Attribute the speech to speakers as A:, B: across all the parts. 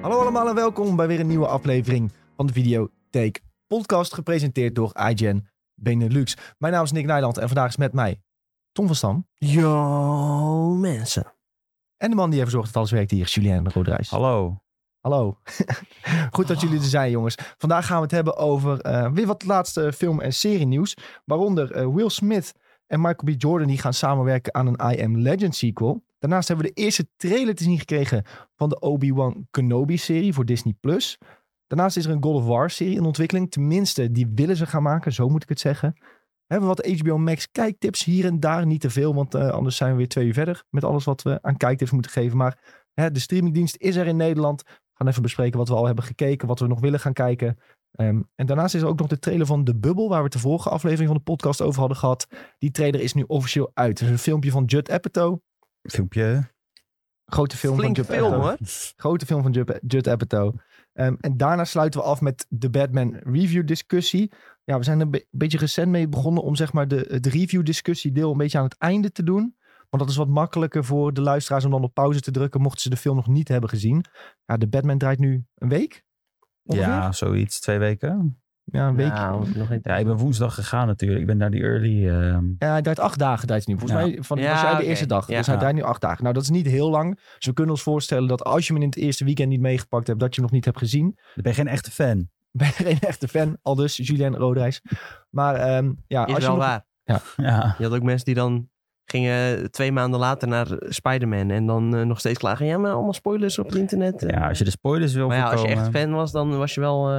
A: Hallo allemaal en welkom bij weer een nieuwe aflevering van de Videotheek Podcast, gepresenteerd door iGen Benelux. Mijn naam is Nick Nijland en vandaag is met mij Tom van Stam.
B: Yo, mensen.
A: En de man die ervoor zorgt dat alles werkt hier, is Julien Roderijs.
C: Hallo.
A: Hallo. Goed dat jullie er zijn, jongens. Vandaag gaan we het hebben over eh, weer wat laatste film- en serienieuws. Waaronder eh, Will Smith en Michael B. Jordan die gaan samenwerken aan een I Am Legend sequel. Daarnaast hebben we de eerste trailer te zien gekregen van de Obi-Wan Kenobi-serie voor Disney+. Daarnaast is er een God of War-serie in ontwikkeling. Tenminste, die willen ze gaan maken, zo moet ik het zeggen. We hebben wat HBO Max kijktips hier en daar. Niet te veel, want eh, anders zijn we weer twee uur verder met alles wat we aan kijktips moeten geven. Maar hè, de streamingdienst is er in Nederland gaan even bespreken wat we al hebben gekeken, wat we nog willen gaan kijken. Ehm, en daarnaast is er ook nog de trailer van De Bubbel, waar we het de vorige aflevering van de podcast over hadden gehad. Die trailer is nu officieel uit. Het is een filmpje van Judd Apatow.
C: Filmpje.
A: Grote film
B: Flink
A: van Judd
B: film,
A: Apatow.
B: hoor.
A: Grote film van Judd, Judd Apatow. Ehm, en daarna sluiten we af met de Batman review discussie. Ja, we zijn er een be- beetje recent mee begonnen om zeg maar de, de review discussie deel een beetje aan het einde te doen. Want dat is wat makkelijker voor de luisteraars om dan op pauze te drukken mochten ze de film nog niet hebben gezien. Ja, de Batman draait nu een week? ongeveer?
C: Ja, zoiets. Twee weken.
A: Ja, een week.
B: Nou, nog
C: Ja, ik ben woensdag gegaan natuurlijk. Ik ben naar die early. ehm,
A: Ja, hij draait acht dagen draait hij nu. Volgens
C: Ja.
A: mij van,
B: Ja,
A: was jij de
B: oké.
A: eerste dag.
B: Ja.
A: Dus hij draait nu acht dagen. Nou, dat is niet heel lang. Dus we kunnen ons voorstellen dat als je hem in het eerste weekend niet meegepakt hebt, dat je hem nog niet hebt gezien.
C: ik ben geen echte fan.
A: Ben je geen echte fan, al dus Julien Roderijs. Maar ehm, ja,
B: Is
A: als je
B: wel
A: nog-
B: waar.
C: Ja.
B: Je had ook mensen die dan gingen eh, twee maanden later naar eh, Spider-Man. En dan eh, nog steeds klagen. Ja, maar allemaal spoilers op het internet.
C: ja, als je de spoilers wil
B: maar ja, als je
C: voorkomen.
B: echt fan was, dan was je wel eh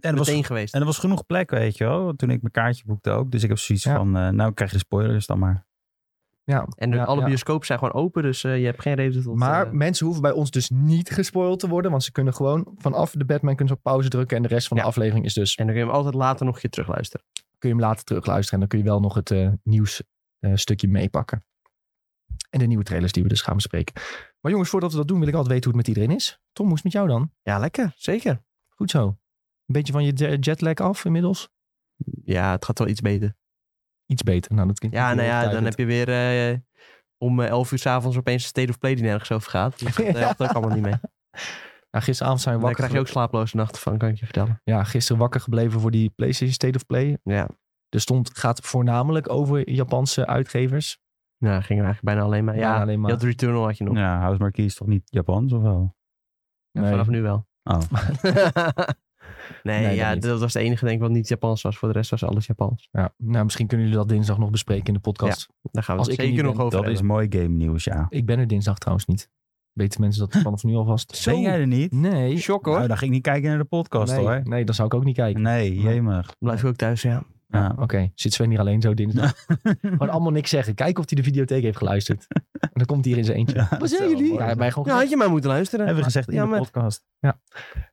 C: en, er was,
B: meteen
C: en
B: geweest.
C: er was genoeg plek, weet je wel. Toen ik mijn kaartje boekte ook. Dus ik heb zoiets
A: Ja.
C: van, eh, nou krijg je de spoilers dan maar.
A: ja,
B: En de-
A: ja,
B: alle
A: ja.
B: bioscopen zijn gewoon open, dus eh, je hebt geen reden tot...
A: Maar
B: eh,
A: mensen hoeven bij ons dus niet gespoild te worden. Want ze kunnen gewoon vanaf de Batman kunnen ze op pauze drukken. En de rest van de
B: Ja.
A: aflevering is dus...
B: en dan kun je hem altijd later nog een keer terugluisteren.
A: kun je hem later terugluisteren. En dan kun je wel nog het eh, nieuws nieuwsstukje meepakken. En de nieuwe trailers die we dus gaan bespreken. Maar jongens, voordat we dat doen, wil ik altijd weten hoe het met iedereen is. Tom, hoe is het met jou dan?
B: Ja, lekker. Zeker.
A: Goed zo. Een beetje van je jet- jetlag af inmiddels?
B: Ja, het gaat wel iets beter.
A: Iets beter. Nou, dat klinkt
B: Ja,
A: niet
B: nou
A: heel
B: ja, dan
A: overtuigend.
B: heb je weer eh, om eh, 11 uur s'avonds opeens een State of Play die nergens over gaat. Dus dat eh, helpt ook allemaal niet mee.
A: Ja, gisteravond zijn we
B: Daar
A: wakker.
B: krijg je ook slaaploze nachten van, kan ik je vertellen.
A: Ja, gisteren wakker gebleven voor die PlayStation State of Play.
B: Ja,
A: Er stond, gaat voornamelijk over Japanse uitgevers.
B: nou, dat ging er eigenlijk bijna alleen maar. Ja,
A: Bijna alleen maar.
B: Je had Returnal had je nog.
C: Ja, House Marquis is toch niet Japans of wel?
B: Ja,
A: Nee.
B: Vanaf nu wel.
C: Oh.
B: nee,
A: Nee, dat
B: ja,
A: niet.
B: dat, was het enige denk ik wat niet Japans was. Voor de rest was alles Japans.
A: Ja, nou, misschien kunnen jullie dat dinsdag nog bespreken in de podcast.
B: Daar gaan we
A: Als
B: het
A: ik er
B: zeker
A: niet
B: nog
A: ben,
B: over
C: Dat is
B: hebben.
C: mooi game nieuws, ja.
A: Ik ben er dinsdag trouwens niet. Weten mensen dat vanaf nu alvast?
C: Ben jij er niet?
A: Nee.
B: Shock
C: Nou, dan ging ik niet kijken naar de podcast
A: nee,
C: hoor.
A: Nee, dan zou ik ook niet kijken.
C: Nee, jemig.
B: Blijf ik ook thuis, ja.
C: Ja.
A: Oké, zit Sven hier alleen zo dinsdag? Gewoon allemaal niks zeggen. Kijk of hij de videotheek heeft geluisterd. En dan komt hij hier in zijn eentje.
C: Ja,
A: Waar
C: dat
A: zijn
C: zou
A: jullie?
C: mooi
A: Ja, hij
C: zijn.
A: mij gewoon
B: Ja, had je maar moeten luisteren.
C: Hebben we gezegd in
B: Jammer.
C: de podcast.
A: gezegd,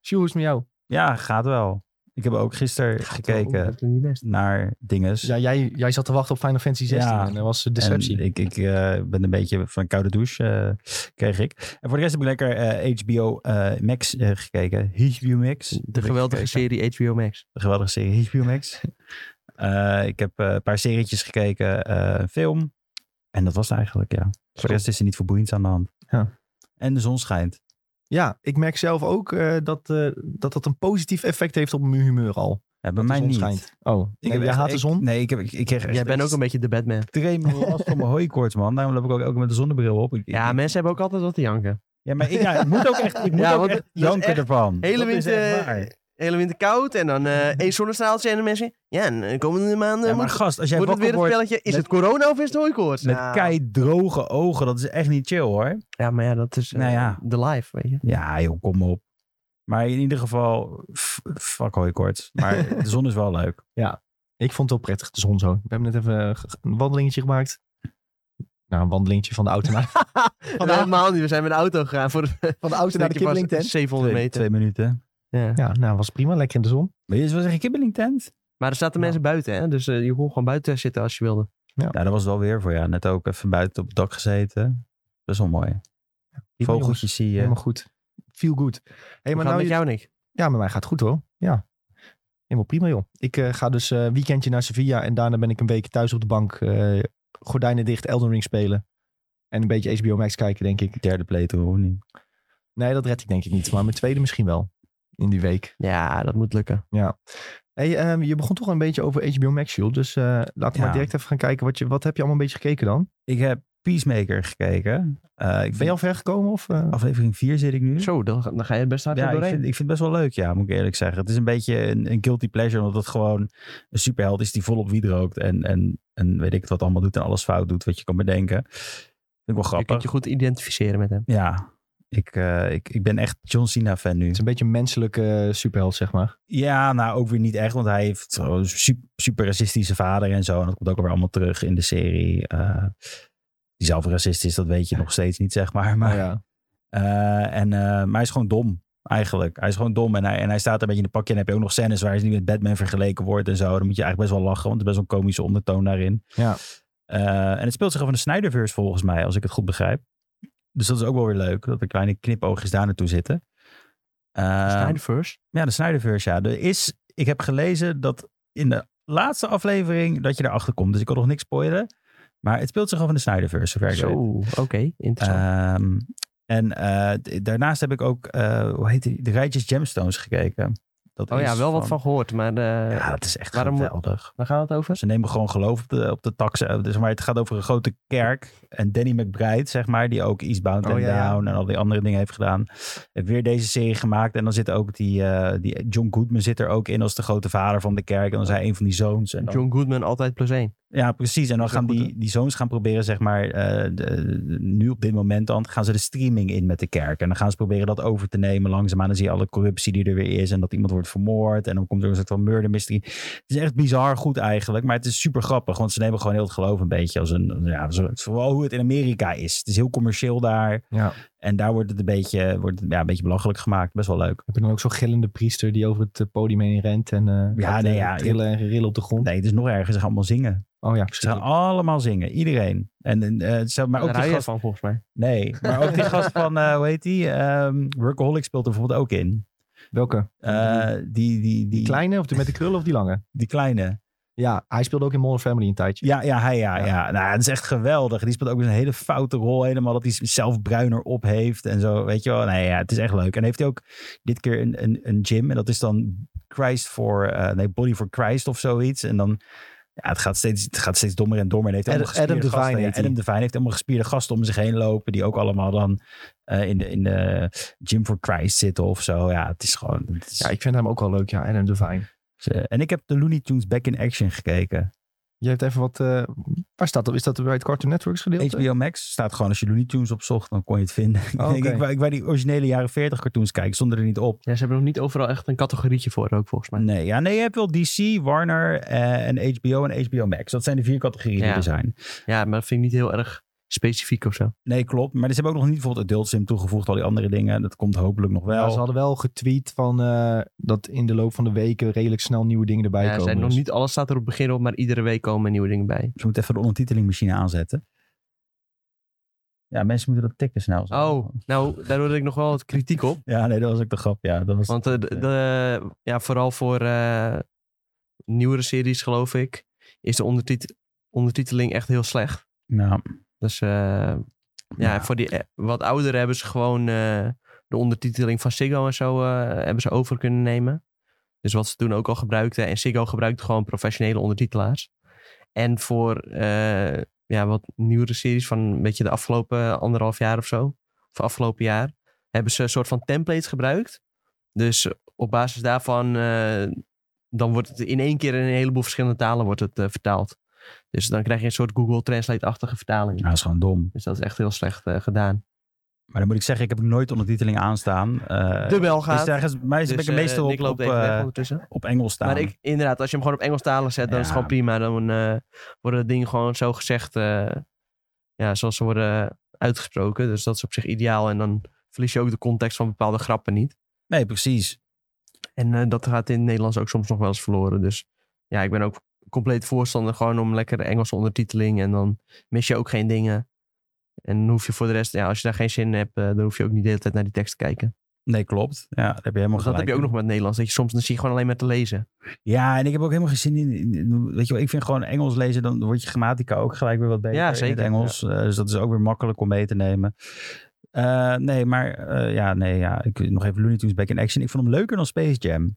A: Sjoe, hoe is het met jou?
C: Ja, gaat wel. Ik heb ook gisteren gekeken
B: Dat is niet best.
C: naar dinges.
A: Ja, jij, jij zat te wachten op Final Fantasy 16
C: Ja.
A: en dat was eh, deceptie.
C: En ik ik eh, ben een beetje van een koude douche, eh, kreeg ik. En voor de rest heb ik lekker eh, HBO eh, Max eh, gekeken. HBO Max. Heb
B: De
C: ik
B: geweldige
C: gekeken.
B: serie HBO Max.
C: De geweldige serie HBO Max. Eh, ik heb eh, een paar serietjes gekeken, eh, een film. En dat was het eigenlijk, ja. Voor de rest is er niet veel boeiends aan de hand.
A: Ja.
C: En de zon schijnt.
A: Ja, ik merk zelf ook eh, dat, eh, dat dat een positief effect heeft op mijn humeur al.
C: Ja,
A: Dat
C: bij
A: de
C: mij
A: zon
C: niet.
A: schijnt. Oh,
C: Ik
A: nee,
C: heb
A: jij
C: echt-
A: haat de
C: ik-
A: zon?
C: Nee, ik, heb, ik, ik kreeg echt
B: Jij bent ook een beetje de Batman.
C: extreem last van mijn hooikoorts, man. Daarom heb ik ook elke met de zonnebril op. Ik- ik-
B: Ja, mensen hebben ook altijd wat te janken.
C: ja, maar ik, ja, ik moet ook echt, ik moet
B: Ja,
C: ook
B: want
C: echt
B: dat is
C: janken
B: echt-
C: ervan.
B: hele eh,
C: Dat is
B: winter-
C: echt waar.
B: Hele winter koud en dan eh één zonnestraaltje en de mensen... Ja, en de komende maanden
C: Ja, maar
B: moet,
C: gast, als jij
B: wordt het
C: wakker
B: weer een
C: wordt
B: spelletje. Is
C: met-
B: het corona of is het hooikoorts?
C: met
B: Nou,
C: kei droge ogen, dat is echt niet chill hoor.
B: Ja, maar ja, dat is eh,
C: Nou ja.
B: de life, weet je.
C: Ja joh, kom op. Maar in ieder geval, f- fuck hooikoorts. Maar de zon is wel leuk.
A: Ik vond het wel prettig, de zon zo. We hebben net even eh, ge- een wandelingetje gemaakt. Nou, een wandelingetje van de auto naar,
B: Nee, Helemaal niet. We zijn met de auto gegaan voor de,
A: van de, auto naar de kibbeling tent.
B: 700
C: Twee,
B: meter.
C: twee minuten.
B: Ja.
A: Ja, nou, was prima. Lekker in de zon.
C: Maar je was echt een kibbeling tent?
B: Maar er zaten
A: Ja.
B: mensen buiten, hè. Dus eh, je kon gewoon buiten zitten als je wilde.
C: Ja, dat was wel weer voor ja. Net ook even buiten op het dak gezeten. Dat is wel mooi.
A: Prima, jongens.
C: Vogeltjes zie je.
A: Helemaal goed. Feel good. Hey,
B: Hoe
A: maar
B: gaat
A: nou
B: het met
A: je-
B: jou, Nick?
A: Ja, met mij gaat het goed hoor. Ja. Helemaal prima joh. Ik eh, ga dus eh weekendje naar Sevilla en daarna ben ik een week thuis op de bank. eh, gordijnen dicht, Elden Ring spelen. En een beetje HBO Max kijken denk ik.
C: Derde playthrough, of niet?
A: Nee, dat red ik denk ik niet. Maar mijn tweede misschien wel. In die week.
B: Ja, dat moet lukken.
A: Hey, ehm, je begon toch een beetje over HBO Max, Jules. Dus eh, laten we
C: Ja.
A: maar direct even gaan kijken. Wat, je, wat heb je allemaal een beetje gekeken dan?
C: Ik heb Peacemaker gekeken. Eh, ik
A: Ben je
C: ben
A: al ver gekomen? Of,
C: Oh.
A: eh?
C: aflevering 4 zit ik nu.
B: Zo, dan, ga- dan ga je best hard
C: Ja,
B: er
C: ik
B: doorheen.
C: vind, ik vind het best wel leuk, ja, moet ik eerlijk zeggen. Het is een beetje een, een guilty pleasure, omdat het gewoon een superheld is die volop wiet rookt. En, en, en weet ik het wat allemaal doet en alles fout doet wat je kan bedenken. Vind ik wel
B: Je kunt
C: grappig.
B: je goed identificeren met hem.
C: Ja, ik, eh, ik, ik ben echt John Cena fan nu.
A: Het is een beetje een menselijke eh, superheld, zeg maar.
C: Ja, nou ook weer niet echt, want hij heeft zo'n super, super racistische vader en zo. En dat komt ook weer allemaal terug in de serie. Eh, die zelf racist is, dat weet je nog steeds niet, zeg maar.
A: Maar
C: maar
A: ja.
C: Eh, en, eh, maar hij is gewoon dom, eigenlijk. Hij is gewoon dom en hij, en hij staat een beetje in een pakje. En dan heb je ook nog scènes waar hij niet met Batman vergeleken wordt en zo. Dan moet je eigenlijk best wel lachen, want er is best wel een komische ondertoon daarin.
A: Ja.
C: Eh, en het speelt zich over de Snyderverse volgens mij, als ik het goed begrijp. Dus dat is ook wel weer leuk, dat er kleine knipoogjes daar naartoe zitten. Eh,
B: Stein first.
C: ja, de Snyderverse, ja. Er is, ik heb gelezen dat in de laatste aflevering dat je erachter komt. Dus ik kan nog niks spoilen. Maar het speelt zich af in de Snyderverse, zover ik
B: Zo,
C: weet.
B: oké. interessant.
C: Ehm, en eh, d- daarnaast heb ik ook, eh, hoe heet die, de Righteous Gemstones gekeken. Dat
B: oh
C: Eh, is
B: ja, wel wat van gehoord, maar eh,
C: Ja, dat is echt
B: waarom moet-
C: geweldig.
B: waar gaat het over?
C: Ze nemen gewoon geloof op de, op de taxen. Dus, maar het gaat over een grote kerk. En Danny McBride, zeg maar, die ook Eastbound
A: Oh,
C: and
A: ja, ja.
C: Down en al die andere dingen heeft gedaan. Heeft weer deze serie gemaakt. En dan zit ook die, eh, die John Goodman zit er ook in als de grote vader van de kerk. En dan is hij een van die zoons. En dan-
B: John Goodman, altijd plus één.
C: ja, precies. En dan
B: Dat is
C: gaan
B: wel goed,
C: die, die zoons gaan proberen, zeg maar, eh, de- de- nu op dit moment dan, gaan ze de streaming in met de kerk. En dan gaan ze proberen dat over te nemen langzaamaan. Dan zie je alle corruptie die er weer is en dat iemand wordt vermoord. En dan komt er een soort van murder mystery. Het is echt bizar goed eigenlijk, maar het is super grappig. Want ze nemen gewoon heel het geloof een beetje als een, ja, zo- vooral hoe het in Amerika is. Het is heel commercieel daar.
A: ja.
C: En daar wordt het een beetje, wordt het, ja, een beetje belachelijk gemaakt. Best wel leuk.
A: Heb je dan ook zo'n gillende priester die over het eh, podium heen rent en eh
C: Ja,
A: gaat,
C: nee,
A: eh,
C: ja.
A: trillen en rillen op de grond?
C: Nee, het is nog erger. Ze gaan allemaal zingen.
A: Oh ja,
C: Ze gaan
A: precies.
C: allemaal zingen. Iedereen. En, en, eh, ze- maar ook
B: Daar
C: die
B: hou je
C: gast-
B: van volgens mij.
C: Nee, maar ook die gast van, eh, hoe heet die? Ehm Workaholic speelt er bijvoorbeeld ook in.
A: Welke?
C: Eh, die, die, die,
A: Die kleine of de, met de krullen of die lange?
C: die kleine.
A: Ja, hij speelde ook in Modern Family een tijdje.
C: Ja, ja, hij, ja,
A: Ja.
C: ja. Nou, dat is echt geweldig. Die speelt ook eens een hele foute rol helemaal. Dat hij zelf bruiner op heeft en zo, weet je wel. Nee, ja, het is echt leuk. En heeft hij ook dit keer een, een, een gym. En dat is dan Christ voor, eh, nee, Body for Christ of zoiets. En dan, ja, het gaat steeds, het gaat steeds dommer en dommer. En heeft
A: Ad-
C: allemaal gespierde
A: Adam Devine
C: gasten. Ja,
A: heet hij.
C: Adam Devine heeft allemaal gespierde gasten om zich heen lopen. Die ook allemaal dan eh, in, de, in de gym for Christ zitten of zo. Ja, het is gewoon... het is-
A: Ja, ik vind hem ook wel leuk, ja. Adam Devine.
C: eh, en ik heb de Looney Tunes Back in Action gekeken.
A: Je hebt even wat... eh, waar staat dat? Is dat bij het Cartoon Networks gedeelte?
C: HBO Max staat gewoon, als je Looney Tunes opzocht, dan kon je het vinden.
A: Oh,
C: ik,
A: oké.
C: ik, wou- ik wou die originele jaren 40 cartoons kijken, stonden er niet op.
B: Ja, ze hebben nog niet overal echt een categorietje voor ook volgens mij.
C: Nee, ja, nee, je hebt wel DC, Warner eh, en HBO en HBO Max. Dat zijn de vier categorieën
B: Ja.
C: die er zijn.
B: Ja, maar dat vind ik niet heel erg specifiek of zo.
C: Nee, klopt. Maar ze hebben ook nog niet bijvoorbeeld Adult Sim toegevoegd, al die andere dingen. Dat komt hopelijk nog wel.
A: Ja, ze hadden wel getweet van eh, dat in de loop van de weken redelijk snel nieuwe dingen erbij
B: Ja,
A: komen.
B: zijn nog
A: dus-
B: niet alles staat er op het begin op, maar iedere week komen nieuwe dingen bij.
C: Ze moeten even de ondertitelingmachine aanzetten. Ja, mensen moeten dat tikken snel.
B: Oh, nou, daar hoorde ik nog wel wat kritiek op.
C: Ja, nee, dat was ook de grap. Ja, dat was...
B: Want eh, de, de- ja, vooral voor eh, nieuwere series, geloof ik, is de ondertit- ondertiteling echt heel slecht.
C: Nou,
B: Dus eh, ja,
C: nou,
B: voor die eh, wat ouderen hebben ze gewoon eh, de ondertiteling van Siggo en zo eh, hebben ze over kunnen nemen. Dus wat ze toen ook al gebruikten. En Siggo gebruikte gewoon professionele ondertitelaars. En voor eh, ja, wat nieuwere series van een beetje de afgelopen anderhalf jaar of zo. Of afgelopen jaar. Hebben ze een soort van templates gebruikt. Dus op basis daarvan eh, dan wordt het in één keer in een heleboel verschillende talen wordt het, eh, vertaald. Dus dan krijg je een soort Google Translate-achtige vertaling.
C: nou, dat is gewoon dom.
B: Dus dat is echt heel slecht eh, gedaan.
C: Maar dan moet ik zeggen, ik heb nooit ondertiteling aanstaan. Eh
B: de bel
C: dus
B: gaat.
C: daar is, mij is
B: Dus,
C: ben ik
B: eh,
C: meestal
B: Nick
C: op,
B: loopt
C: op,
B: even weg
C: eh,
B: ondertussen.
C: op Engels staan.
B: Maar ik, inderdaad, als je hem gewoon op Engelstalig zet, dan is het
C: Ja.
B: gewoon prima. Dan eh, worden de dingen gewoon zo gezegd, eh, ja, zoals ze worden uitgesproken. Dus dat is op zich ideaal. En dan verlies je ook de context van bepaalde grappen niet.
C: Nee, precies.
B: En eh, dat gaat in het Nederlands ook soms nog wel eens verloren. Dus ja, ik ben ook compleet voorstander gewoon om lekker Engelse ondertiteling. En dan mis je ook geen dingen. En dan hoef je voor de rest, ja, als je daar geen zin in hebt, eh, dan hoef je ook niet de hele tijd naar die tekst te kijken.
C: Nee, klopt. Ja, daar heb je helemaal
B: Want dat
C: gelijk. Oh,
B: heb je ook nog met het Nederlands. Dat je soms dan zie je gewoon alleen maar te lezen.
C: Ja, en ik heb ook helemaal geen zin in, in- in- Weet je wel, ik vind gewoon Engels lezen, dan wordt je grammatica ook gelijk weer wat beter
B: Ja,
C: in
B: zeker,
C: het Engels. Eh, dus dat is ook weer makkelijk om mee te nemen. Eh, Eh, nee, maar eh, ja, nee, ja. Ik, nog even Looney Tunes Back in Action. Ik vond hem leuker dan Space Jam.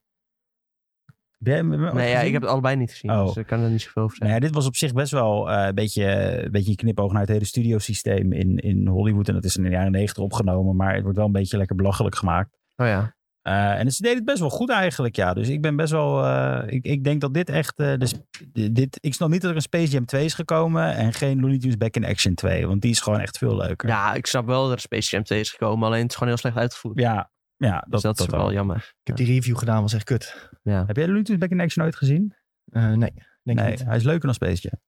C: Heb jij hem- hem ooit
B: Nee, ja, ik
C: gezien?
B: heb het allebei niet gezien,
C: Oh.
B: dus ik kan er niet zoveel over
C: Nou ja,
B: zeggen.
C: dit was op zich best wel eh, een, beetje, een beetje een knipoog naar het hele studiosysteem in, in Hollywood. En dat is in de jaren negentig opgenomen, maar het wordt wel een beetje lekker belachelijk gemaakt.
B: Oh ja.
C: Eh, en ze deden het best wel goed eigenlijk, ja. Dus ik ben best wel... eh, ik, ik denk dat dit echt... eh, de sp- di- dit, ik snap niet dat er een Space Jam 2 is gekomen en geen Looney Tunes Back in Action 2. Want die is gewoon echt veel leuker.
B: ja, ik snap wel dat er Space Jam 2 is gekomen, alleen het is gewoon heel slecht uitgevoerd.
C: ja, ja, dat,
B: dus dat, is
C: wel.
B: wel jammer.
A: Ik heb die review gedaan, was echt kut.
B: Ja.
C: Heb jij Looney Tunes Back in Action ooit gezien?
A: Eh, nee, denk ik
C: nee,
A: niet.
C: hij is leuker dan Space Jam.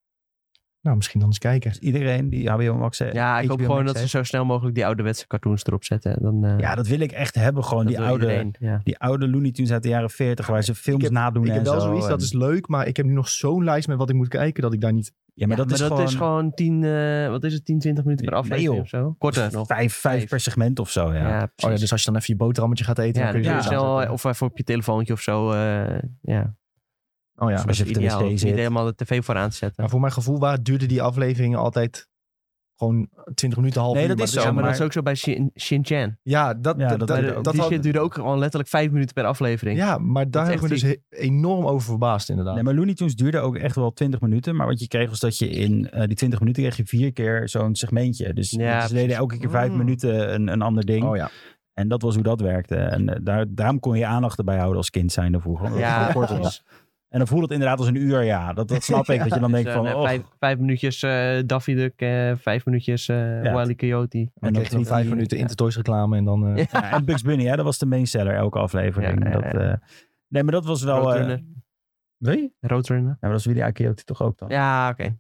A: Nou, misschien dan eens kijken.
C: Dus iedereen die HBO Max heeft.
B: Ja, ik
C: HBO
B: hoop gewoon
C: Max
B: dat ze
C: heeft.
B: zo snel mogelijk die ouderwetse cartoons erop zetten. En Dan, eh,
C: Ja, dat wil ik echt hebben. Gewoon
B: dat
C: die
B: wil
C: oude...
B: iedereen, Ja.
C: Die oude Looney Tunes uit de jaren 40, waar ze films
A: Ik heb-
C: nadoen
A: ik
C: en
A: heb wel
C: zo.
A: zoiets, dat
C: En-
A: is leuk, maar ik heb nu nog zo'n lijst met wat ik moet kijken dat ik daar niet... Oh
C: ja, maar dat, is, gewoon
B: tien, eh, wat is het, 10, 20 minuten per
C: Nee,
B: aflevering
C: joh.
B: of zo? Korter nog.
C: Vijf, vijf
B: Vijf.
C: per segment of zo, ja.
B: ja,
A: Oh ja,
B: precies.
A: dus als je dan even je boterhammetje gaat eten, dan
C: dus
B: Ja,
A: kun je
B: dan
A: het
B: kun
A: weer
B: je dus
A: aanzetten.
B: snel, eh, of even op je telefoontje of zo. eh, ja,
A: Oh ja.
C: Of als je
B: dat
C: op
B: is
C: de
B: ideaal.
C: wc
B: Hoef je
C: zit.
B: Niet helemaal de tv voor aan te zetten.
A: Maar voor mijn gevoel waar duurden die afleveringen altijd gewoon 20 minuten, half
C: Nee,
A: uur.
C: dat
A: maar
C: is
B: Ja,
C: zo,
B: maar,
C: maar-
B: dat is ook zo bij Shin- Shenzhen.
A: Ja, dat,
C: Ja,
A: dat,
C: dat
A: dat,
C: duurde
A: dat
B: die
A: had-
B: shit duurde ook gewoon letterlijk vijf minuten per aflevering.
A: Ja, maar daar
B: is
A: heb ik me
B: echt
A: dus he- enorm over verbaasd inderdaad.
C: Nee, maar Looney Tunes duurde ook echt wel 20 minuten. Maar wat je kreeg was dat je in eh, die 20 minuten kreeg je vier keer zo'n segmentje. Dus
B: Ja,
C: ze deden
B: precies.
C: elke keer vijf
A: Mm.
C: minuten een, een ander ding.
A: Oh ja.
C: En dat was hoe dat werkte. En eh, daar, daarom kon je aandacht erbij houden als kind zijn vroeger. omdat het
B: Ja,
C: zo kort was.
B: precies.
C: En dan voelde het inderdaad als een uur, ja. Dat, dat snap ik. dat je dan
B: Dus,
C: denkt
B: eh,
C: van,
B: nee,
C: oh.
B: vijf, vijf minuutjes eh, Daffy Duck, eh, vijf minuutjes eh
C: Ja.
B: Wally Coyote.
A: Dan kreeg je nog
C: niet
A: vijf
C: die-
A: minuten Intertoys reclame en dan... eh,
B: Ja.
C: Ja, en Bugs Bunny, hè, dat was de mainseller elke aflevering.
B: Ja, ja,
C: dat,
B: ja.
C: eh, nee, maar dat was wel... eh,
B: Roadrunner.
C: wil je?
B: Roadrunner.
C: Ja, maar dat is Willy Coyote toch ook dan?
B: Ja, oké.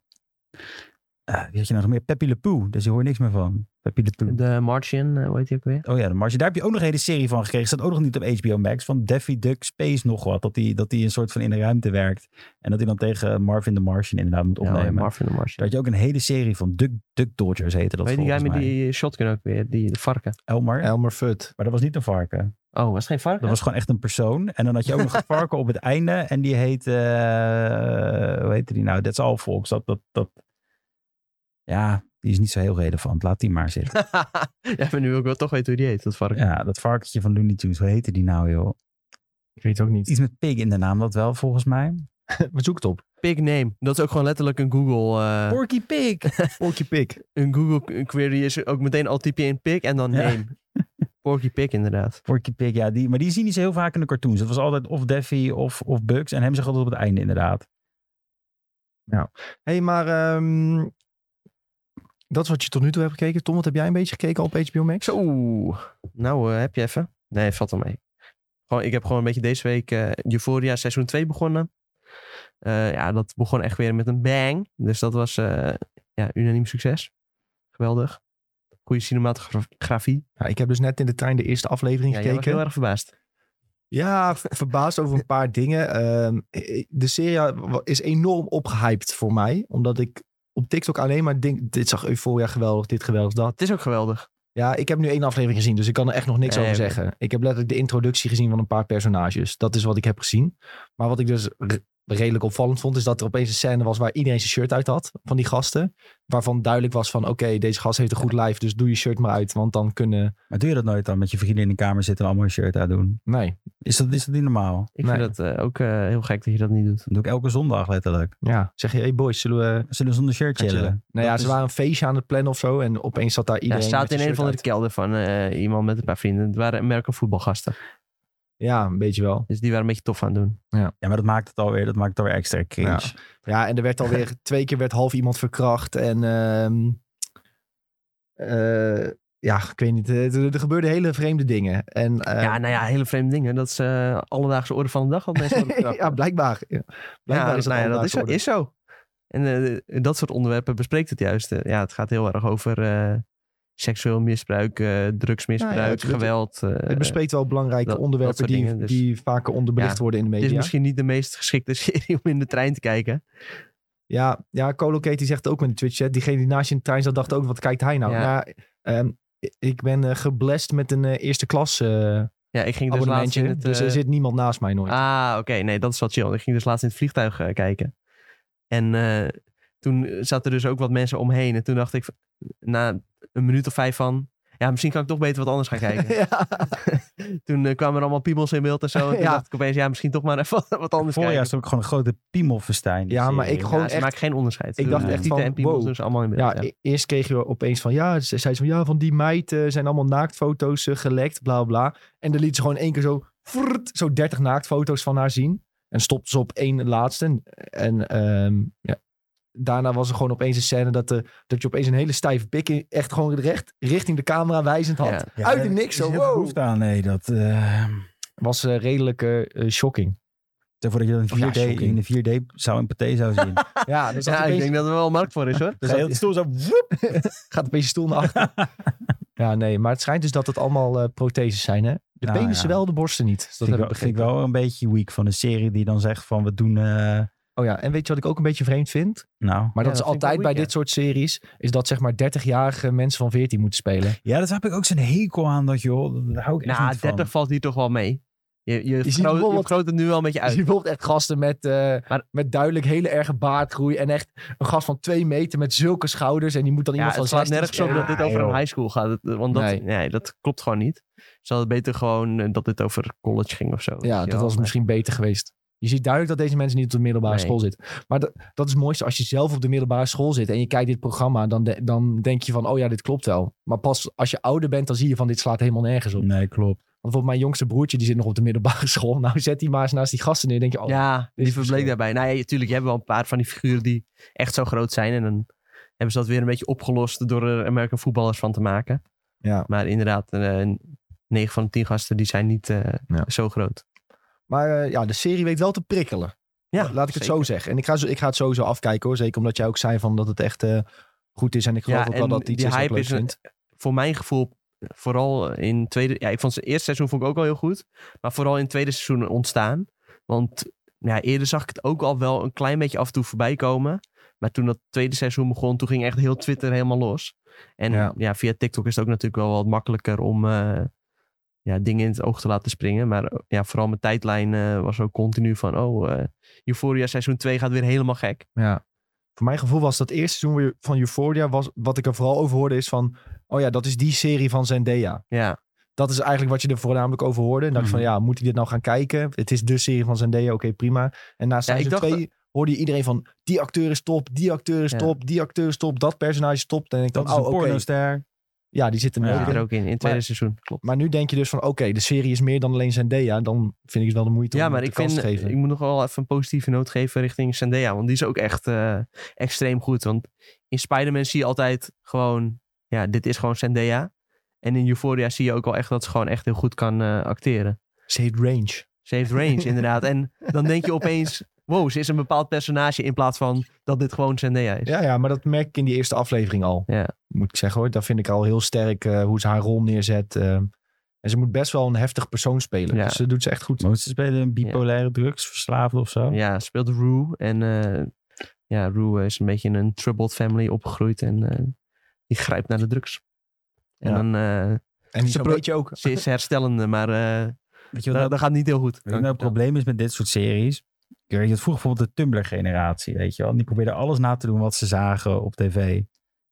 C: Eh, wie had je nou nog meer? Peppy Le Pew, dus je hoort niks meer van. Peppy Le Pew.
B: De Martian, eh, hoe heet die ook weer?
C: Oh ja, de Marge. Daar heb je ook nog een hele serie van gekregen. Staat ook nog niet op HBO Max. Van Daffy Duck Space nog wat. Dat hij dat die een soort van in de ruimte werkt. En dat hij dan tegen Marvin de Martian inderdaad moet opnemen.
B: Ja,
C: Daar
B: Marvin de Martian.
C: had je ook een hele serie van Duck, Duck Dodgers heette dat
B: Weet die guy
C: volgens
B: met
C: mij.
B: die shotgun ook weer? Die de varken.
C: Elmer.
A: Elmer Fudd.
C: Maar dat was niet een varken.
B: Oh, was het geen varken?
C: Dat was gewoon echt een persoon. En dan had je ook nog een varken op het einde. En die heet... eh, hoe heette die nou? That's All Folks. Dat, dat, dat... Ja, die is niet zo heel relevant. Laat die maar zitten.
B: ja, maar nu wil ik wel toch weten hoe die heet, dat varken.
C: Ja, dat varkentje van Looney Tunes. Hoe heette die nou, joh?
A: Ik weet het ook niet.
C: Iets met pig in de naam, dat wel, volgens mij.
A: Maar zoek het op.
B: Pig name. Dat is ook gewoon letterlijk een Google... eh,
C: Porky Pig.
A: Porky Pig.
B: een Google query is ook meteen al typ je in pig en dan
C: Ja.
B: name. Porky pig inderdaad.
C: Porky Pig, ja. Die, maar die zie je niet zo heel vaak in de cartoons. Dat was altijd of Daffy of, of Bugs. En hem zag altijd op het einde, inderdaad.
A: Hé, hey, maar ehm, dat is wat je tot nu toe hebt gekeken. Tom, wat heb jij een beetje gekeken op HBO Max?
B: Zo. Nou, eh, heb je even? Nee, valt wel mee. Gewoon, ik heb gewoon een beetje deze week eh, Euphoria seizoen 2 begonnen. Eh, ja, dat begon echt weer met een bang. Dus dat was eh, ja, unaniem succes. Geweldig. Goede cinematografie.
A: Ja, ik heb dus net in de trein de eerste aflevering
B: Ja, jij was
A: gekeken.
B: heel erg verbaasd.
A: Ja, ver- verbaasd over een paar dingen. Ehm, de serie eh, wa- is enorm opgehyped voor mij. Omdat ik op TikTok alleen maar denk... Dit zag Euphoria geweldig, dit geweldig, dat.
B: Het is ook geweldig.
A: Ja, ik heb nu één aflevering gezien, dus ik kan er echt nog niks
B: Nee,
A: over
B: oké.
A: zeggen. Ik heb letterlijk de introductie gezien van een paar personages. Dat is wat ik heb gezien. Maar wat ik dus re- redelijk opvallend vond, is dat er opeens een scène was waar iedereen zijn shirt uit had van die gasten. Waarvan duidelijk was van, oké, deze gast heeft een goed lijf, dus doe je shirt maar uit. Want dan kunnen...
C: Maar doe je dat nooit dan? Met je vrienden in de kamer zitten en allemaal een shirt uitdoen.
A: Nee,
C: Is dat, is dat niet normaal?
B: Ik
A: Nee.
B: vind dat eh, ook eh, heel gek dat je dat niet doet.
C: Dat doe ik elke zondag, letterlijk.
A: ja. Zeg je, hey boys, zullen we...
C: Zullen we zonder shirt
A: gaan
C: chillen?
A: chillen? Nou ja,
C: Dat
A: ze
C: is-
A: waren een feestje aan het plannen of zo. En opeens zat daar
B: Ja,
A: iedereen...
B: staat
A: met
B: in
A: zijn
B: een van de
A: shirt
B: kelder van eh, iemand met een paar vrienden. Het waren American voetbalgasten.
A: uit. Ja, een beetje wel.
B: Dus die waren een beetje tof aan het doen.
C: Ja, maar dat maakt het alweer, dat maakt het alweer extra cringe.
A: Ja. Ja, en er werd alweer twee keer werd half iemand verkracht. En ehm, eh, ja, ik weet niet. eh, Er, er gebeurden hele vreemde dingen. En, eh,
B: ja, nou ja, hele vreemde dingen. Dat is eh, alledaagse orde van de dag. Al mensen worden
A: ja,
B: betrapt.
A: blijkbaar. Ja, blijkbaar
B: ja,
A: is dat,
B: nou ja, dat
A: alledaagse
B: is, zo-
A: orde.
B: is zo. En eh, dat soort onderwerpen bespreekt het juist. Eh, ja, het gaat heel erg over eh, seksueel misbruik, eh, drugsmisbruik,
A: Nou ja, het- het-
B: geweld. eh,
A: Het bespreekt wel belangrijke
B: dat-
A: onderwerpen
B: dat soort
A: die,
B: dingen, dus-
A: die vaker onderbelicht
B: Ja,
A: worden in de
B: het is
A: media.
B: misschien niet de meest geschikte serie om in de trein te kijken.
A: Ja, ja Colocate die zegt ook in de Twitch chat. Diegene die naast je in de trein zat, dacht ook, wat kijkt hij nou?
B: Ja.
A: Ja, ehm, ik ben eh, geblest met een eh, eerste klas eh,
B: Ja, ik ging dus laatst
A: abonnementje.
B: in het...
A: dus er
B: eh,
A: zit niemand naast mij nooit.
B: Ah, oké. Nee, dat is wel chill. Ik ging dus laatst in het vliegtuig eh, kijken. En eh, toen zaten er dus ook wat mensen omheen. En toen dacht ik v- na een minuut of vijf van... ja, misschien kan ik toch beter wat anders gaan kijken.
A: ja.
B: Toen eh, kwamen er allemaal piemels in beeld en zo. En toen
A: Ja.
B: dacht ik opeens, ja, misschien toch maar even wat anders
C: Voorjaar
B: kijken.
C: is ook gewoon een grote piemelfestijn. die
A: Ja, maar
C: serie.
A: ik
B: Ja,
A: gewoon
B: ze
A: echt-
B: maakt geen onderscheid.
A: Ik
B: Ze
A: dacht
B: doen
A: echt
B: tieten
A: van,
B: en piemels
A: wow.
B: doen ze allemaal in beeld.
A: Ja,
B: Ja,
A: e- eerst kreeg je opeens van, ja, ze zei ze van, ja, van die meid eh, zijn allemaal naaktfoto's eh, gelekt, bla bla. En dan liet ze gewoon één keer zo, frrt, zo 30 naaktfoto's van haar zien. En stopte ze op één laatste. En ehm, ja. daarna was er gewoon opeens een scène dat, de, dat je opeens een hele stijve pik in- echt gewoon recht richting de camera wijzend had.
B: Ja.
C: Ja,
A: Uit
C: daar
A: de niks
C: is
A: zo,
C: heel
A: wow.
C: behoefte aan, nee. Dat, eh,
A: Was eh, redelijk eh, eh, shocking.
C: stel voor dat je
A: Oh ja,
C: dat in 4D,
A: shocking.
C: in de 4D zou een paté zou zien.
A: Ja, dus
B: Ja, ik denk dat er wel een markt voor is hoor.
C: Dus heel de stoel zo... woep.
A: gaat een beetje stoel naar achter. ja, nee, maar het schijnt dus dat het allemaal eh, protheses zijn, hè? De
C: Nou,
A: penissen
C: ja.
A: wel, de borsten niet. Dat heb
C: vind, ik
A: ik
C: wel, vind ik
A: begrepen.
C: wel een beetje weak van een serie die dan zegt van we doen... eh,
A: Oh ja, en weet je wat ik ook een beetje vreemd vind?
C: nou,
A: Maar
B: Ja,
A: dat is
B: dat vind ik wel
A: altijd bij
B: weird,
A: dit soort series, is dat zeg maar 30-jarige mensen van 14 moeten spelen.
C: ja, daar heb ik ook zo'n hekel aan dat joh. Daar hou ik echt
B: Nou,
C: niet van.
B: 30 valt hier toch wel mee. Je, je,
A: ziet
B: groot, je
A: bijvoorbeeld-
B: groot het nu wel een beetje
A: Dus Je ziet
B: uit.
A: bijvoorbeeld echt gasten met, eh,
B: Maar-
A: met duidelijk hele erge baardgroei en echt een gast van twee meter met zulke schouders en die moet dan
B: Ja,
A: iemand
B: het
A: van
B: slaat
A: 16
B: nergens op
A: spelen.
B: dat dit over
C: joh.
B: een high school gaat. Het- Want dat,
A: Nee.
B: nee. dat klopt gewoon niet. Ze hadden beter gewoon eh, dat dit over college ging of zo. weet je
A: Ja, dat
B: wel.
A: was misschien beter geweest. Je ziet duidelijk dat deze mensen niet op de middelbare
B: Nee.
A: school zitten. Maar dat, dat is het mooiste als je zelf op de middelbare school zit en je kijkt dit programma, dan, de- dan denk je van, oh ja, dit klopt wel. Maar pas als je ouder bent, dan zie je van, dit slaat helemaal nergens op. Want
C: Nee, klopt.
A: bijvoorbeeld mijn jongste broertje, die zit nog op de middelbare school. Nou, zet die maar eens naast die gasten neer. denk je, oh,
B: Ja,
A: dit
B: die
A: is
B: verbleek
A: verschil.
B: daarbij. Nou ja, natuurlijk, je hebt wel een paar van die figuren die echt zo groot zijn. En dan hebben ze dat weer een beetje opgelost door er American voetballers van te maken.
A: Ja.
B: Maar inderdaad, eh 9 van de 10 gasten die zijn niet eh,
A: Ja.
B: zo groot.
A: Maar eh, ja, de serie weet wel te prikkelen.
B: Ja,
A: Laat ik het zo zeggen. En ik ga, zo- ik ga het sowieso afkijken hoor. Zeker omdat jij ook zei van dat het echt eh, goed is. En ik geloof
B: Ja,
A: ook wel
B: en
A: dat iets
B: die
A: is wat ik
B: hype
A: leuk
B: is een-
A: vind.
B: voor mijn gevoel, eh, vooral in tweede... Ja, ik vond het eerste seizoen vond ik ook al heel goed. Maar vooral in het tweede seizoen ontstaan. Want ja, eerder zag ik het ook al wel een klein beetje af en toe voorbij komen. Maar toen dat tweede seizoen begon, toen ging echt heel Twitter helemaal los. En
A: Ja.
B: ja, via TikTok is het ook natuurlijk wel wat makkelijker om eh, ja, dingen in het oog te laten springen. Maar eh, ja, vooral mijn tijdlijn eh, was ook continu van... Oh, eh, Euphoria seizoen 2 gaat weer helemaal gek.
A: Ja. Voor mijn gevoel was dat eerste seizoen weer van Euphoria... Was, wat ik er vooral over hoorde is van... Oh ja, dat is die serie van Zendaya.
B: Ja,
A: Dat is eigenlijk wat je er voornamelijk over hoorde. En dacht
C: Mhm.
A: van ja, moet ik dit nou gaan kijken? Het is de serie van Zendaya, oké prima. En na seizoen
B: ik dacht
A: 2 hoorde je iedereen van... Die acteur is top, die acteur is
B: Ja.
A: top, die acteur is top. Dat personage is top. Dan denk ik
C: Dat
A: dan,
C: is een
A: oh, oké.
C: pornoster.
A: Ja, die zit er
C: Ja.
A: ook
B: zit
A: in.
B: er ook in, in het tweede seizoen. Klopt.
A: Maar nu denk je dus van, oké, de serie is meer dan alleen Zendaya. Dan vind ik het wel de moeite
B: Ja,
A: om
B: maar
A: het
B: ik
A: de kans
B: vind,
A: te geven.
B: ik moet nog wel even een positieve noot geven richting Zendaya. Want die is ook echt eh, extreem goed. Want in Spider-Man zie je altijd gewoon, ja, dit is gewoon Zendaya. En in Euphoria zie je ook al echt dat ze gewoon echt heel goed kan eh, acteren.
A: Ze heet Range.
B: Ze heeft range, inderdaad. En dan denk je opeens, wow, ze is een bepaald personage in plaats van dat dit gewoon Zendaya is.
A: Ja, ja, maar dat merk ik in die eerste aflevering al.
B: Ja.
A: Moet ik zeggen hoor. Daar vind ik al heel sterk eh, hoe ze haar rol neerzet. eh. en ze moet best wel een heftig persoon spelen.
B: Ja.
A: Dus ze doet ze echt goed.
C: Maar ze spelen een bipolaire drugsverslaafde of zo.
B: Ja, ze speelt Rue. En eh, ja, Rue is een beetje in een troubled family opgegroeid. En eh, die grijpt naar de drugs. En
A: Ja.
B: dan eh,
A: En
B: Ze
A: zo'n
B: pro-
A: beetje ook.
B: ze is herstellende, maar... eh,
C: Weet je wat
B: Dat,
C: nou-
B: dat gaat niet heel goed.
C: Weet je wat nou het probleem is met dit soort series? Ik weet dat vroeger bijvoorbeeld de Tumblr-generatie, weet je wel. Die probeerde alles na te doen wat ze zagen op tv.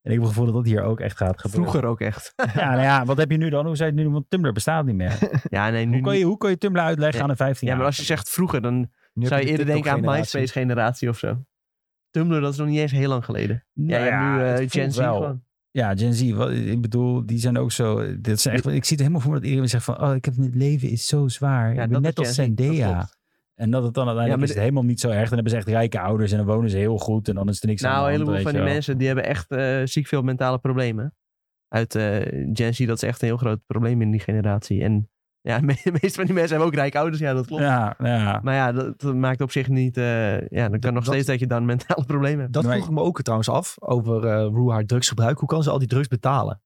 C: En ik heb het gevoel dat dat hier ook echt gaat gebeuren.
B: Vroeger ook echt.
C: Ja, nou ja, wat heb je nu dan? Hoe zei je het nu? Want Tumblr bestaat niet meer.
B: Ja, nee, nu
C: Hoe kan
B: niet.
C: je, hoe kan je Tumblr uitleggen
B: Nee.
C: aan een 15
B: Ja, maar als je zegt vroeger, dan
A: Nu heb
B: zou je
A: de
B: eerder denken aan
A: TikTok-generatie.
B: MySpace-generatie of zo. Tumblr, dat is nog niet eens heel lang geleden.
C: Nou
B: Ja, je hebt nu eh, Gen Z gewoon.
C: Ja, Gen Z. wat- ik bedoel, die zijn ook zo... Dit zijn echt, ik zie het helemaal voor me dat iedereen zegt van... Oh, ik heb, het leven is zo zwaar.
B: Ja,
C: ik ben
B: dat
C: net als
B: is Gen Z, dat
C: Zendaya.
B: klopt.
C: En dat het dan uiteindelijk
B: Ja, maar
C: is het helemaal niet zo erg. Dan hebben ze echt rijke ouders en dan wonen ze heel goed. En dan is er niks aan
B: Nou,
C: de
B: een
C: hand,
B: heleboel
C: weet
B: van
C: je
B: die
C: wel.
B: mensen die hebben echt eh, ziek veel mentale problemen. Uit eh, Gen Z, dat is echt een heel groot probleem in die generatie. En ja, de me- de meeste van die mensen hebben ook rijke ouders, ja, dat klopt.
C: Ja, ja.
B: Maar ja, dat, dat maakt op zich niet. eh, ja, dan kan nog
A: dat-
B: steeds dat je dan mentale problemen hebt.
A: Dat
C: Nee.
A: vroeg ik me ook trouwens af over eh Rue haar drugsgebruik. Hoe kan ze al die drugs betalen?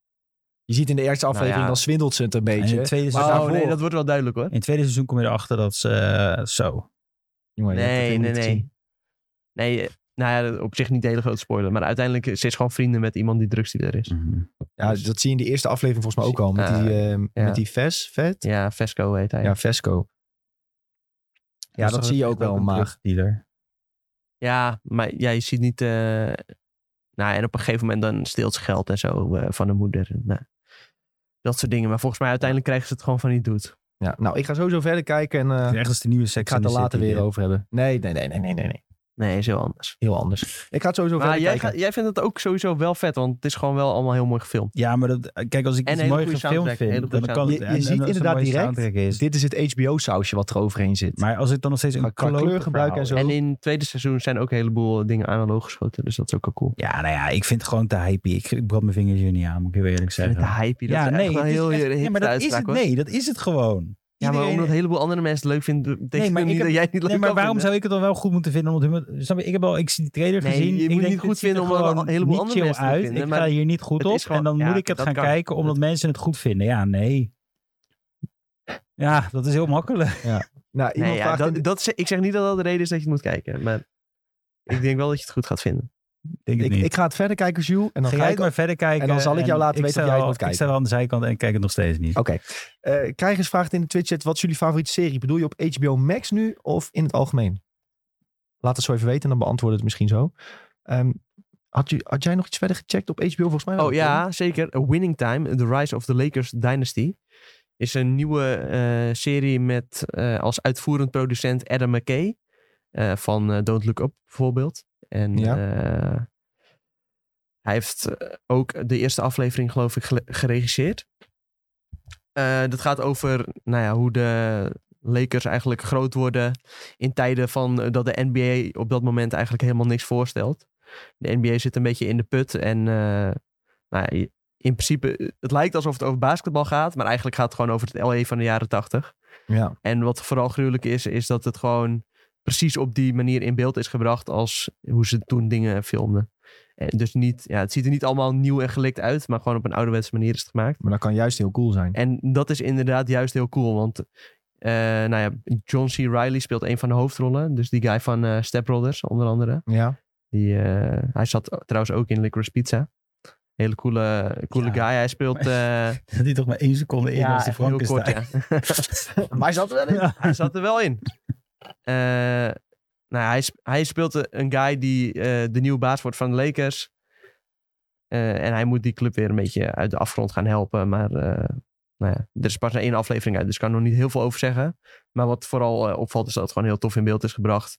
A: Je ziet in de eerste aflevering,
B: Nou ja.
A: dan zwindelt ze het een
C: En in
A: beetje.
C: het tweede
A: Maar-
C: seizoen,
B: Oh nee,
A: daarvoor-
B: dat wordt wel duidelijk hoor.
C: in het tweede seizoen kom je erachter dat ze eh, zo.
A: Mhm. Jongen, je hebt het
B: Nee, nee,
A: helemaal niet
B: nee.
A: gezien.
B: Nee, eh, nou ja, op zich niet de hele grote spoiler. Maar uiteindelijk eh, ze is gewoon vrienden met iemand die drugsdealer
A: Mm.
B: is.
A: Ja, dat zie je in de eerste aflevering volgens mij ook al. Met
B: Ah,
A: die, eh,
B: Dus- ja.
A: met die Ves, Vet.
B: Ja, Vesco heet hij.
A: Ja,
B: Ja,
A: Vesco. Ja,
C: Dus
A: dat
C: is
A: zie je
C: echt
A: ook wel,
C: een
A: maar-
C: drugdealer.
B: maar ja, je ziet niet... eh, Nou, en op een gegeven moment dan steelt ze geld en zo eh, van de moeder. Nou, Dat soort dingen. Maar volgens mij uiteindelijk krijgen ze het gewoon van die dude.
A: Ja, nou, ik ga sowieso verder kijken en eh,
C: Het is Echt als de nieuwe
A: ik
C: Sex
A: ga het
C: and
A: er
C: the
A: later
C: City,
A: weer
C: ja.
A: over hebben. Nee, nee, nee, nee, nee, nee, nee.
B: Nee, is heel anders.
A: Heel anders. Ik ga het sowieso
B: Maar
A: verder
B: jij,
A: kijken.
B: gaat- jij vindt het ook sowieso wel vet, want het is gewoon wel allemaal heel mooi gefilmd.
C: Ja, maar dat, kijk, als ik
B: En
C: iets
B: een hele
C: moois
B: goede
C: gefilmd
B: soundtrack, een hele
C: vind, dan
B: goede
C: kan
A: soundtrack.
C: het...
A: Je- je
C: en- en
A: ziet
C: als het een
A: inderdaad
C: mooie
A: direct-
C: soundtrack Is.
A: Dit is het HBO-sausje wat er overheen zit.
C: Maar als ik dan nog steeds
A: Qua-
C: een
A: qua
C: klote
A: kleurgebruik en
C: verhaal-
A: zo.
B: En in het tweede seizoen zijn ook een heleboel dingen analoog geschoten, dus dat is ook wel cool.
C: Ja, nou ja, ik vind het gewoon te hype. Ik, ik brand mijn vingers hier niet aan, moet ik heel eerlijk
B: Met de
C: zeggen.
B: hype, dat
C: Ja,
B: is
C: nee,
B: echt wel
C: het is
B: heel
C: echt-
B: hip
C: nee, maar dat is
B: uitspraak,
C: het,
B: hoor.
C: nee, dat is het gewoon.
B: Ja, maar
C: Iedereen-
B: omdat een heleboel andere mensen het leuk vinden, betekent
C: maar
B: het
C: ik
B: niet
C: heb-
B: dat jij het niet leuk
C: Nee, maar
B: kan
C: waarom
B: vinden.
C: zou ik het dan wel goed moeten vinden? Omdat hun- snap je, ik heb al, ik zie die trailer
B: Nee,
C: gezien.
B: je
C: ik
B: moet
C: denk,
B: niet
C: dit
B: goed
C: ziet er
B: vinden omdat
C: gewoon
B: een heleboel
C: niet
B: andere
C: chill
B: mensen het
C: uit.
B: vinden,
C: Ik
B: maar
C: ga hier niet goed
B: het
C: op.
B: is gewoon-
C: en dan
B: ja,
C: moet ik het
B: dat
C: gaan
B: kan.
C: kijken omdat mensen het goed vinden. Ja, nee. Ja, dat is heel makkelijk.
A: Nou, iemand
B: Nee, ja,
A: vraagt in
B: dat,
A: de-
B: dat, is- ik zeg niet dat dat de reden is dat je het moet kijken, maar ik denk wel dat je het goed gaat vinden.
C: Denk het
A: ik,
C: niet.
A: ik ga het verder kijken, Jules. En dan
C: Ga
A: ga ik...
C: jij het maar verder kijken.
A: en dan zal ik jou laten weten
C: sta
A: of jij het
C: wel-
A: moet kijken.
C: Ik sta wel aan de zijkant en ik kijk het nog steeds
B: Oh.
C: niet.
A: Oké. Eh Krijgers vraagt in de Twitch-chat, wat is jullie favoriete serie? Bedoel je op HBO Max nu of in het algemeen? Laat het zo even weten en dan beantwoorden we het misschien zo. Ehm, had, u, had jij nog iets verder gecheckt op HBO volgens mij? wel,
B: Oh ja, zeker. A Winning Time, The Rise of the Lakers Dynasty. Is een nieuwe eh, serie met eh, als uitvoerend producent Adam McKay. eh, van eh, Don't Look Up bijvoorbeeld. En
A: Ja.
B: eh, hij heeft eh, ook de eerste aflevering geloof ik gele- geregisseerd. Eh, dat gaat over nou ja, hoe de Lakers eigenlijk groot worden in tijden van eh, dat de NBA op dat moment eigenlijk helemaal niks voorstelt. De NBA zit een beetje in de put en eh, nou ja, in principe, eh, het lijkt alsof het over basketbal gaat, maar eigenlijk gaat het gewoon over het LA van de jaren tachtig.
A: Ja.
B: En wat vooral gruwelijk is, is dat het gewoon precies op die manier in beeld is gebracht als hoe ze toen dingen filmden. En dus niet, ja, het ziet er niet allemaal nieuw en gelikt uit, maar gewoon op een ouderwetse manier is het gemaakt.
A: Maar dat kan juist heel cool zijn.
B: En dat is inderdaad juist heel cool, want eh, nou ja, John C. Riley speelt een van de hoofdrollen. Dus die guy van eh Step Brothers, onder andere.
A: Ja.
B: Die, eh, hij zat trouwens ook in Licorice Pizza. Hele coole, coole
C: Ja.
B: guy. Hij speelt... eh,
C: Dat die toch maar één seconde in als die
B: heel kort,
C: Frankenstein.
B: ja.
A: Maar hij zat er wel in.
C: Ja.
B: hij zat er wel in. Eh, nou, ja, hij, sp- hij speelt eh, een guy die eh, de nieuwe baas wordt van de Lakers. Eh, en hij moet die club weer een beetje uit de afgrond gaan helpen. Maar eh, nou ja, er is pas maar één aflevering uit, dus ik kan er nog niet heel veel over zeggen. Maar wat vooral eh, opvalt is dat het gewoon heel tof in beeld is gebracht.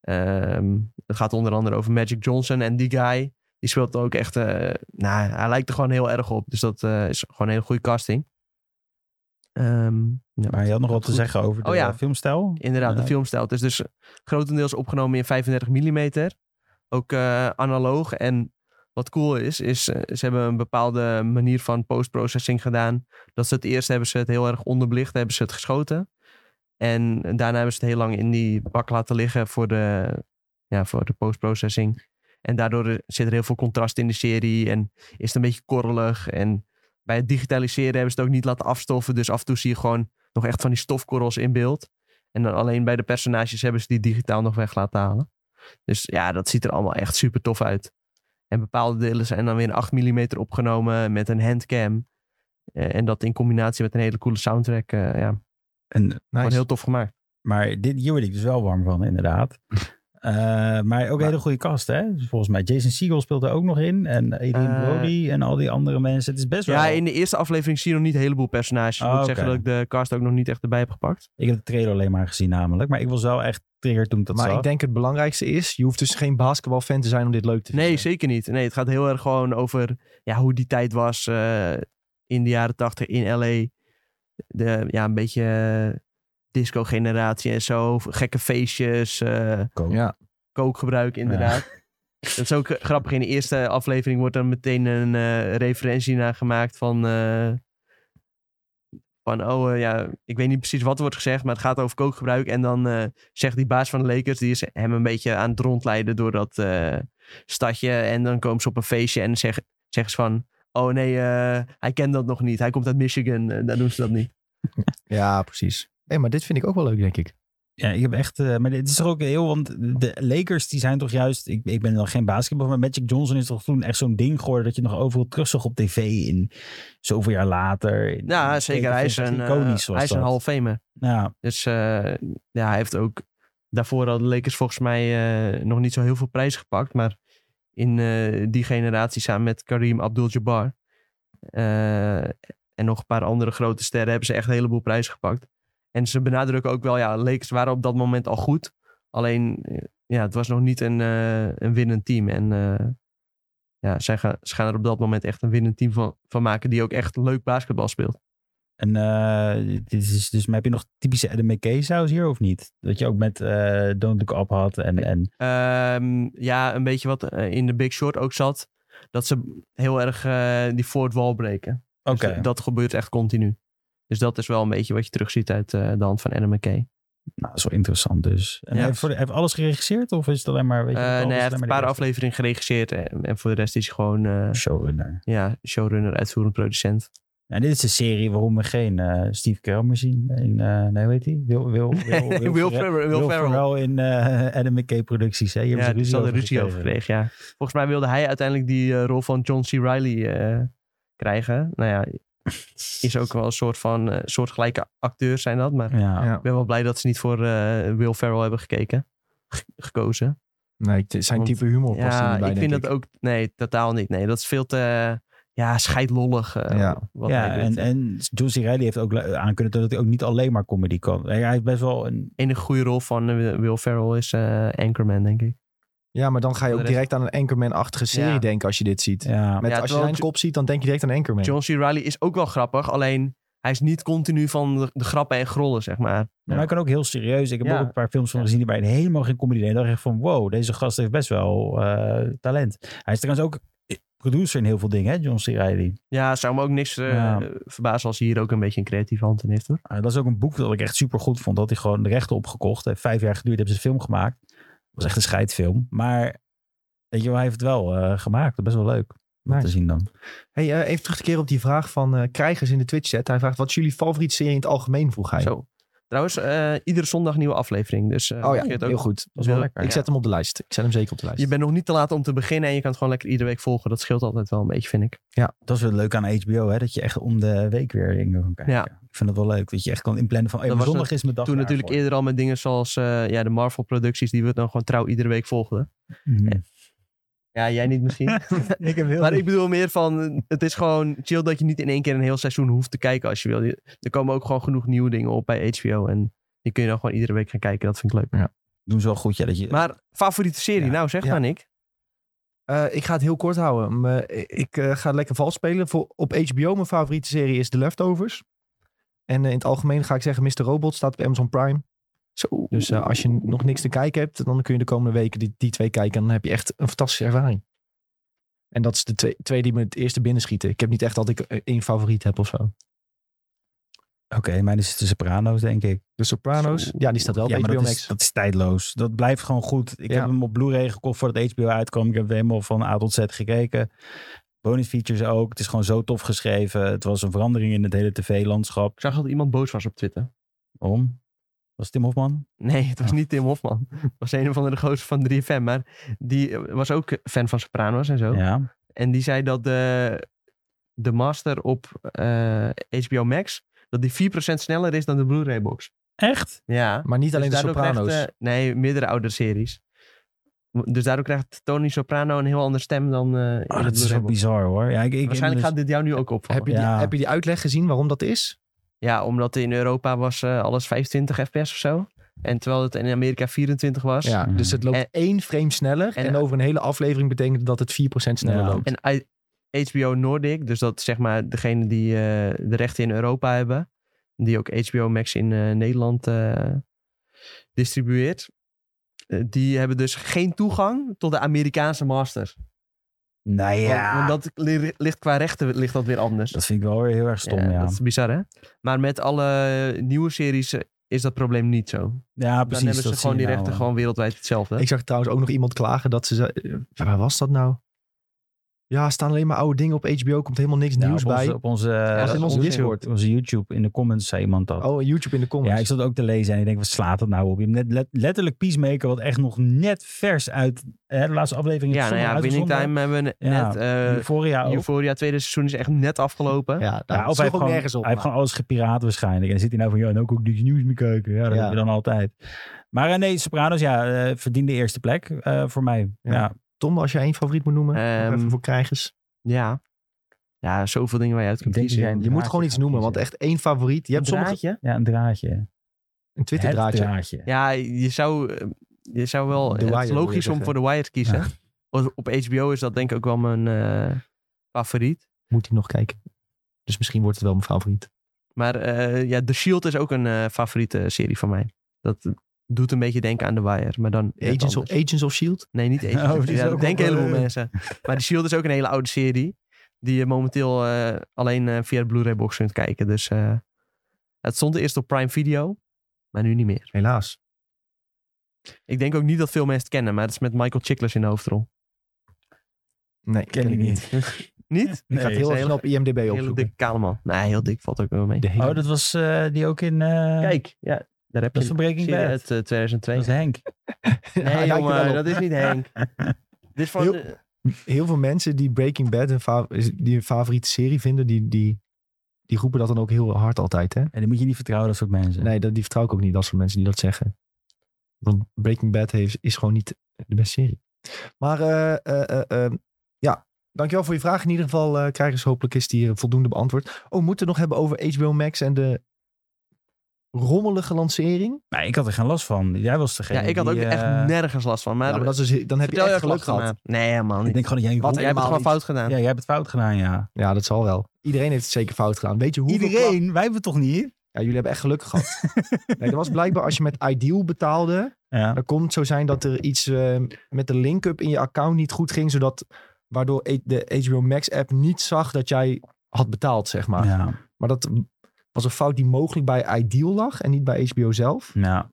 B: Ehm, het gaat onder andere over Magic Johnson en die guy. Die speelt ook echt, eh, nou, hij lijkt er gewoon heel erg op. Dus dat eh, is gewoon een hele goede casting. Ehm, ja.
C: Maar je had nog wat te
B: Goed.
C: zeggen over de
B: Oh ja.
C: eh, filmstijl?
B: Inderdaad,
C: Ja.
B: de filmstijl. Het is dus grotendeels opgenomen in 35 mm. Ook eh, analoog. En wat cool is, is eh, ze hebben een bepaalde manier van postprocessing gedaan. Dat ze het eerst hebben ze het heel erg onderbelicht, hebben ze het geschoten. En daarna hebben ze het heel lang in die bak laten liggen voor de, ja, voor de postprocessing. En daardoor eh, zit er heel veel contrast in de serie en is het een beetje korrelig. En bij het digitaliseren hebben ze het ook niet laten afstoffen. Dus af en toe zie je gewoon nog echt van die stofkorrels in beeld. En dan alleen bij de personages hebben ze die digitaal nog weg laten halen. Dus ja, dat ziet er allemaal echt super tof uit. En bepaalde delen zijn dan weer in 8 mm opgenomen met een handcam. Eh, En dat in combinatie met een hele coole soundtrack. eh, ja,
C: En,
B: gewoon
A: Nice.
B: heel tof gemaakt.
C: maar dit, hier word ik dus wel warm van, inderdaad. Eh, maar ook een hele goede kast, hè? Dus Volgens mij. Jason Segel speelt er ook nog in. En Adrian
B: Eh,
C: Brody en al die andere mensen. Het is best wel...
B: Ja, in de eerste aflevering zie je nog niet een heleboel personages. Ik
C: Oh,
B: moet
C: oké.
B: zeggen dat ik de cast ook nog niet echt erbij heb gepakt.
C: Ik heb de trailer alleen maar gezien namelijk. Maar ik was wel echt trigger toen ik dat
A: Maar
C: zag.
A: ik denk het belangrijkste is, je hoeft dus geen basketbalfan te zijn om dit leuk te vinden.
B: Nee, zeker niet. Nee, het gaat heel erg gewoon over ja, hoe die tijd was eh, in de jaren tachtig in L.A. De, ja, een beetje eh, disco-generatie en zo. Gekke feestjes. eh,
C: Cool.
A: Ja.
B: kookgebruik, inderdaad. Dat is ook eh, grappig. In de eerste aflevering wordt dan meteen een eh, referentie naar gemaakt van. eh, van, oh eh, ja, ik weet niet precies wat er wordt gezegd, maar het gaat over kookgebruik. En dan eh, zegt die baas van de Lakers, die is hem een beetje aan het rondleiden door dat eh, stadje. En dan komen ze op een feestje en zeggen, zeggen ze van, oh nee, eh, hij kent dat nog niet. Hij komt uit Michigan, eh, daar doen ze dat niet.
A: Ja, precies. Nee, maar dit vind ik ook wel leuk, denk ik.
C: Ja, ik heb echt. eh, maar dit is toch ook heel. Want de Lakers die zijn toch juist. Ik, ik ben dan geen basketbal. Maar Magic Johnson is toch toen echt zo'n ding geworden. Dat je nog overal terug zag op tv. In zoveel jaar later. In-
B: Ja,
C: in
B: Nou, zeker. Hij is
C: 2014,
B: een, eh,
C: Iconisch was
B: hij is een
C: dat.
B: Hall of Famer.
C: Ja,
B: Dus eh, ja, hij heeft ook... Daarvoor hadden de Lakers volgens mij eh, nog niet zo heel veel prijzen gepakt. Maar in eh, die generatie samen met Kareem Abdul-Jabbar... eh, en nog een paar andere grote sterren hebben ze echt een heleboel prijzen gepakt. En ze benadrukken ook wel, ja, Lakers waren op dat moment al goed. Alleen, eh, ja, het was nog niet een, eh, een winnend team. En eh, ja, zij gaan, ze gaan er op dat moment echt een winnend team van, van maken die ook echt leuk basketbal speelt.
C: En eh, dit is dus, maar heb je nog typische Adam McKay saus hier of niet? Dat je ook met eh Don't Look Up had en, en dus,
B: Ehm, ja, een beetje wat eh, in de Big Short ook zat. Dat ze heel erg eh, die fourth wall breken. Dus
C: oké.
B: dat- dat gebeurt echt continu. Dus dat is wel een beetje wat je terugziet uit eh, de hand van Adam McKay.
C: Nou, dat is wel interessant dus. En
B: Ja.
C: hij heeft, voor de- hij heeft alles geregisseerd of is het alleen maar... Weet je,
B: Eh,
C: alles
B: nee, hij
C: alleen
B: heeft een
C: maar
B: paar
C: de
B: afleveringen geregisseerd. En, en voor de rest is hij gewoon eh,
C: eerste? Showrunner.
B: ja, showrunner, uitvoerend producent.
C: En dit is een serie waarom we geen eh, Steve Carell meer zien. In, eh, nee, hoe heet die? Wil, wil, wil,
B: Will Ferrell- Will
C: Will
B: Ferrell.
C: Ferrell in eh, Adam McKay producties. Hè? Hier
B: Ja,
C: hebben
B: daar
C: ze
B: is al
C: ruzie
B: een ruzie over gekregen. Ja. Volgens mij wilde hij uiteindelijk die eh, rol van John C. Reilly eh, krijgen. Nou ja, is ook eh, wel een soort van eh, soortgelijke acteur zijn dat. Maar
C: Ja.
A: Ja.
B: ik ben wel blij dat ze niet voor eh, Will Ferrell hebben gekeken. Ge- gekozen.
A: Nee, het- zijn
B: Want-
A: type humor past er
B: Ja,
A: niet bij,
B: ik
A: denk
B: vind dat ook... Nee, totaal niet. Nee, dat is veel te... Ja, scheidlollig. eh,
A: Ja.
B: wat
C: ja,
B: hij doet.
C: en, en John C. Reilly heeft ook le- aan kunnen tonen dat hij ook niet alleen maar comedy kan. Hij hij heeft best wel een...
B: enige goede rol van eh, Will Ferrell is eh, Anchorman, denk ik.
A: Ja, maar dan ga je
B: Voor
A: ook
B: de rest-
A: direct aan een Anchorman-achtige serie
B: Ja.
A: denken als je dit ziet.
C: Ja,
A: Met,
B: Ja,
A: als je
B: terwijl
A: zijn
B: Jo-
A: kop ziet, dan denk je direct aan Anchorman.
B: John C. Reilly is ook wel grappig, alleen hij is niet continu van de, de grappen en grollen, zeg maar.
C: maar hij kan ook heel serieus. Ik heb
B: Ja.
C: ook een paar films van
B: Ja.
C: gezien die bij helemaal geen comedy deden. En dacht ik van, wow, deze gast heeft best wel eh, talent. Hij is trouwens ook eh, producer in heel veel dingen, hè, John C. Reilly.
B: Ja, zou me ook niks eh,
C: Ja.
B: verbazen als hij hier ook een beetje een creatieve hand in heeft, hoor.
C: Uh, dat is ook een boek dat ik echt super goed vond. Dat hij gewoon de rechten opgekocht. Heeft vijf jaar geduurd hebben ze een film gemaakt. was echt een scheidfilm. Maar weet je wel, hij heeft het wel eh, gemaakt. Best wel leuk om
A: Nice.
C: te zien dan.
A: Hey, eh, even terug te keren op die vraag van eh, Krijgers in de Twitch-chat. Hij vraagt, wat is jullie favoriete serie in het algemeen, vroeg hij.
B: Zo. Trouwens, eh, iedere zondag nieuwe aflevering, dus... eh,
A: Oh ja,
B: vergeet ook-
A: heel goed.
C: Dat is wel
B: Wil- oh
C: lekker.
A: Ik zet hem op de lijst. Ik zet hem zeker op de lijst.
B: Je bent nog niet te laat om te beginnen en je kan het gewoon lekker iedere week volgen. Dat scheelt altijd wel een beetje, vind ik.
C: Dat is wel leuk aan HBO, hè? dat je echt om de week weer dingen kan kijken.
B: Ja.
C: Ik vind het wel leuk, dat je echt kan inplannen van, hey,
B: Dat
C: maar
B: was
C: zondag is mijn dag
B: Toen natuurlijk
C: daarvoor.
B: eerder al met dingen zoals eh, ja, de Marvel-producties, die we dan gewoon trouw iedere week volgden.
C: Mhm.
B: Ja, jij niet misschien.
C: ik heb heel
B: Maar ik bedoel meer van, het is gewoon chill dat je niet in één keer een heel seizoen hoeft te kijken als je wil. Je- Er komen ook gewoon genoeg nieuwe dingen op bij HBO en die kun je dan gewoon iedere week gaan kijken. Dat vind ik leuk.
C: doen ze wel goed, ja. Dat je...
B: Maar favoriete serie?
C: Ja.
B: Nou, zeg
A: Ja.
B: maar Nick.
A: Eh, ik ga het heel kort houden. Maar ik eh, ga lekker vals spelen. Voor, op HBO, mijn favoriete serie is The Leftovers. En eh, in het algemeen ga ik zeggen, Mr. Robot staat op Amazon Prime.
B: Zo.
A: Dus eh, als je nog niks te kijken hebt, dan kun je de komende weken die, die twee kijken. En dan heb je echt een fantastische ervaring. En dat is de twee, twee die me het eerste binnenschieten. Ik heb niet echt dat ik eh, één favoriet heb of zo.
C: Oké, mijn is de Soprano's, denk ik.
A: De Sopranos,
B: Zo.
A: ja, die staat wel op
C: ja, maar
A: HBO
C: dat is,
A: Max.
C: dat is tijdloos. Dat blijft gewoon goed. Ik
A: Ja.
C: heb hem op Blu-ray gekocht voordat HBO uitkwam. Ik heb hem helemaal van A tot Z gekeken. Bonus features ook. Het is gewoon zo tof geschreven. Het was een verandering in het hele tv-landschap.
B: Ik zag dat iemand boos was op Twitter.
C: Om. Was het Tim Hofman?
B: Nee, het was niet Tim Hofman. Het was een of andere gozer van 3FM, maar die eh, was ook fan van Sopranos en zo.
C: Ja.
B: En die zei dat de, de master op eh, HBO Max, dat die 4% sneller is dan de Blu-ray box.
C: Echt?
B: Ja.
A: Maar niet alleen
B: Dus
A: de
B: daardoor
A: Sopranos.
B: krijgt, eh, nee, meerdere oudere series. Dus daardoor krijgt Tony Soprano een heel andere stem dan... eh, in
A: Ah,
C: Oh,
B: de
C: dat is
B: Blu-ray
C: zo
B: box.
C: bizar hoor. Ja, ik, ik,
B: Waarschijnlijk
C: dus-
B: gaat dit jou nu ook opvallen.
A: heb, je die,
C: ja.
A: heb je die uitleg gezien waarom dat is?
B: Ja, omdat in Europa was eh, alles 25 fps of zo. En terwijl het in Amerika 24 was.
A: Ja,
C: Mhm.
A: dus het loopt
B: En-
A: één frame sneller. En,
B: en-
A: over een hele aflevering betekent dat het 4% sneller
C: Ja.
A: loopt.
B: En I- HBO Nordic, dus dat zeg maar degene die eh, de rechten in Europa hebben. Die ook HBO Max in eh, Nederland eh, distribueert. eh, die hebben dus geen toegang tot de Amerikaanse masters.
C: Nou ja.
B: Want,
C: dat...
B: want dat li- ligt qua rechten ligt dat weer anders.
C: vind ik wel weer heel erg stom. Ja, ja.
B: Dat is bizar, hè? Maar met alle nieuwe series eh, is dat probleem niet zo.
C: precies.
B: Dan hebben ze
C: dat
B: gewoon
C: zie
B: die
C: je nou,
B: rechten
C: eh.
B: gewoon wereldwijd hetzelfde.
A: Ik zag trouwens ook nog iemand klagen dat ze zei... eh, Waar was dat nou? Ja, er staan alleen maar oude dingen op HBO. Komt helemaal niks
C: Ja,
A: nieuws
C: Nou, op
A: bij.
C: Onze, op onze, eh,
B: dat
A: is in onze Discord.
C: op onze YouTube. In de comments zei iemand dat.
A: Oh, en YouTube in de comments.
C: Ja, ik zat ook te lezen en ik denk, wat slaat dat nou op? Je hebt net let- letterlijk Peacemaker, wat echt nog net vers uit hè, de laatste aflevering is
B: ja, nou ja, Winning
C: uitgezonden.
B: Time hebben we ne-
C: Ja,
B: net. eh
C: Euphoria ook.
B: Euphoria, tweede seizoen is echt net afgelopen.
A: Ja,
C: Ja, nou,
A: daar ja,
C: of hij
A: ook
C: heeft, gewoon,
A: nergens op.
C: hij heeft gewoon alles gepiraat waarschijnlijk. En dan zit hij nou van, ja, en ook ook niks nieuws meer kijken. Ja, dat
A: Ja.
C: heb je dan altijd. Maar eh, nee, Sopranos, ja, eh, verdiende eerste plek eh, voor mij.
A: Ja.
C: Ja.
A: Tom, als jij één favoriet moet noemen. nog
B: Ehm,
A: even voor krijgers.
B: Ja. Ja, zoveel dingen waar je uit kunt
C: Ik denk dat
B: kiezen.
C: jij een
A: Je moet
C: draadje
A: gewoon iets
C: gaat
A: noemen, want
C: kiezen.
A: echt één favoriet. Je hebt
B: een
A: sommige...
B: draadje?
C: Ja, een draadje.
A: Een Twitter-draadje.
C: Het draadje.
B: Ja, je zou, eh, je zou wel...
A: The
B: het
A: Wire,
B: is
A: wil je
B: logisch om
A: zeggen.
B: voor The Wire te kiezen. Op- Op HBO is dat denk ik ook wel mijn eh, favoriet.
A: Moet ik nog kijken. Dus misschien wordt het wel mijn favoriet.
B: Maar eh, ja, The Shield is ook een eh, favoriete serie van mij. Dat doet een beetje denken aan The Wire, maar dan... net
A: Agents of,
B: anders.
A: Agents of S.H.I.E.L.D.
B: Nee, niet Agents
C: Oh,
B: of
C: die is
B: ja,
C: ook
B: Dat denken
C: wel,
B: een heleboel
C: eh,
B: mensen. Maar The Shield is ook een hele oude serie. Die je momenteel eh, alleen eh, via de Blu-ray box kunt kijken. Dus eh, het stond eerst op Prime Video, maar nu niet meer.
A: Helaas.
B: Ik denk ook niet dat veel mensen het kennen, maar het is met Michael Chiklis in de hoofdrol.
A: Nee,
C: Ken ik niet.
B: Niet?
A: Ik ga het heel
B: is
A: even
B: een
A: op IMDb
B: Hele
A: opzoeken.
B: dikke kale man. Nee, heel dik valt ook wel mee.
A: De hele-
C: Oh, dat was eh, die ook in... eh
B: Kijk, ja, daar heb
C: Dat is
B: je
C: van
B: een
C: Breaking
B: serie
C: Bad.
B: uit eh, 2002.
C: Dat is Henk.
A: Hij
B: Nee,
A: lijkt er wel
B: jongen,
A: op.
B: dat is niet Henk. Dit is van...
A: Heel-
B: eh,
A: Heel veel mensen die Breaking Bad hun fa- is- die hun favoriete serie vinden, die, die, die roepen dat dan ook heel hard altijd. Hè?
C: En dan moet je niet vertrouwen, dat soort mensen.
A: Nee, dat, die vertrouw ik ook niet, dat soort mensen die dat zeggen. Want Breaking Bad heeft, is gewoon niet de beste serie. Maar eh, eh, eh, eh, ja, dankjewel voor je vraag. In ieder geval eh krijgen ze hopelijk is die eh, voldoende beantwoord. Oh, we moeten het nog hebben over HBO Max en de rommelige lancering.
C: Maar ik had er geen last van. Jij was degene
B: ja, ik had ook
C: die, eh,
B: echt nergens last van. Maar,
A: Ja, maar dat is dus, dan heb je
B: vertel
A: echt
B: je
A: geluk
B: klachten
A: gehad.
B: maar. Nee, man.
C: Ik
B: niet.
C: denk gewoon dat jij...
A: Wat
B: Jij hebt
A: helemaal
B: het gewoon
A: niet.
B: fout gedaan.
C: Ja, jij hebt het fout gedaan, ja.
A: Ja, dat zal wel. Iedereen heeft het zeker fout gedaan. Weet je hoeveel klap-
C: Iedereen, wij hebben het toch niet?
A: Ja, jullie hebben echt geluk gehad. nee, dat was blijkbaar als je met Ideal betaalde.
C: Ja.
A: Dan kon het zo zijn dat er iets eh, met de link-up in je account niet goed ging. Zodat, waardoor e- de HBO Max app niet zag dat jij had betaald, zeg maar.
C: Ja,
A: Maar dat was een fout die mogelijk bij Ideal lag en niet bij HBO zelf.
C: ja.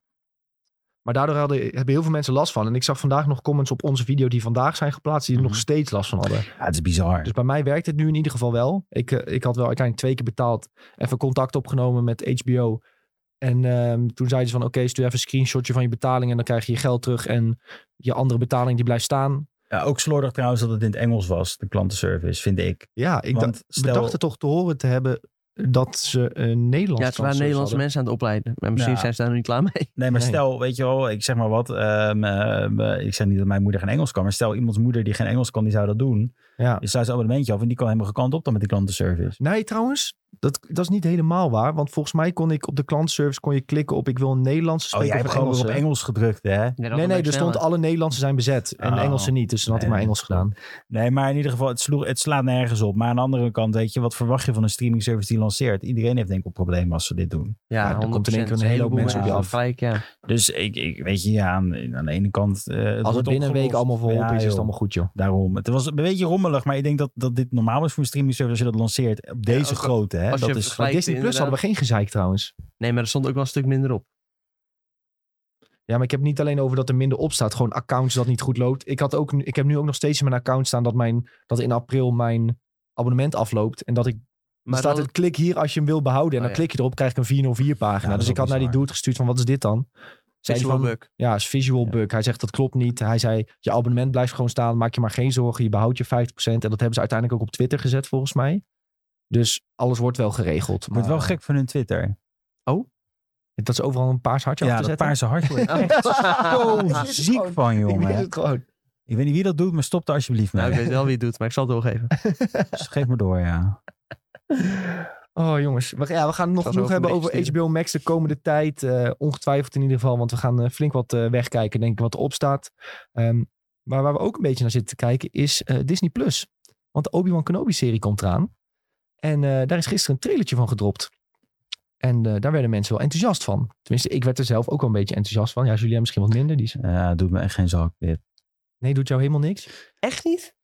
A: Maar daardoor hadden, hebben heel veel mensen last van. En ik zag vandaag nog comments op onze video die vandaag zijn geplaatst. Die er nog
C: Mhm.
A: steeds last van hadden.
C: Ja, het is bizar.
A: Dus bij mij werkt het nu in ieder geval wel. Ik, eh, ik had wel uiteindelijk twee keer betaald. Even contact opgenomen met HBO. En ehm, toen zeiden ze van oké, stuur even een screenshotje van je betaling. En dan krijg je je geld terug. En je andere betaling die blijft staan.
C: Ja, ook slordig trouwens dat het in het Engels was, de klantenservice, vind ik.
A: Ja, ik
C: Want
A: dacht,
C: stel-
A: bedacht het toch te horen te hebben dat ze een Nederlands
B: Ja, het waren Nederlandse mensen aan het opleiden. Maar misschien
C: Ja.
B: zijn ze daar nog niet klaar mee.
C: Nee, maar
A: Nee.
C: stel, weet je wel, ik zeg maar wat. ehm, ehm, eh, ik zeg niet dat mijn moeder geen Engels kan, maar stel iemands moeder die geen Engels kan, die zou dat doen.
A: Ja.
C: Dus sluit zijn abonnementje af en die kan helemaal gekant op dan met die klantenservice.
A: Nee, trouwens, dat, dat is niet helemaal waar. Want volgens mij kon ik op de klantservice kon je klikken op ik wil een Nederlandse
C: Oh,
A: spreken
C: jij
A: of
C: hebt
A: een
C: gewoon weer op
A: Engelse.
C: Engels gedrukt, hè?
A: Nee, nee, er stond alle Nederlandse zijn bezet en
C: Oh.
A: Engelse niet. Dus dan had ik
C: Nee.
A: maar Engels gedaan.
C: Nee, maar in ieder geval, het, sloeg, het slaat nergens op. Maar aan de andere kant, weet je, wat verwacht je van een streaming service die lanceert? Iedereen heeft denk ik een probleem als ze dit doen.
A: Ja,
B: Ja,
A: er
B: 100%.
A: komt in één keer een hele hoop
B: heleboel
A: mensen
C: op je
B: hebben
A: af.
B: Gelijk, ja.
C: Dus ik, ik weet je, ja, aan, aan de ene kant. eh, het
A: Als het
C: wordt
A: binnen een week
C: opgelost.
A: allemaal verholpen
C: Ja,
A: is, is het
C: joh.
A: allemaal goed, joh.
C: Daarom. Het was een beetje rommelig, maar ik denk dat, dat dit normaal is voor een streaming service als je dat lanceert. Op deze
B: ook-
C: grootte, hè?
B: als je
C: Dat is,
A: Bij
B: Lijkt
A: Disney Plus hadden we geen gezeik trouwens.
B: Nee, maar er stond ook wel een stuk minder op.
A: Ja, maar ik heb het niet alleen over dat er minder op staat. Gewoon accounts dat niet goed loopt. Ik, had ook, nu- ik heb nu ook nog steeds in mijn account staan dat, mijn, dat in april mijn abonnement afloopt. En dat ik,
B: Maar
A: maar staat
B: dan-
A: het klik hier als je hem wil behouden. En
B: Oh,
A: dan
B: ja.
A: klik je erop, krijg ik een 404 pagina.
C: Ja, dat
A: dus
C: is
A: ik
C: ook
A: had naar die
C: bizar.
A: dude gestuurd van, wat is dit dan? Zei hij
B: Visual
A: van,
B: bug.
A: Ja, is visual
C: Ja.
A: bug. Hij zegt, dat klopt niet. Hij zei, je abonnement blijft gewoon staan. Maak je maar geen zorgen, je behoudt je 50%. En dat hebben ze uiteindelijk ook op Twitter gezet, volgens mij. Dus alles wordt wel geregeld.
C: wordt wel
A: maar-
C: gek van hun Twitter.
A: Dat is overal een paars hartje
C: Ja,
A: achter
C: dat
A: zetten.
C: paarse hartje wordt
B: Oh.
C: echt zo
A: Oh,
C: ziek van,
A: Ik weet
C: jongen.
A: het gewoon.
C: Ik weet niet wie dat doet, maar stop er alsjeblieft
B: Nou, ik
C: mee.
B: weet wel wie het doet, maar ik zal het doorgeven.
C: Dus geef me door, ja.
A: Oh jongens, we, ja, we gaan het nog
B: zal
A: genoeg
B: zo
A: hebben
B: een beetje
A: over HBO Max de komende tijd. Eh, ongetwijfeld in ieder geval, want we gaan eh, flink wat eh, wegkijken, denk ik, wat erop staat. Ehm, maar waar we ook een beetje naar zitten te kijken is eh, Disney+. Plus. Want de Obi-Wan Kenobi-serie komt eraan. En eh, daar is gisteren een trailertje van gedropt. En eh, daar werden mensen wel enthousiast van. Tenminste, ik werd er zelf ook wel een beetje enthousiast van. Ja, Julien misschien wat minder. Die is...
C: Ja, het doet me echt geen zak dit.
A: Nee, doet jou helemaal niks.
B: Echt niet?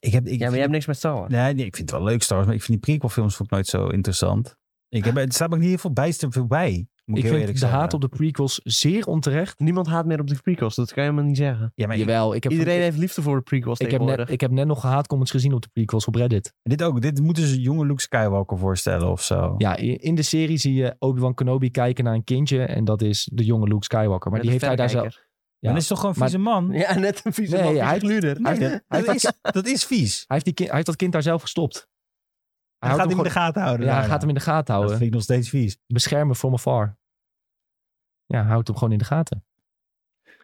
C: Ik heb, ik,
B: Ja, maar jij hebt niks met Star Wars.
C: nee, nee, ik vind het wel leuk, Star Wars, maar ik vind die prequelfilms vond ik nooit zo interessant. Ik heb, het staat me ook niet heel veel bijster voorbij. Moet ik,
A: Ik
C: heel eerlijk
A: vind de
C: zeggen.
A: haat op de prequels zeer onterecht.
B: Niemand haat meer op de prequels, dat kan je helemaal niet zeggen.
C: Ja, maar ik-
A: Jawel, ik heb
B: Iedereen heeft liefde voor de prequels
A: Ik heb,
B: tegenwoordig.
A: net, ik heb net nog haatcomments gezien op de prequels op Reddit.
C: dit ook. Dit moeten ze jonge Luke Skywalker voorstellen of zo.
A: Ja, i- in de serie zie je Obi-Wan Kenobi kijken naar een kindje. En dat is de jonge Luke Skywalker. Maar
B: Met
A: die
B: een
A: heeft hij daar zelf...
B: verrekijker.
A: Ja.
C: Dan is het toch gewoon een
A: Maar-
C: vieze man?
B: Ja, net een vieze
A: Nee,
B: man,
A: hij-
B: vieze gluurder.
A: hij heeft- hij heeft
C: dat, is, dat is vies.
A: Hij heeft, die kind, hij heeft dat kind daar zelf gestopt.
C: Hij gaat
A: houdt
C: hem in de gaten houden.
A: ja, hij
C: daarna.
A: gaat hem in de gaten
C: Dat
A: houden.
C: vind ik nog steeds vies.
A: Beschermen from afar. Ja, houdt hem gewoon in de gaten.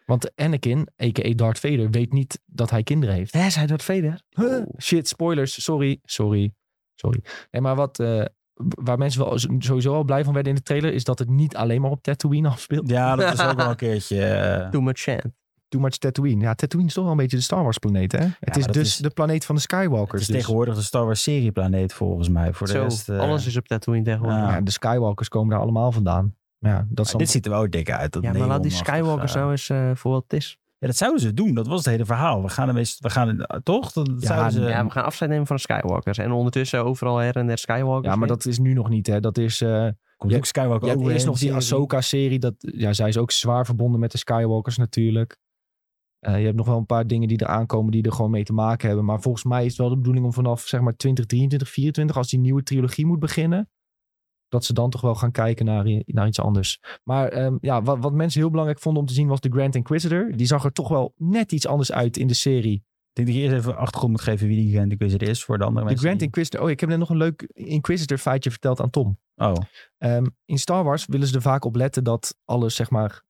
A: Want Anakin, a.k.a. Darth Vader, weet niet dat hij kinderen heeft.
B: Hè, zei dat Vader?
A: Huh? Shit, spoilers. Sorry, sorry. Sorry. Nee, maar wat, eh, waar mensen wel sowieso al blij van werden in de trailer... is dat het niet alleen maar op Tatooine afspeelt.
C: Ja, dat is ook wel een keertje. eh,
B: Too much chant.
A: Too much Tatooine. Ja, Tatooine is toch wel een beetje de Star Wars planeet, hè? het is
C: dat
A: dus
C: is-
A: de planeet van de
C: het
A: Skywalkers.
C: is
A: dus.
C: tegenwoordig de Star Wars serieplaneet volgens mij. Voor de
B: Zo,
C: rest, eh,
B: alles is op Tatooine tegenwoordig.
C: Ja.
A: Ja, de Skywalkers komen daar allemaal vandaan. Ja, dat is dan-
C: dit ziet er wel dik uit. Dat
B: Ja, maar laat die
C: neonachtige-
B: Skywalkers nou eens eh, voor wat het is.
C: Ja, dat zouden ze doen. Dat was het hele verhaal. We gaan, hem eens- we gaan eh, toch? Dat
A: Ja,
C: zouden ze...
B: ja, we gaan afscheid nemen van de Skywalkers. En ondertussen overal her en der Skywalkers.
A: ja, maar dat is nu nog niet, hè? Dat is... eh,
C: Komt
A: Je-
C: ook Skywalker
A: Je hebt
C: overheen,
A: eerst nog die
C: serie.
A: Ahsoka-serie. Dat, ja, zij is ook zwaar verbonden met de Skywalkers natuurlijk. Eh, je hebt nog wel een paar dingen die er aankomen die er gewoon mee te maken hebben. Maar volgens mij is het wel de bedoeling om vanaf zeg maar 2023, 2024, als die nieuwe trilogie moet beginnen, dat ze dan toch wel gaan kijken naar, i- naar iets anders. Maar ehm, ja, wat, wat mensen heel belangrijk vonden om te zien was de Grand Inquisitor. Die zag er toch wel net iets anders uit in de serie.
C: Ik denk dat je eerst even achtergrond moet geven wie die Grand Inquisitor is voor de andere
A: De
C: mensen.
A: Grand
C: die-
A: Inquisitor. Oh, ik heb net nog een leuk Inquisitor feitje verteld aan Tom.
C: Oh,
A: Ehm, in Star Wars willen ze er vaak op letten dat alles, zeg maar,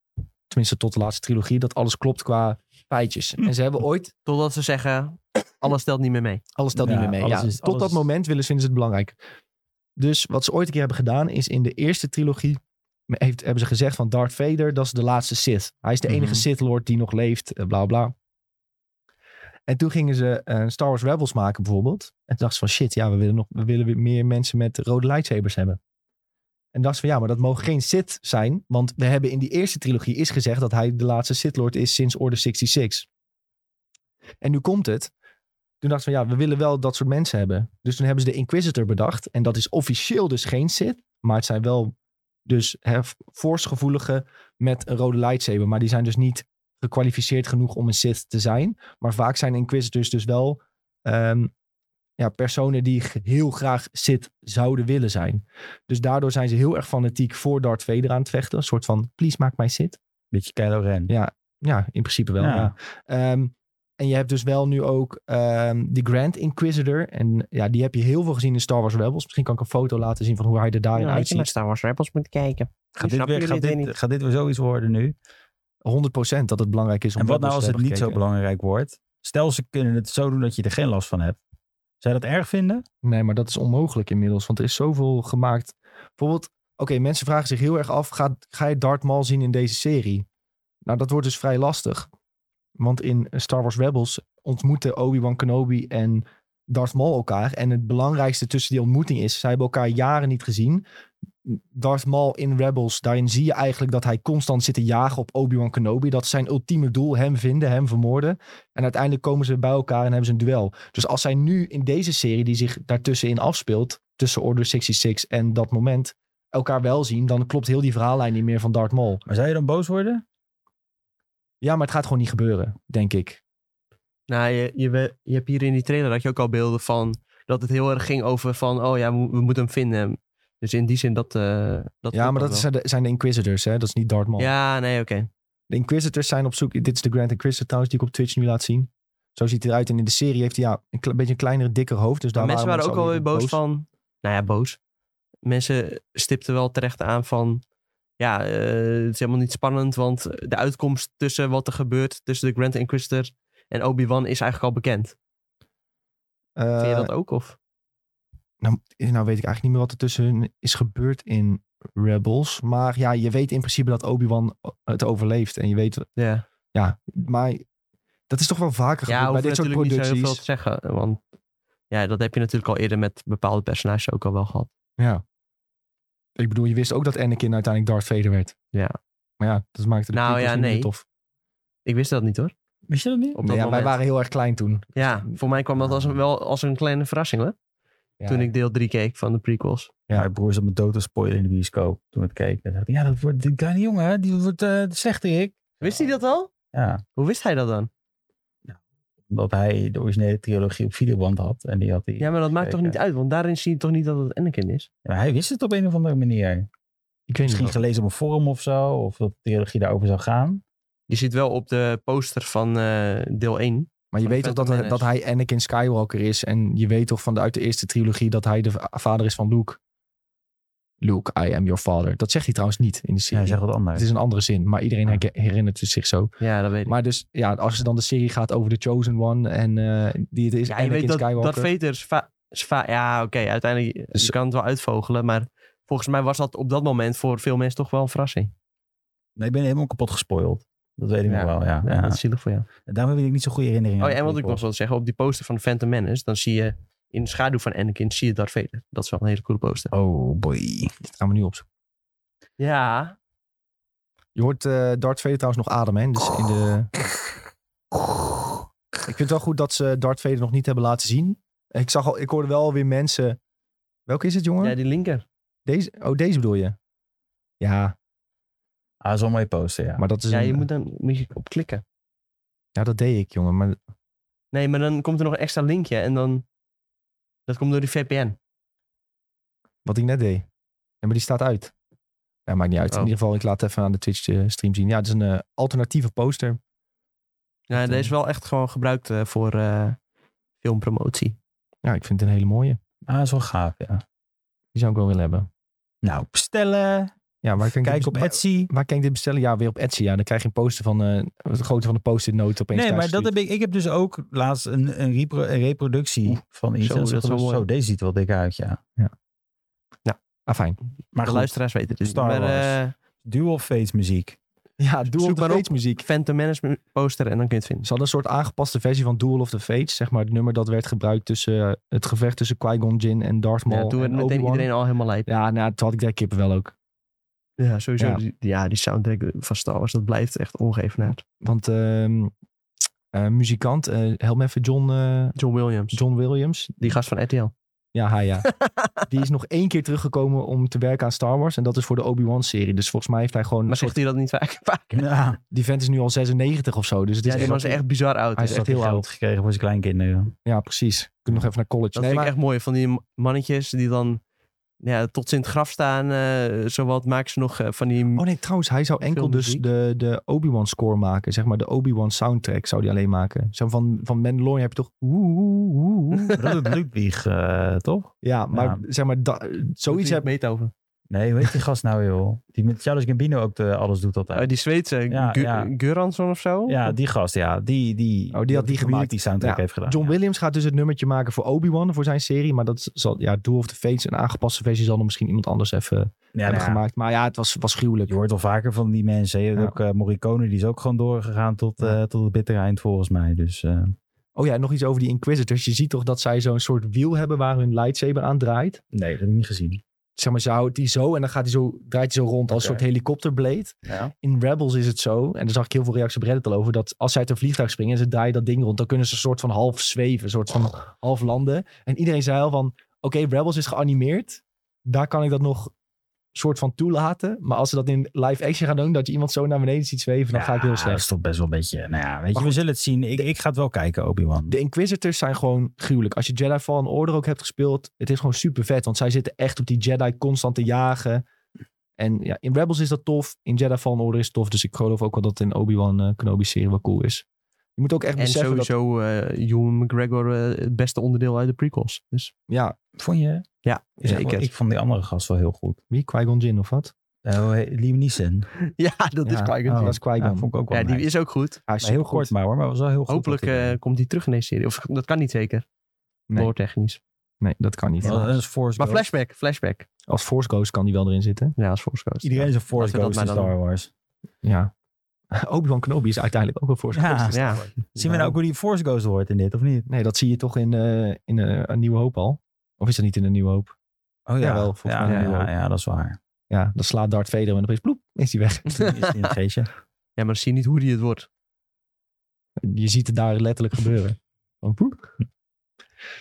A: tenminste tot de laatste trilogie, dat alles klopt qua feitjes.
C: Hm.
A: En ze hebben ooit,
B: Totdat ze zeggen, alles telt niet meer mee.
A: alles telt
C: Ja,
A: niet meer mee.
C: alles
A: Ja,
C: is-
A: tot
C: alles
A: dat
C: is-
A: moment willen ze, vinden ze het belangrijk. Dus wat ze ooit een keer hebben gedaan, is in de eerste trilogie heeft, hebben ze gezegd van Darth Vader, dat is de laatste Sith. Hij is de enige
B: Mhm.
A: Sith Lord die nog leeft, eh, bla bla. En toen gingen ze eh, Star Wars Rebels maken bijvoorbeeld. En toen dachten ze van shit, ja, we willen, nog, we willen weer meer mensen met rode lightsabers hebben. En dachten ze van ja, maar dat mogen geen Sith zijn. Want we hebben in die eerste trilogie is gezegd dat hij de laatste Sith Lord is sinds Order 66. En nu komt het. Toen dachten ze van ja, we willen wel dat soort mensen hebben. Dus toen hebben ze de Inquisitor bedacht. En dat is officieel dus geen Sith. Maar het zijn wel dus hè, force-gevoelige met een rode lightsaber. Maar die zijn dus niet gekwalificeerd genoeg om een Sith te zijn. Maar vaak zijn Inquisitors dus wel ehm, ja, personen die g- heel graag Sith zouden willen zijn. Dus daardoor zijn ze heel erg fanatiek voor Darth Vader aan het vechten. Een soort van, please maak mij Sith.
C: beetje Kylo Ren.
A: Ja, in principe wel.
C: Ja.
A: Ja. Ehm, en je hebt dus wel nu ook ehm de Grand Inquisitor. En ja, die heb je heel veel gezien in Star Wars Rebels. Misschien kan ik een foto laten zien van hoe hij er daarin
B: Ja, je naar
A: uitziet.
B: Star Wars Rebels moet kijken.
C: Gaat dit,
B: snappen
C: weer, gaat,
B: jullie het weer
C: dit, gaat dit weer zoiets worden nu?
A: 100% dat het belangrijk is om
C: En wat nou
A: Rebels
C: als
A: te
C: het
A: hebben
C: niet zo
A: gekeken.
C: belangrijk wordt? Stel, ze kunnen het zo doen dat je er geen last van hebt. Zou je dat erg vinden?
A: Nee, maar dat is onmogelijk inmiddels. Want er is zoveel gemaakt. Bijvoorbeeld, oké, mensen vragen zich heel erg af: ga, ga je Darth Maul zien in deze serie? Nou, dat wordt dus vrij lastig. Want in Star Wars Rebels ontmoeten Obi-Wan Kenobi en Darth Maul elkaar. En het belangrijkste tussen die ontmoeting is: zij hebben elkaar jaren niet gezien. Darth Maul in Rebels, daarin zie je eigenlijk dat hij constant zit te jagen op Obi-Wan Kenobi. Dat is zijn ultieme doel, hem vinden, hem vermoorden. En uiteindelijk komen ze bij elkaar en hebben ze een duel. Dus als zij nu in deze serie, die zich daartussenin afspeelt, tussen Order 66 en dat moment, elkaar wel zien, dan klopt heel die verhaallijn niet meer van Darth Maul.
C: Maar zou je dan boos worden?
A: Ja, maar het gaat gewoon niet gebeuren, denk ik.
B: Nou, je, je, we- je hebt hier in die trailer had je ook al beelden van dat het heel erg ging over van, oh ja, we, we moeten hem vinden. Dus in die zin dat... eh, dat
A: ja, maar dat
B: wel.
A: zijn de, zijn de Inquisitors, hè? Dat is niet Darth Maul.
B: Ja, nee, oké.
A: De Inquisitors zijn op zoek. Dit is de Grand Inquisitor trouwens die ik op Twitch nu laat zien. Zo ziet hij eruit. En in de serie heeft hij ja, een kle- beetje een kleiner, dikker hoofd. Dus daar
B: Maar mensen waren ook
A: wel
B: alweer boos, van. Nou ja, boos. Mensen stipten wel terecht aan van. Ja, eh, het is helemaal niet spannend, want de uitkomst tussen wat er gebeurt tussen de Grand Inquisitor en Obi-Wan is eigenlijk al bekend. Vind
A: Eh,
B: je dat ook? Of?
A: nou, nou weet ik eigenlijk niet meer wat er tussen hun is gebeurd in Rebels. Maar ja, je weet in principe dat Obi-Wan eh, het overleeft. En je weet,
B: Ja,
A: ja, maar dat is toch wel vaker
B: ja
A: gebeurd bij
B: hoef je
A: dit soort
B: natuurlijk niet zo heel
A: producties.
B: veel te zeggen. Want ja, dat heb je natuurlijk al eerder met bepaalde personages ook al wel gehad.
A: Ja. Ik bedoel, je wist ook dat Anakin uiteindelijk Darth Vader werd.
B: Ja.
A: Maar ja, dat maakte de
B: Nou
A: prequels
B: ja,
A: niet meer
B: nee.
A: tof.
B: Ik wist dat niet hoor.
C: Wist je dat niet?
B: Op
A: ja,
B: dat
A: wij
B: moment.
A: waren heel erg klein toen.
B: Ja, voor mij kwam dat als een, wel als een kleine verrassing hoor.
A: Ja.
B: Toen ik deel 3 keek van de prequels.
A: Ja.
C: Mijn broer zat me dood te spoilen in de bioscoop toen we het keken. Dacht ik, ja, dat wordt die kleine jongen, hè, die wordt eh, de slechterik.
B: Wist hij dat al?
C: Ja,
B: Hoe wist hij dat dan?
C: omdat hij de originele trilogie op videoband had. En die had hij...
B: Ja, maar dat maakt toch
C: Zeker.
B: niet uit, want daarin zie je toch niet dat het Anakin is?
C: Ja, maar hij wist het op een of andere manier.
A: Ik weet
C: Misschien
A: niet.
C: gelezen op een forum of zo, of dat de trilogie daarover zou gaan.
B: Je ziet wel op de poster van eh, deel 1.
A: Maar je
B: Van
A: weet toch dat,
B: Phantom
A: dat
B: Menace.
A: hij Anakin Skywalker is. En je weet toch vanuit de eerste trilogie dat hij de va- vader is van Luke. Luke, I am your father. Dat zegt hij trouwens niet in de
C: Ja, hij
A: serie.
C: zegt wat anders.
A: het is een andere zin, maar iedereen
C: Ja.
A: herke- herinnert het zich zo.
B: Ja, dat Ah. weet ik.
A: Maar dus, ja, als het dan de serie gaat over de Chosen One en eh, die het is,
B: ja, je
A: Anakin
B: weet dat,
A: Skywalker.
B: dat Vader's va- is va- ja, oké, uiteindelijk
D: Dus-
B: je kan het wel uitvogelen. Maar volgens mij was dat op dat moment voor veel mensen toch wel een verrassing.
C: Nee, ik ben helemaal kapot gespoild. Dat weet ik
B: Ja.
C: nog wel, ja.
B: Ja,
C: ja.
B: Dat is zielig voor jou.
C: Daarom heb ik niet zo'n goede herinneringen.
B: oh
C: aan
B: ja, en wat ik
C: prequels.
B: nog wilde zeggen. Op die poster van Phantom Menace, dan zie je in de schaduw van Anakin, zie je Darth Vader. Dat is wel een hele coole poster.
C: Oh boy.
A: Dit gaan we nu opzoeken.
B: Ja,
A: Je hoort eh Darth Vader trouwens nog ademen. hè, Dus in de... Ik vind het wel goed dat ze Darth Vader nog niet hebben laten zien. Ik, zag al, ik hoorde wel weer mensen... Welke is het, jongen?
B: ja die linker.
A: Deze? Oh, deze bedoel je? Ja,
C: Ah, dat is wel een mooie poster, ja.
A: maar dat is
B: Ja,
A: een-
B: je moet dan moet je op klikken.
A: Ja, dat deed ik, jongen. Maar
B: Nee, maar dan komt er nog een extra linkje en dan... Dat komt door die VPN.
A: wat ik net deed. Ja, maar die staat uit. Ja, maakt niet uit.
B: Oh.
A: In ieder geval, ik laat het even aan de Twitch-stream zien. Ja, het is een eh, alternatieve poster.
B: Ja, deze is wel echt gewoon gebruikt eh, voor eh, filmpromotie.
A: Ja, ik vind het een hele mooie.
C: Ah, dat is wel gaaf, ja.
A: Die zou ik wel willen hebben.
C: Nou, bestellen.
A: Ja, waar kan ik
C: Kijk
A: dit-
C: op
A: waar-
C: Etsy.
A: Waar kan ik dit bestellen? Ja, weer op Etsy. Ja, dan krijg je een poster van eh de grootte van de post-it-noot opeens.
C: Nee, maar dat
A: thuisgestuurd.
C: heb ik. Ik heb dus ook laatst een, een, repro- een reproductie van iets.
B: zo,
C: En
B: dat is wel
C: zo,
B: mooi.
C: deze ziet er wel dik uit, ja.
A: Ah, fijn.
C: Maar
B: de
C: goed,
B: luisteraars weten het dus
C: Star
B: niet. Maar
C: Wars. Dual Face muziek.
A: Ja, Duel
B: Zoek
A: of the
B: maar op.
A: Fates muziek.
B: ik eh, Phantom Management poster en dan kun je het vinden.
A: Ze hadden een soort aangepaste versie van Duel of the Fates. Zeg maar het nummer dat werd gebruikt tussen eh, het gevecht tussen Qui-Gon Jinn en Darth Maul.
B: Ja, toen werd
A: en
B: meteen
A: Obi-Wan.
B: iedereen al helemaal lijp.
A: Ja, nou, toen had ik daar kippen wel ook.
B: Ja, sowieso.
A: Ja.
B: Ja. Die, ja, die soundtrack van Star Wars, dat blijft echt ongeëvenaard.
A: Want ehm, eh, muzikant, eh help me even, John, eh,
B: John Williams.
A: John Williams.
B: Die gast van RTL.
A: Ja, hij ja. Die is nog één keer teruggekomen om te werken aan Star Wars. En dat is voor de Obi-Wan-serie. Dus volgens mij heeft hij gewoon...
B: Maar
A: een
B: zegt
A: soort-
B: hij dat niet vaak? vaak?
C: Ja,
A: Die vent is nu al 96 of zo. Dus het is
B: Ja, die
A: echt-
B: was echt bizar oud.
A: Hij
B: hè.
A: is
B: Dat
A: echt heel
C: geld
A: oud.
C: gekregen voor zijn kleinkinderen.
A: Ja, precies. Kunnen nog even naar college.
B: vind
A: Nee,
B: ik
A: maar-
B: echt mooi. Van die mannetjes die dan ja, tot ze in het graf staan. eh zowat maken ze nog eh, van die...
A: Oh nee, trouwens, hij zou enkel dus
B: Filmmuziek.
A: de, de Obi-Wan score maken. Zeg maar de Obi-Wan soundtrack zou die alleen maken. Zo van, van Mandalorian heb je toch... woe, woe, woe, woe.
C: Dat is Ludwig, eh, toch?
A: Ja, maar
C: Ja.
A: zeg maar, da- zoiets heb...
B: Beethoven.
C: Nee, hoe heet die gast nou, joh? Die met Charles Gambino ook de, alles doet altijd.
B: Oh, die Zweedse,
C: Ja,
B: Gu-
C: ja.
B: Göransson of zo?
C: Ja, die gast, ja. Die, die,
A: Oh, die had die gemaakt.
C: Die soundtrack
A: Ja,
C: heeft gedaan.
A: John Williams gaat dus het nummertje maken voor Obi-Wan, voor zijn serie. Maar dat zal, ja, Duel of the Fates, een aangepaste versie, zal er misschien iemand anders even
C: ja,
A: hebben
C: nou ja,
A: gemaakt. Maar ja, het was, was gruwelijk.
C: Je hoort al vaker van die mensen. Je hebt
A: Ja.
C: ook eh, Morricone, die is ook gewoon doorgegaan tot, eh, tot het bittere eind volgens mij. Dus eh,
A: Oh ja, en nog iets over die Inquisitors. Je ziet toch dat zij zo'n soort wiel hebben waar hun lightsaber aan draait.
C: nee, dat heb ik niet gezien.
A: Zeg maar, ze houdt die zo en dan gaat die zo, draait hij zo rond als een
C: Oké.
A: soort helikopterblade.
C: Ja.
A: In Rebels is het zo, en daar zag ik heel veel reacties op Reddit al over, dat als zij uit een vliegtuig springen en ze draaien dat ding rond, dan kunnen ze een soort van half zweven, een soort van half landen. En iedereen zei al van, oké, Rebels is geanimeerd, daar kan ik dat nog soort van toelaten. Maar als ze dat in live action gaan doen, dat je iemand zo naar beneden ziet zweven, dan ga ik heel
C: Dat
A: slecht.
C: is toch best wel een beetje, nou ja, weet
A: Maar
C: je, we
A: goed.
C: zullen het zien. Ik, ik ga het wel kijken, Obi-Wan.
A: De Inquisitors zijn gewoon gruwelijk. Als je Jedi Fallen Order ook hebt gespeeld, het is gewoon super vet. Want zij zitten echt op die Jedi constant te jagen. En ja, in Rebels is dat tof. In Jedi Fallen Order is het tof. Dus ik geloof ook wel dat in Obi-Wan eh, Kenobi's serie wel cool is. Je moet ook echt
B: En
A: beseffen dat...
B: sowieso eh Ewan McGregor eh, het beste onderdeel uit de prequels. Dus
A: Ja,
C: Vond je?
B: ja,
C: Ik,
B: ik het.
C: ik vond die andere gast wel heel goed.
A: wie? Qui-Gon Jinn of wat?
C: Eh, hoe heet- Liam Neeson.
B: Ja, dat is
A: Ja, Oh,
B: Qui-Gon
A: Dat
B: Jinn.
A: is Qui-Gon.
C: Ja, vond ik ook wel
B: Ja, die
C: nice.
B: is ook goed.
A: Hij is
C: Maar heel
A: supergoed.
C: kort maar hoor, maar was wel heel goed.
B: Hopelijk
C: wat hij
B: eh,
C: deed.
B: komt die terug in deze serie. Of dat kan niet zeker.
A: Nee.
B: Lore-technisch.
A: Nee, dat kan niet.
C: Wel, dat is Force
B: Maar
C: Ghost.
B: flashback, flashback.
A: Als Force Ghost kan die wel erin zitten.
B: Ja, als Force Ghost.
C: Iedereen is een Force
B: Laten we dat
C: Ghost in
B: maar dan-
C: Star Wars.
A: Ja. Obi-Wan Kenobi is uiteindelijk ook een Force
C: Ja.
A: Ghost.
B: Ja,
C: Zien we nou ook hoe die Force Ghost hoort in dit, of niet?
A: Nee, dat zie je toch in, eh, in eh, Een Nieuwe Hoop al? Of is dat niet in Een Nieuwe Hoop?
C: Oh
A: Ja, wel, volgens
C: ja,
A: mij
C: ja,
A: wel.
C: ja, ja, dat is waar.
A: Ja, dan slaat Darth Vader hem en opeens ploep, is hij weg.
C: Is die, is die een geestje?
B: ja, maar dan zie je niet hoe die het wordt.
A: Je ziet het daar letterlijk gebeuren. Van ploep.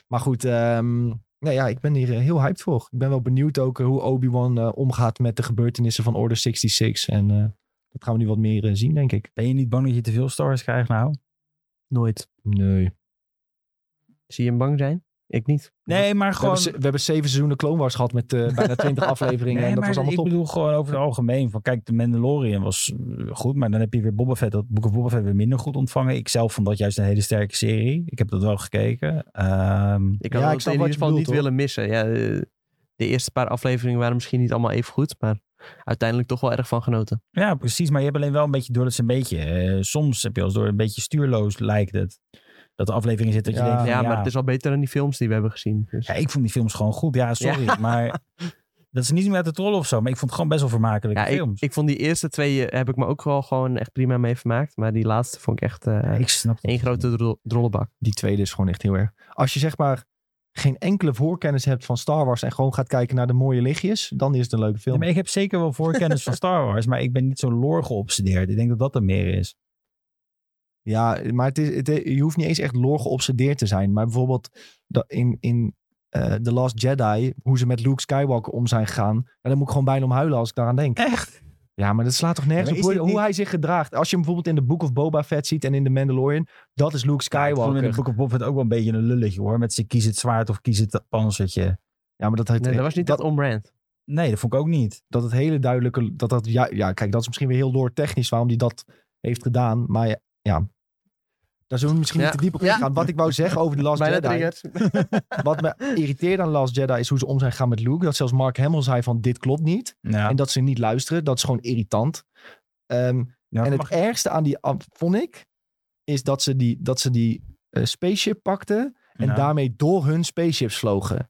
A: Maar goed, ehm, nou ja, ik ben hier eh, heel hyped voor. Ik ben wel benieuwd ook eh, hoe Obi-Wan eh, omgaat met de gebeurtenissen van Order 66. En eh, dat gaan we nu wat meer eh, zien, denk ik.
C: Ben je niet bang dat je te veel Star Wars krijgt nou?
B: Nooit.
A: Nee.
B: Zie je hem bang zijn? Ik niet.
C: Nee, maar
A: We,
C: gewoon...
A: hebben, ze- we hebben zeven seizoenen Clone Wars gehad met eh, bijna twintig afleveringen. en
C: Nee,
A: dat
C: maar
A: was allemaal
C: ik
A: top.
C: bedoel gewoon over het algemeen. Van kijk, de Mandalorian was eh, goed, maar dan heb je weer Boba Fett. Dat boek of Boba Fett weer minder goed ontvangen. Ik zelf vond dat juist een hele sterke serie. Ik heb dat wel gekeken. Ehm,
B: Ik had
A: Ja,
B: het
A: ik snap wat
B: in ieder
A: je
B: geval
A: bedoelt,
B: niet
A: hoor.
B: willen missen. Ja, eh, de eerste paar afleveringen waren misschien niet allemaal even goed, maar uiteindelijk toch wel erg van genoten.
C: ja, precies. Maar je hebt alleen wel een beetje door dat ze een beetje. eh, soms heb je als door een beetje stuurloos lijkt het. dat de afleveringen zitten dat je
A: Ja.
C: denkt, van,
B: ja, maar het is al beter dan die films die we hebben gezien. Dus.
C: ja, ik vond die films gewoon goed. Ja, sorry, maar dat is niet meer uit de troll of zo. Maar ik vond het gewoon best wel vermakelijke
B: Ja, ik,
C: films.
B: ik vond die eerste twee eh, heb ik me ook wel gewoon echt prima mee vermaakt. Maar die laatste vond ik echt eh
C: Ja, ik snap het.
B: één grote dro- drollenbak.
A: Die tweede is gewoon echt heel erg. Als je zeg maar geen enkele voorkennis hebt van Star Wars en gewoon gaat kijken naar de mooie lichtjes, dan is het een leuke
C: Ja,
A: film.
C: maar ik heb zeker wel voorkennis van Star Wars, maar ik ben niet zo lore geobsedeerd. Ik denk dat dat er meer is.
A: Ja, maar het is, het, je hoeft niet eens echt lore geobsedeerd te zijn. Maar bijvoorbeeld dat in, in eh, The Last Jedi, hoe ze met Luke Skywalker om zijn gegaan. En dan moet ik gewoon bijna om huilen als ik daaraan denk.
C: Echt?
A: Ja, maar dat slaat toch nergens
C: Ja,
A: op
C: maar
A: hoe,
C: is dit
A: hoe
C: niet-
A: hij zich gedraagt. Als je hem bijvoorbeeld in The Book of Boba Fett ziet en in The Mandalorian, dat is Luke
C: Ik vond in de
A: Skywalker.
C: Book of Bob Fett ook wel een beetje een lulletje hoor. Met ze kies het zwaard of kies het panzertje.
A: Ja, maar dat, heeft,
B: Nee, dat was niet
A: e- dat,
B: echt on-brand.
C: Nee, dat vond ik ook niet.
A: dat het hele duidelijke... Dat dat, ja, ja, kijk, dat is misschien weer heel lore-technisch waarom hij dat heeft gedaan. Maar ja, ja. daar zullen we misschien
B: Ja.
A: niet te diep op
B: Ja.
A: ingaan. Wat ik wou zeggen over The Last
B: Bijna
A: Jedi...
B: triggers.
A: Wat me irriteert aan Last Jedi is hoe ze om zijn gaan met Luke. Dat zelfs Mark Hamill zei van dit klopt niet.
C: Ja.
A: En dat ze niet luisteren. Dat is gewoon irritant. Ehm,
C: Ja,
A: en het
C: mag-
A: ergste aan die, af- vond ik, is dat ze die, dat ze die eh, spaceship pakten. En
C: ja.
A: daarmee door hun spaceships vlogen.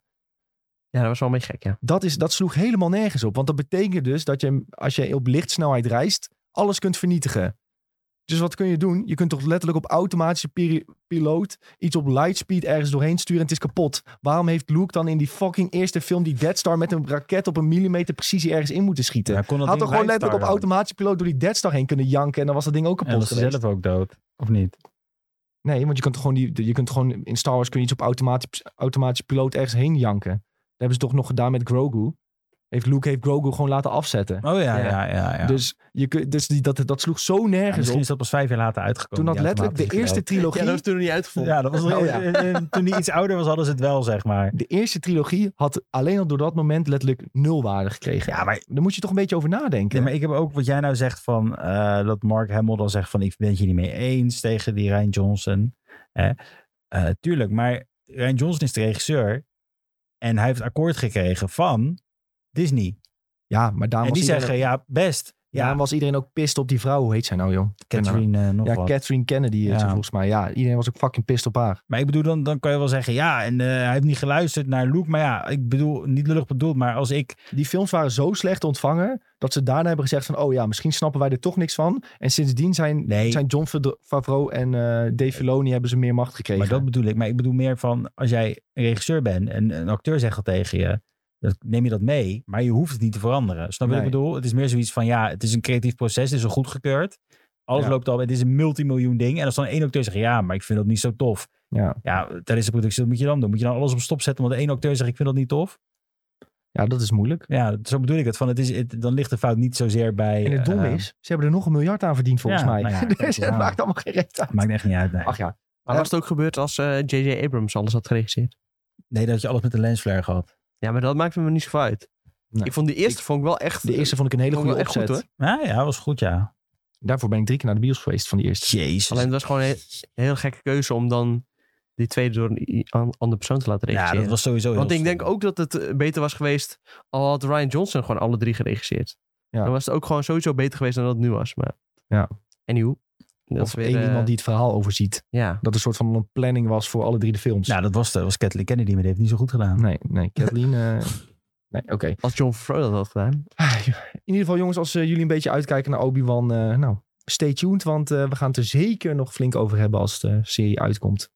B: Ja, dat was wel een beetje gek, ja.
A: Dat, is, dat sloeg helemaal nergens op. Want dat betekent dus dat je, als je op lichtsnelheid reist, alles kunt vernietigen. Dus wat kun je doen? Je kunt toch letterlijk op automatische piri- piloot iets op lightspeed ergens doorheen sturen en het is kapot. Waarom heeft Luke dan in die fucking eerste film die Death Star met een raket op een millimeter precisie ergens in moeten schieten?
C: Ja, kon dat
A: Had
C: ding
A: toch gewoon
C: bij
A: letterlijk op
C: Star dan?
A: automatische piloot door die Death Star heen kunnen janken en dan was dat ding ook
C: En
A: kapot
C: was ze
A: geweest.
C: zelf ook dood. Of niet?
A: Nee, want je kunt toch gewoon, die, je kunt gewoon in Star Wars kun je iets op automatisch, automatische piloot ergens heen janken. Dat hebben ze toch nog gedaan met Grogu. Heeft Luke heeft Grogu gewoon laten afzetten.
C: Oh ja,
B: Ja.
C: ja, ja. ja,
A: Dus, je, kun- dus die, dat, dat sloeg zo
C: Ja,
A: nergens
C: misschien
A: op.
C: is dat pas vijf jaar later uitgekomen.
A: Toen dat
C: die
A: letterlijk de
C: automatische
A: eerste trilogie.
B: Ja, dat was toen nog niet uitgevonden.
C: piloot. Ja, dat was
A: Oh, ja.
C: eh, eh, toen hij iets ouder was, hadden ze het wel, zeg maar.
A: De eerste trilogie had alleen al door dat moment letterlijk nul waarde gekregen.
C: Ja, maar
A: Daar moet je toch een beetje over nadenken.
C: Ja, maar ik heb ook wat jij nou zegt van eh, dat Mark Hamill dan zegt van ik ben het hier niet mee eens tegen die Ryan Johnson. Hè? Eh, tuurlijk, maar Ryan Johnson is de regisseur en hij heeft akkoord gekregen van Disney.
A: ja, maar daarom,
C: en
A: was
C: die
A: iedereen,
C: zeggen ja best. Ja,
A: daarom was iedereen ook pist op die vrouw. Hoe heet zij nou, joh?
C: Catherine eh, nog
A: Ja,
C: wat.
A: Catherine Kennedy is
C: Ja.
A: ze volgens mij. Ja, iedereen was ook fucking pist op haar.
C: Maar ik bedoel, dan, dan kan je wel zeggen ja en eh, hij heeft niet geluisterd naar Luke. Maar ja, ik bedoel, niet lullig bedoeld, maar als ik...
A: Die films waren zo slecht ontvangen dat ze daarna hebben gezegd van... oh ja, misschien snappen wij er toch niks van. En sindsdien zijn,
C: Nee.
A: zijn John Fad- Favreau en eh Dave Filoni hebben ze meer macht gekregen.
C: Maar dat bedoel ik. Maar ik bedoel meer van als jij een regisseur bent en een acteur zegt dat tegen je, dan neem je dat mee, maar je hoeft het niet te veranderen. Snap je wat ik
A: Nee.
C: bedoel? Het is meer zoiets van ja, het is een creatief proces, het is al goedgekeurd. Alles
A: Ja.
C: loopt al, het is een multimiljoen ding. En als dan één acteur zegt, ja, maar ik vind dat niet zo tof.
A: ja.
C: Ja, tijdens de productie, dat moet je dan doen. Moet je dan alles op stop zetten, omdat één acteur zegt, ik vind dat niet tof?
A: ja, dat is moeilijk.
C: Ja, zo bedoel ik het. Van, het is, het- dan ligt de fout niet zozeer bij...
A: En het domme
C: eh,
B: ehm,
A: is, ze hebben er nog een miljard aan verdiend volgens
C: ja,
A: mij.
C: nou ja,
A: dus het
C: ja.
A: maakt allemaal geen reet uit.
C: Maakt echt niet uit, nee.
A: Ach ja,
B: Maar was het ook gebeurd als eh, J.J. Abrams alles had geregisseerd?
C: Nee, dat je alles met een lensflare gehad.
B: Ja, maar dat maakte me niet zoveel uit.
A: Nee.
B: Ik vond die eerste vond ik wel echt...
A: de eerste vond ik een hele
B: vond ik
A: goede
B: wel echt
A: opzet.
B: goed, hoor.
C: Ja, ja, was goed, ja.
A: Daarvoor ben ik drie keer naar de bios geweest van die eerste.
C: Jezus.
B: Alleen het was gewoon een he- heel gekke keuze om dan die tweede door een i- an- andere persoon te laten
C: ja,
B: regisseren.
C: dat was sowieso heel
B: Want ik denk
C: stom.
B: ook dat het eh, beter was geweest al had Ryan Johnson gewoon alle drie geregisseerd.
A: Ja.
B: Dan was het ook gewoon sowieso beter geweest dan dat het nu was. Maar
A: Ja.
B: anywho. Dat
A: Of
B: is weer,
A: één
B: eh,
A: iemand die het verhaal overziet.
B: Ja,
A: Dat een soort van een planning was voor alle drie de films.
C: Nou, dat was, dat was Kathleen Kennedy, maar die heeft het niet zo goed gedaan.
A: Nee, nee, Kathleen... eh, Nee, oké.
B: als John Favreau dat had gedaan.
A: In ieder geval, jongens, als eh, jullie een beetje uitkijken naar Obi-Wan, eh, nou, stay tuned, want eh, we gaan het er zeker nog flink over hebben als de serie uitkomt.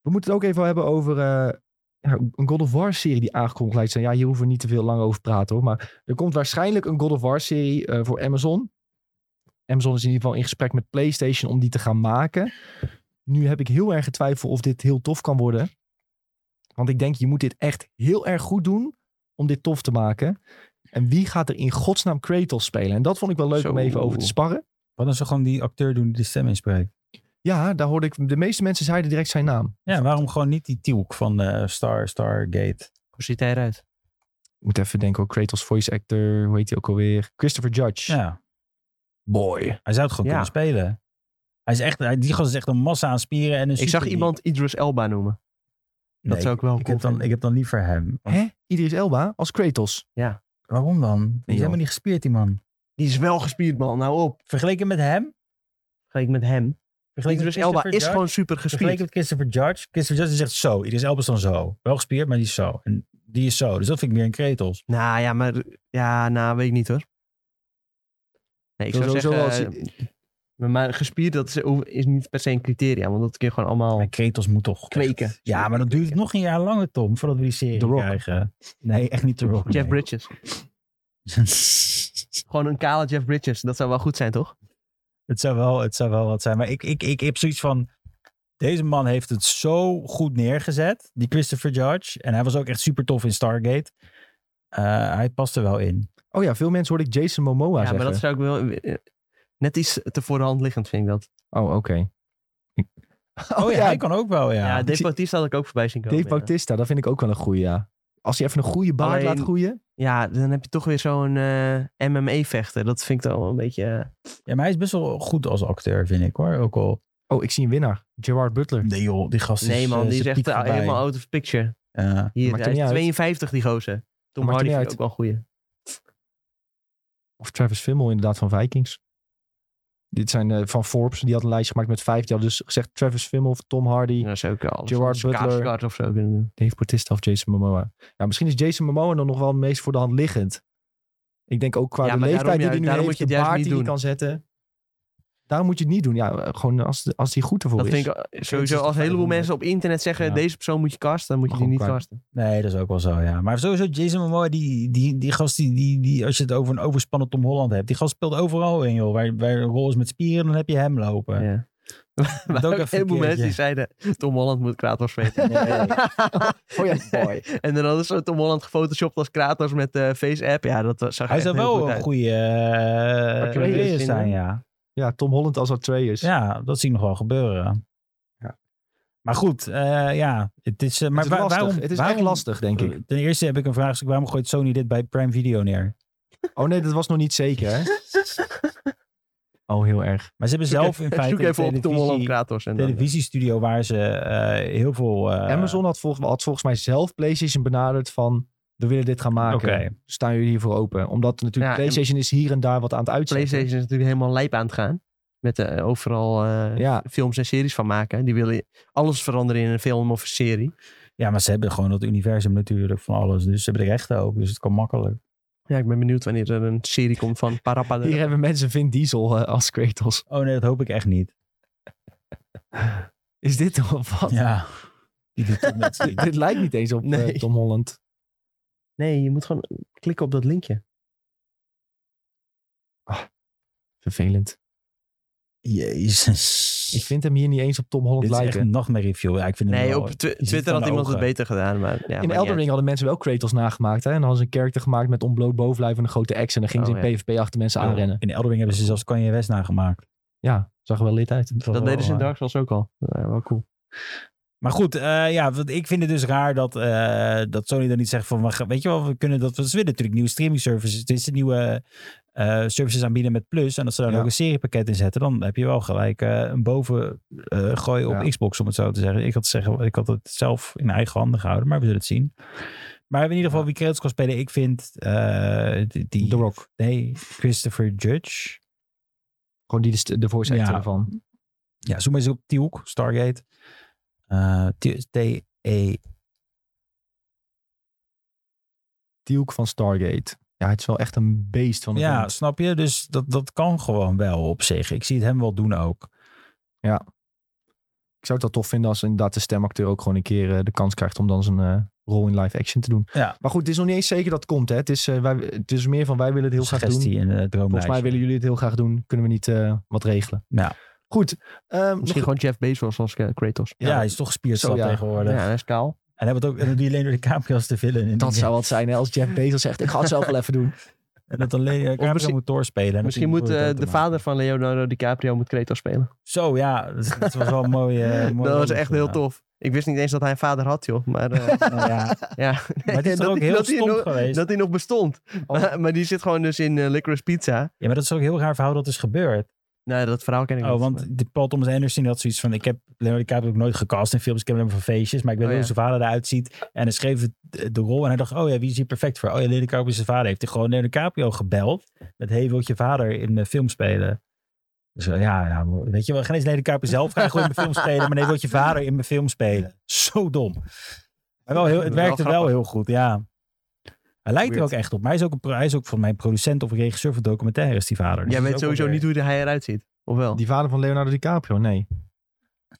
A: We moeten het ook even hebben over eh, ja, een God of War serie die aangekondigd lijkt te zijn. Ja, hier hoeven we niet te veel lang over te praten hoor, maar er komt waarschijnlijk een God of War serie eh, voor Amazon. Amazon is in ieder geval in gesprek met PlayStation om die te gaan maken. Nu heb ik heel erg getwijfeld of dit heel tof kan worden. Want ik denk, je moet dit echt heel erg goed doen om dit tof te maken. En wie gaat er in godsnaam Kratos spelen? En dat vond ik wel leuk om
B: Zo.
A: even over te sparren.
C: Wat als ze gewoon die acteur doen die de stem inspreekt?
A: Ja, daar hoorde ik. De meeste mensen zeiden direct zijn naam.
C: Ja, waarom gewoon niet die Tielk van eh, Star, Stargate?
B: Hoe ziet hij eruit?
A: Ik moet even denken, oh, Kratos voice actor, hoe heet hij ook alweer? Christopher Judge.
C: Ja,
A: Boy.
C: hij zou het gewoon
B: Ja.
C: kunnen spelen. Hij is echt, hij, die gast is echt een massa aan spieren en een
B: Ik zag
C: super-
B: iemand Idris Elba noemen.
C: Nee,
B: Dat zou ik wel
C: ik
B: cool
C: heb, dan,
B: vinden.
C: ik heb dan liever hem. Want
A: Hè? Idris Elba als Kratos.
C: Waarom dan? Die
A: joh.
C: is helemaal niet gespierd, die man.
B: Die is wel gespierd man, nou op.
C: Vergeleken met hem?
B: Vergeleken met hem.
C: Vergeleken
B: Idris
C: met
B: dus Elba
C: Christopher
B: is
C: Judge?
B: gewoon super
C: Vergeleken
B: gespierd.
C: met Christopher Judge. Christopher Judge is echt zo. Idris Elba is dan zo. Wel gespierd, maar die is zo. En die is zo. Dus dat vind ik meer een kretels.
B: Nou ja, maar ja, nou weet ik niet hoor. Nee, ik zou
A: Sowieso
B: zeggen,
A: als je-
B: eh, maar gespierd dat is, is niet per se een criteria, want dat kun je gewoon allemaal
C: Maar kretels moet toch...
B: kweken.
C: Ja, maar dan duurt het nog een jaar langer, Tom, voordat we die serie
B: The Rock.
C: krijgen. Nee, echt niet The Rock.
B: Jeff
C: nee.
B: Bridges. Gewoon een kale Jeff Bridges. Dat zou wel goed zijn, toch?
C: het, zou wel, het zou wel wat zijn. Maar ik, ik, ik heb zoiets van... Deze man heeft het zo goed neergezet. Die Christopher Judge. En hij was ook echt super tof in Stargate. Eh, hij past er wel in.
A: Oh ja, veel mensen hoorde ik Jason Momoa
B: Ja,
A: zeggen.
B: maar dat zou ik wel... eh, Net iets te voor de hand liggend, vind ik dat.
A: Oh, oké.
C: Oh, ja, hij kan ook wel, ja.
B: Ja,
A: ik
B: Dave
A: zie-
B: Bautista had ik ook voorbij zien komen.
A: Dave
B: ja.
A: Bautista, dat vind ik ook wel een goeie, ja. Als hij even een goede baard
B: Alleen-
A: laat groeien.
B: Ja, dan heb je toch weer zo'n eh, MMA-vechter. Dat vind ik dan wel een beetje... eh,
C: Ja, maar hij is best wel goed als acteur, vind ik hoor. Ook al...
A: Oh, ik zie een winnaar. Gerard Butler.
C: Nee joh, die gast is...
B: nee man,
C: eh,
B: die is
C: zijn
B: echt
C: piek
B: eh,
C: voorbij.
B: helemaal out of picture.
C: Ja.
B: Hier,
A: Maakt hem
B: hij is
A: niet uit.
B: 52, die gozer. Tom
A: Maakt
B: Hardy
A: hem
B: vind
A: niet
B: ik ook wel een goeie.
A: Of Travis Fimmel inderdaad van Vikings. Dit zijn eh, van Forbes. Die had een lijst gemaakt met vijf. Die hadden dus gezegd Travis Fimmel, Tom Hardy,
B: Dat is ook alles.
A: Gerard
B: Skarsgård
A: Butler.
B: of zo kunnen doen.
A: Dave Bautista of Jason Momoa. Ja, misschien is Jason Momoa dan nog wel het meest voor de hand liggend. Ik denk ook qua
B: Ja,
A: de
B: maar
A: leeftijd die
B: daarom ju-
A: hij nu
B: daarom
A: heeft,
B: moet je
A: de
B: het juist
A: baard
B: niet
A: die hij
B: doen.
A: kan zetten. Daarom moet je het niet doen. Ja, eh, gewoon als, als hij goed ervoor
B: Dat
A: is.
B: vind ik eh, sowieso,
C: toch
B: als een heleboel
C: 500.
B: mensen op internet zeggen...
C: Ja.
B: deze persoon moet je casten, dan moet je
A: Maar
B: die niet
A: gewoon qua-
B: casten.
C: Nee, dat is ook wel zo, ja. Maar sowieso, Jason Momoa, die, die, die gast, die, die, die, als je het over een overspannen Tom Holland hebt, die gast speelt overal in, joh. Waar, waar een rol is met spieren, dan heb je hem lopen.
B: Ja. maar
C: ook even
B: ook een
C: een keertje.
B: heleboel mensen die zeiden... Tom Holland moet Kratos weten.
A: Oh ja, mooi.
B: en dan hadden ze Tom Holland gefotoshopt als Kratos met eh face-app. Ja, dat eh, zag er
C: Hij
B: echt
C: zou
B: heel goed
C: wel een
B: uit.
C: goede eh,
B: Acteur
C: acteur
B: vinden.
C: zijn, ja.
A: ja, Tom Holland als Atreus.
C: Ja, dat zie ik nog wel gebeuren.
A: Ja.
C: Maar goed, eh, ja, het is... eh, maar
A: het is,
C: wa-
A: lastig.
C: waarom,
A: het is
C: waarom, Eh,
A: echt lastig, denk ik.
C: Ten eerste heb ik een vraagstuk, waarom gooit Sony dit bij Prime Video neer?
A: Oh nee, dat was nog niet zeker, hè? Oh, heel erg.
C: Maar ze hebben
B: Zoek
C: zelf in feite
B: Zoek
C: een
B: even op Tom Holland
C: televisie-
B: Kratos. En dan, eh,
C: televisiestudio waar ze eh, heel veel... eh,
A: Amazon had, volgens had volgens mij zelf PlayStation benaderd van... We willen dit gaan maken. Dus
C: Oké.
A: Staan jullie hiervoor open? Omdat natuurlijk
B: Ja, en-
A: PlayStation is hier en daar wat aan het uitzetten.
B: PlayStation is natuurlijk helemaal lijp aan het gaan. Met eh, overal eh,
A: Ja,
B: films en series van maken. Die willen alles veranderen in een film of een serie.
C: Ja, maar ze hebben gewoon dat universum natuurlijk van alles. Dus ze hebben de rechten ook, dus het kan makkelijk.
B: Ja, ik ben benieuwd wanneer er een serie komt van Parapada.
A: hier hebben mensen Vin Diesel eh, als Kratos.
C: Oh nee, dat hoop ik echt niet.
A: Is dit toch wel wat?
C: Ja. Die doet het net zien.
A: Dit lijkt niet eens op eh,
B: Nee.
A: Tom Holland.
B: Nee, je moet gewoon klikken op dat linkje.
A: Vervelend.
C: Jezus.
A: Ik vind hem hier niet eens op Tom Holland
C: Dit is echt
A: lijken.
C: een nachtmerrie viel. Ja, ik vind het
B: Nee,
C: wel-
B: op twi-
C: je ziet
B: Twitter
C: aan
B: had
C: de
B: iemand het
C: ogen.
B: beter gedaan. Maar, ja,
A: in
B: maar
A: Elden Ring hadden mensen wel Kratos nagemaakt. Hè? En dan hadden ze een character gemaakt met ontbloot bovenlijf en een grote X. En dan gingen
B: Oh,
A: ze in PvP achter mensen
B: Ja.
A: aanrennen.
C: In Eldering hebben ze zelfs Kanye West nagemaakt.
A: Ja, zag er wel lid uit.
C: was
B: Dat
C: wel,
B: deden ze in
C: eh,
B: Dark Souls ook al. Oh. Ja, wel cool.
C: Maar goed, eh, ja, want ik vind het dus raar dat, eh, dat Sony dan niet zegt van, we gaan- weet je wel, we kunnen dat, we willen natuurlijk nieuwe streaming services, het is een nieuwe eh, services aanbieden met Plus, en als ze daar
A: Ja.
C: ook een seriepakket in zetten, dan heb je wel gelijk eh, een boven eh, gooi op
A: Ja.
C: Xbox, om het zo te zeggen. Ik had, zeggen, ik had het zelf in eigen handen gehouden, maar we zullen het zien. Maar in ieder geval, wie credits kan spelen, ik vind eh, die, die-
A: The Rock.
C: nee, Christopher Judge,
A: Gewoon die de, de voice actor
C: Ja.
A: ervan.
C: ja, zoek maar eens op Tiuk, Stargate, Eh, T- T-E
A: Tielk van Stargate. Ja, het is wel echt een beest van de
C: Ja,
A: vent.
C: snap je? Dus dat, dat kan gewoon wel op zich. Ik zie het hem wel doen ook.
A: Ik zou het wel tof vinden als inderdaad de stemacteur ook gewoon een keer eh, de kans krijgt om dan zijn eh, rol in live action te doen.
C: Ja.
A: Maar goed, het is nog niet eens zeker dat het komt. Hè. Het, is, eh, wij, het is meer van wij willen het heel graag doen.
C: Suggestie in het
A: Volgens mij willen jullie het heel graag doen. Kunnen we niet eh, wat regelen.
C: Ja.
A: Goed. ehm,
B: Misschien
A: nog-
B: gewoon Jeff Bezos als eh, Kratos.
C: Ja, hij is toch
A: Zo,
C: spierstap
A: ja.
C: tegenwoordig.
B: Ja, dat is kaal.
C: En hij wordt ook, en dan doe je alleen door de campy als te villain. in
A: dat
C: die-
A: zou wat zijn hè, als Jeff Bezos zegt, ik ga het zelf wel even doen.
C: En dat dan alleen de
B: misschien-
C: misschien, moet doorspelen. en
B: Misschien
C: dat
B: moet
C: hij
B: eh,
C: niet
B: de
C: dood te maken.
B: vader van Leonardo DiCaprio moet Kratos spelen.
C: Zo, ja. Dat, dat was wel een mooie... eh, mooie
B: dat was
C: wonder,
B: echt heel
C: ja.
B: tof. Ik wist niet eens dat hij een vader had, joh. Maar, eh,
C: Nou ja.
B: ja.
C: Maar het is toch
B: Dat
C: ook
B: hij-
C: heel
B: dat hij
C: stom
B: nog-
C: geweest.
B: dat hij nog bestond.
A: Oh.
B: Maar, maar die zit gewoon dus in eh, Licorice Pizza.
C: Ja, maar dat is ook een heel raar verhaal dat is gebeurd.
B: Nou, dat verhaal ken ik
C: Oh,
B: niet.
C: want de Paul Thomas Anderson had zoiets van... Ik heb Leonardo DiCaprio ook nooit gecast in films. Ik heb hem van feestjes. Maar ik weet
B: Oh,
C: wel
B: ja.
C: hoe zijn vader eruit ziet. En hij schreef het- de rol. En hij dacht, oh ja, wie is hier perfect voor? Oh ja, Leonardo DiCaprio is zijn vader. Heeft hij gewoon Leonardo DiCaprio gebeld. Met, hey, wil je vader in mijn film spelen? Dus eh, ja, ja, weet je wel, geen eens Lede Kuiper zelf graag goed in mijn film spelen, maar nee, wil je vader in mijn film spelen. Zo dom. Maar wel heel, het
B: Wel
C: werkte wel
B: grappig.
C: heel goed, ja. Hij lijkt er ook
B: Weird.
C: echt op. Maar hij is ook, een, pro- hij is ook voor mij producent of regisseur van documentaires, die vader. Dus
B: Jij
C: dat
B: weet
C: is ook
B: sowieso
C: alweer-
B: niet hoe hij eruit ziet. Of wel?
A: Die vader van Leonardo DiCaprio, nee.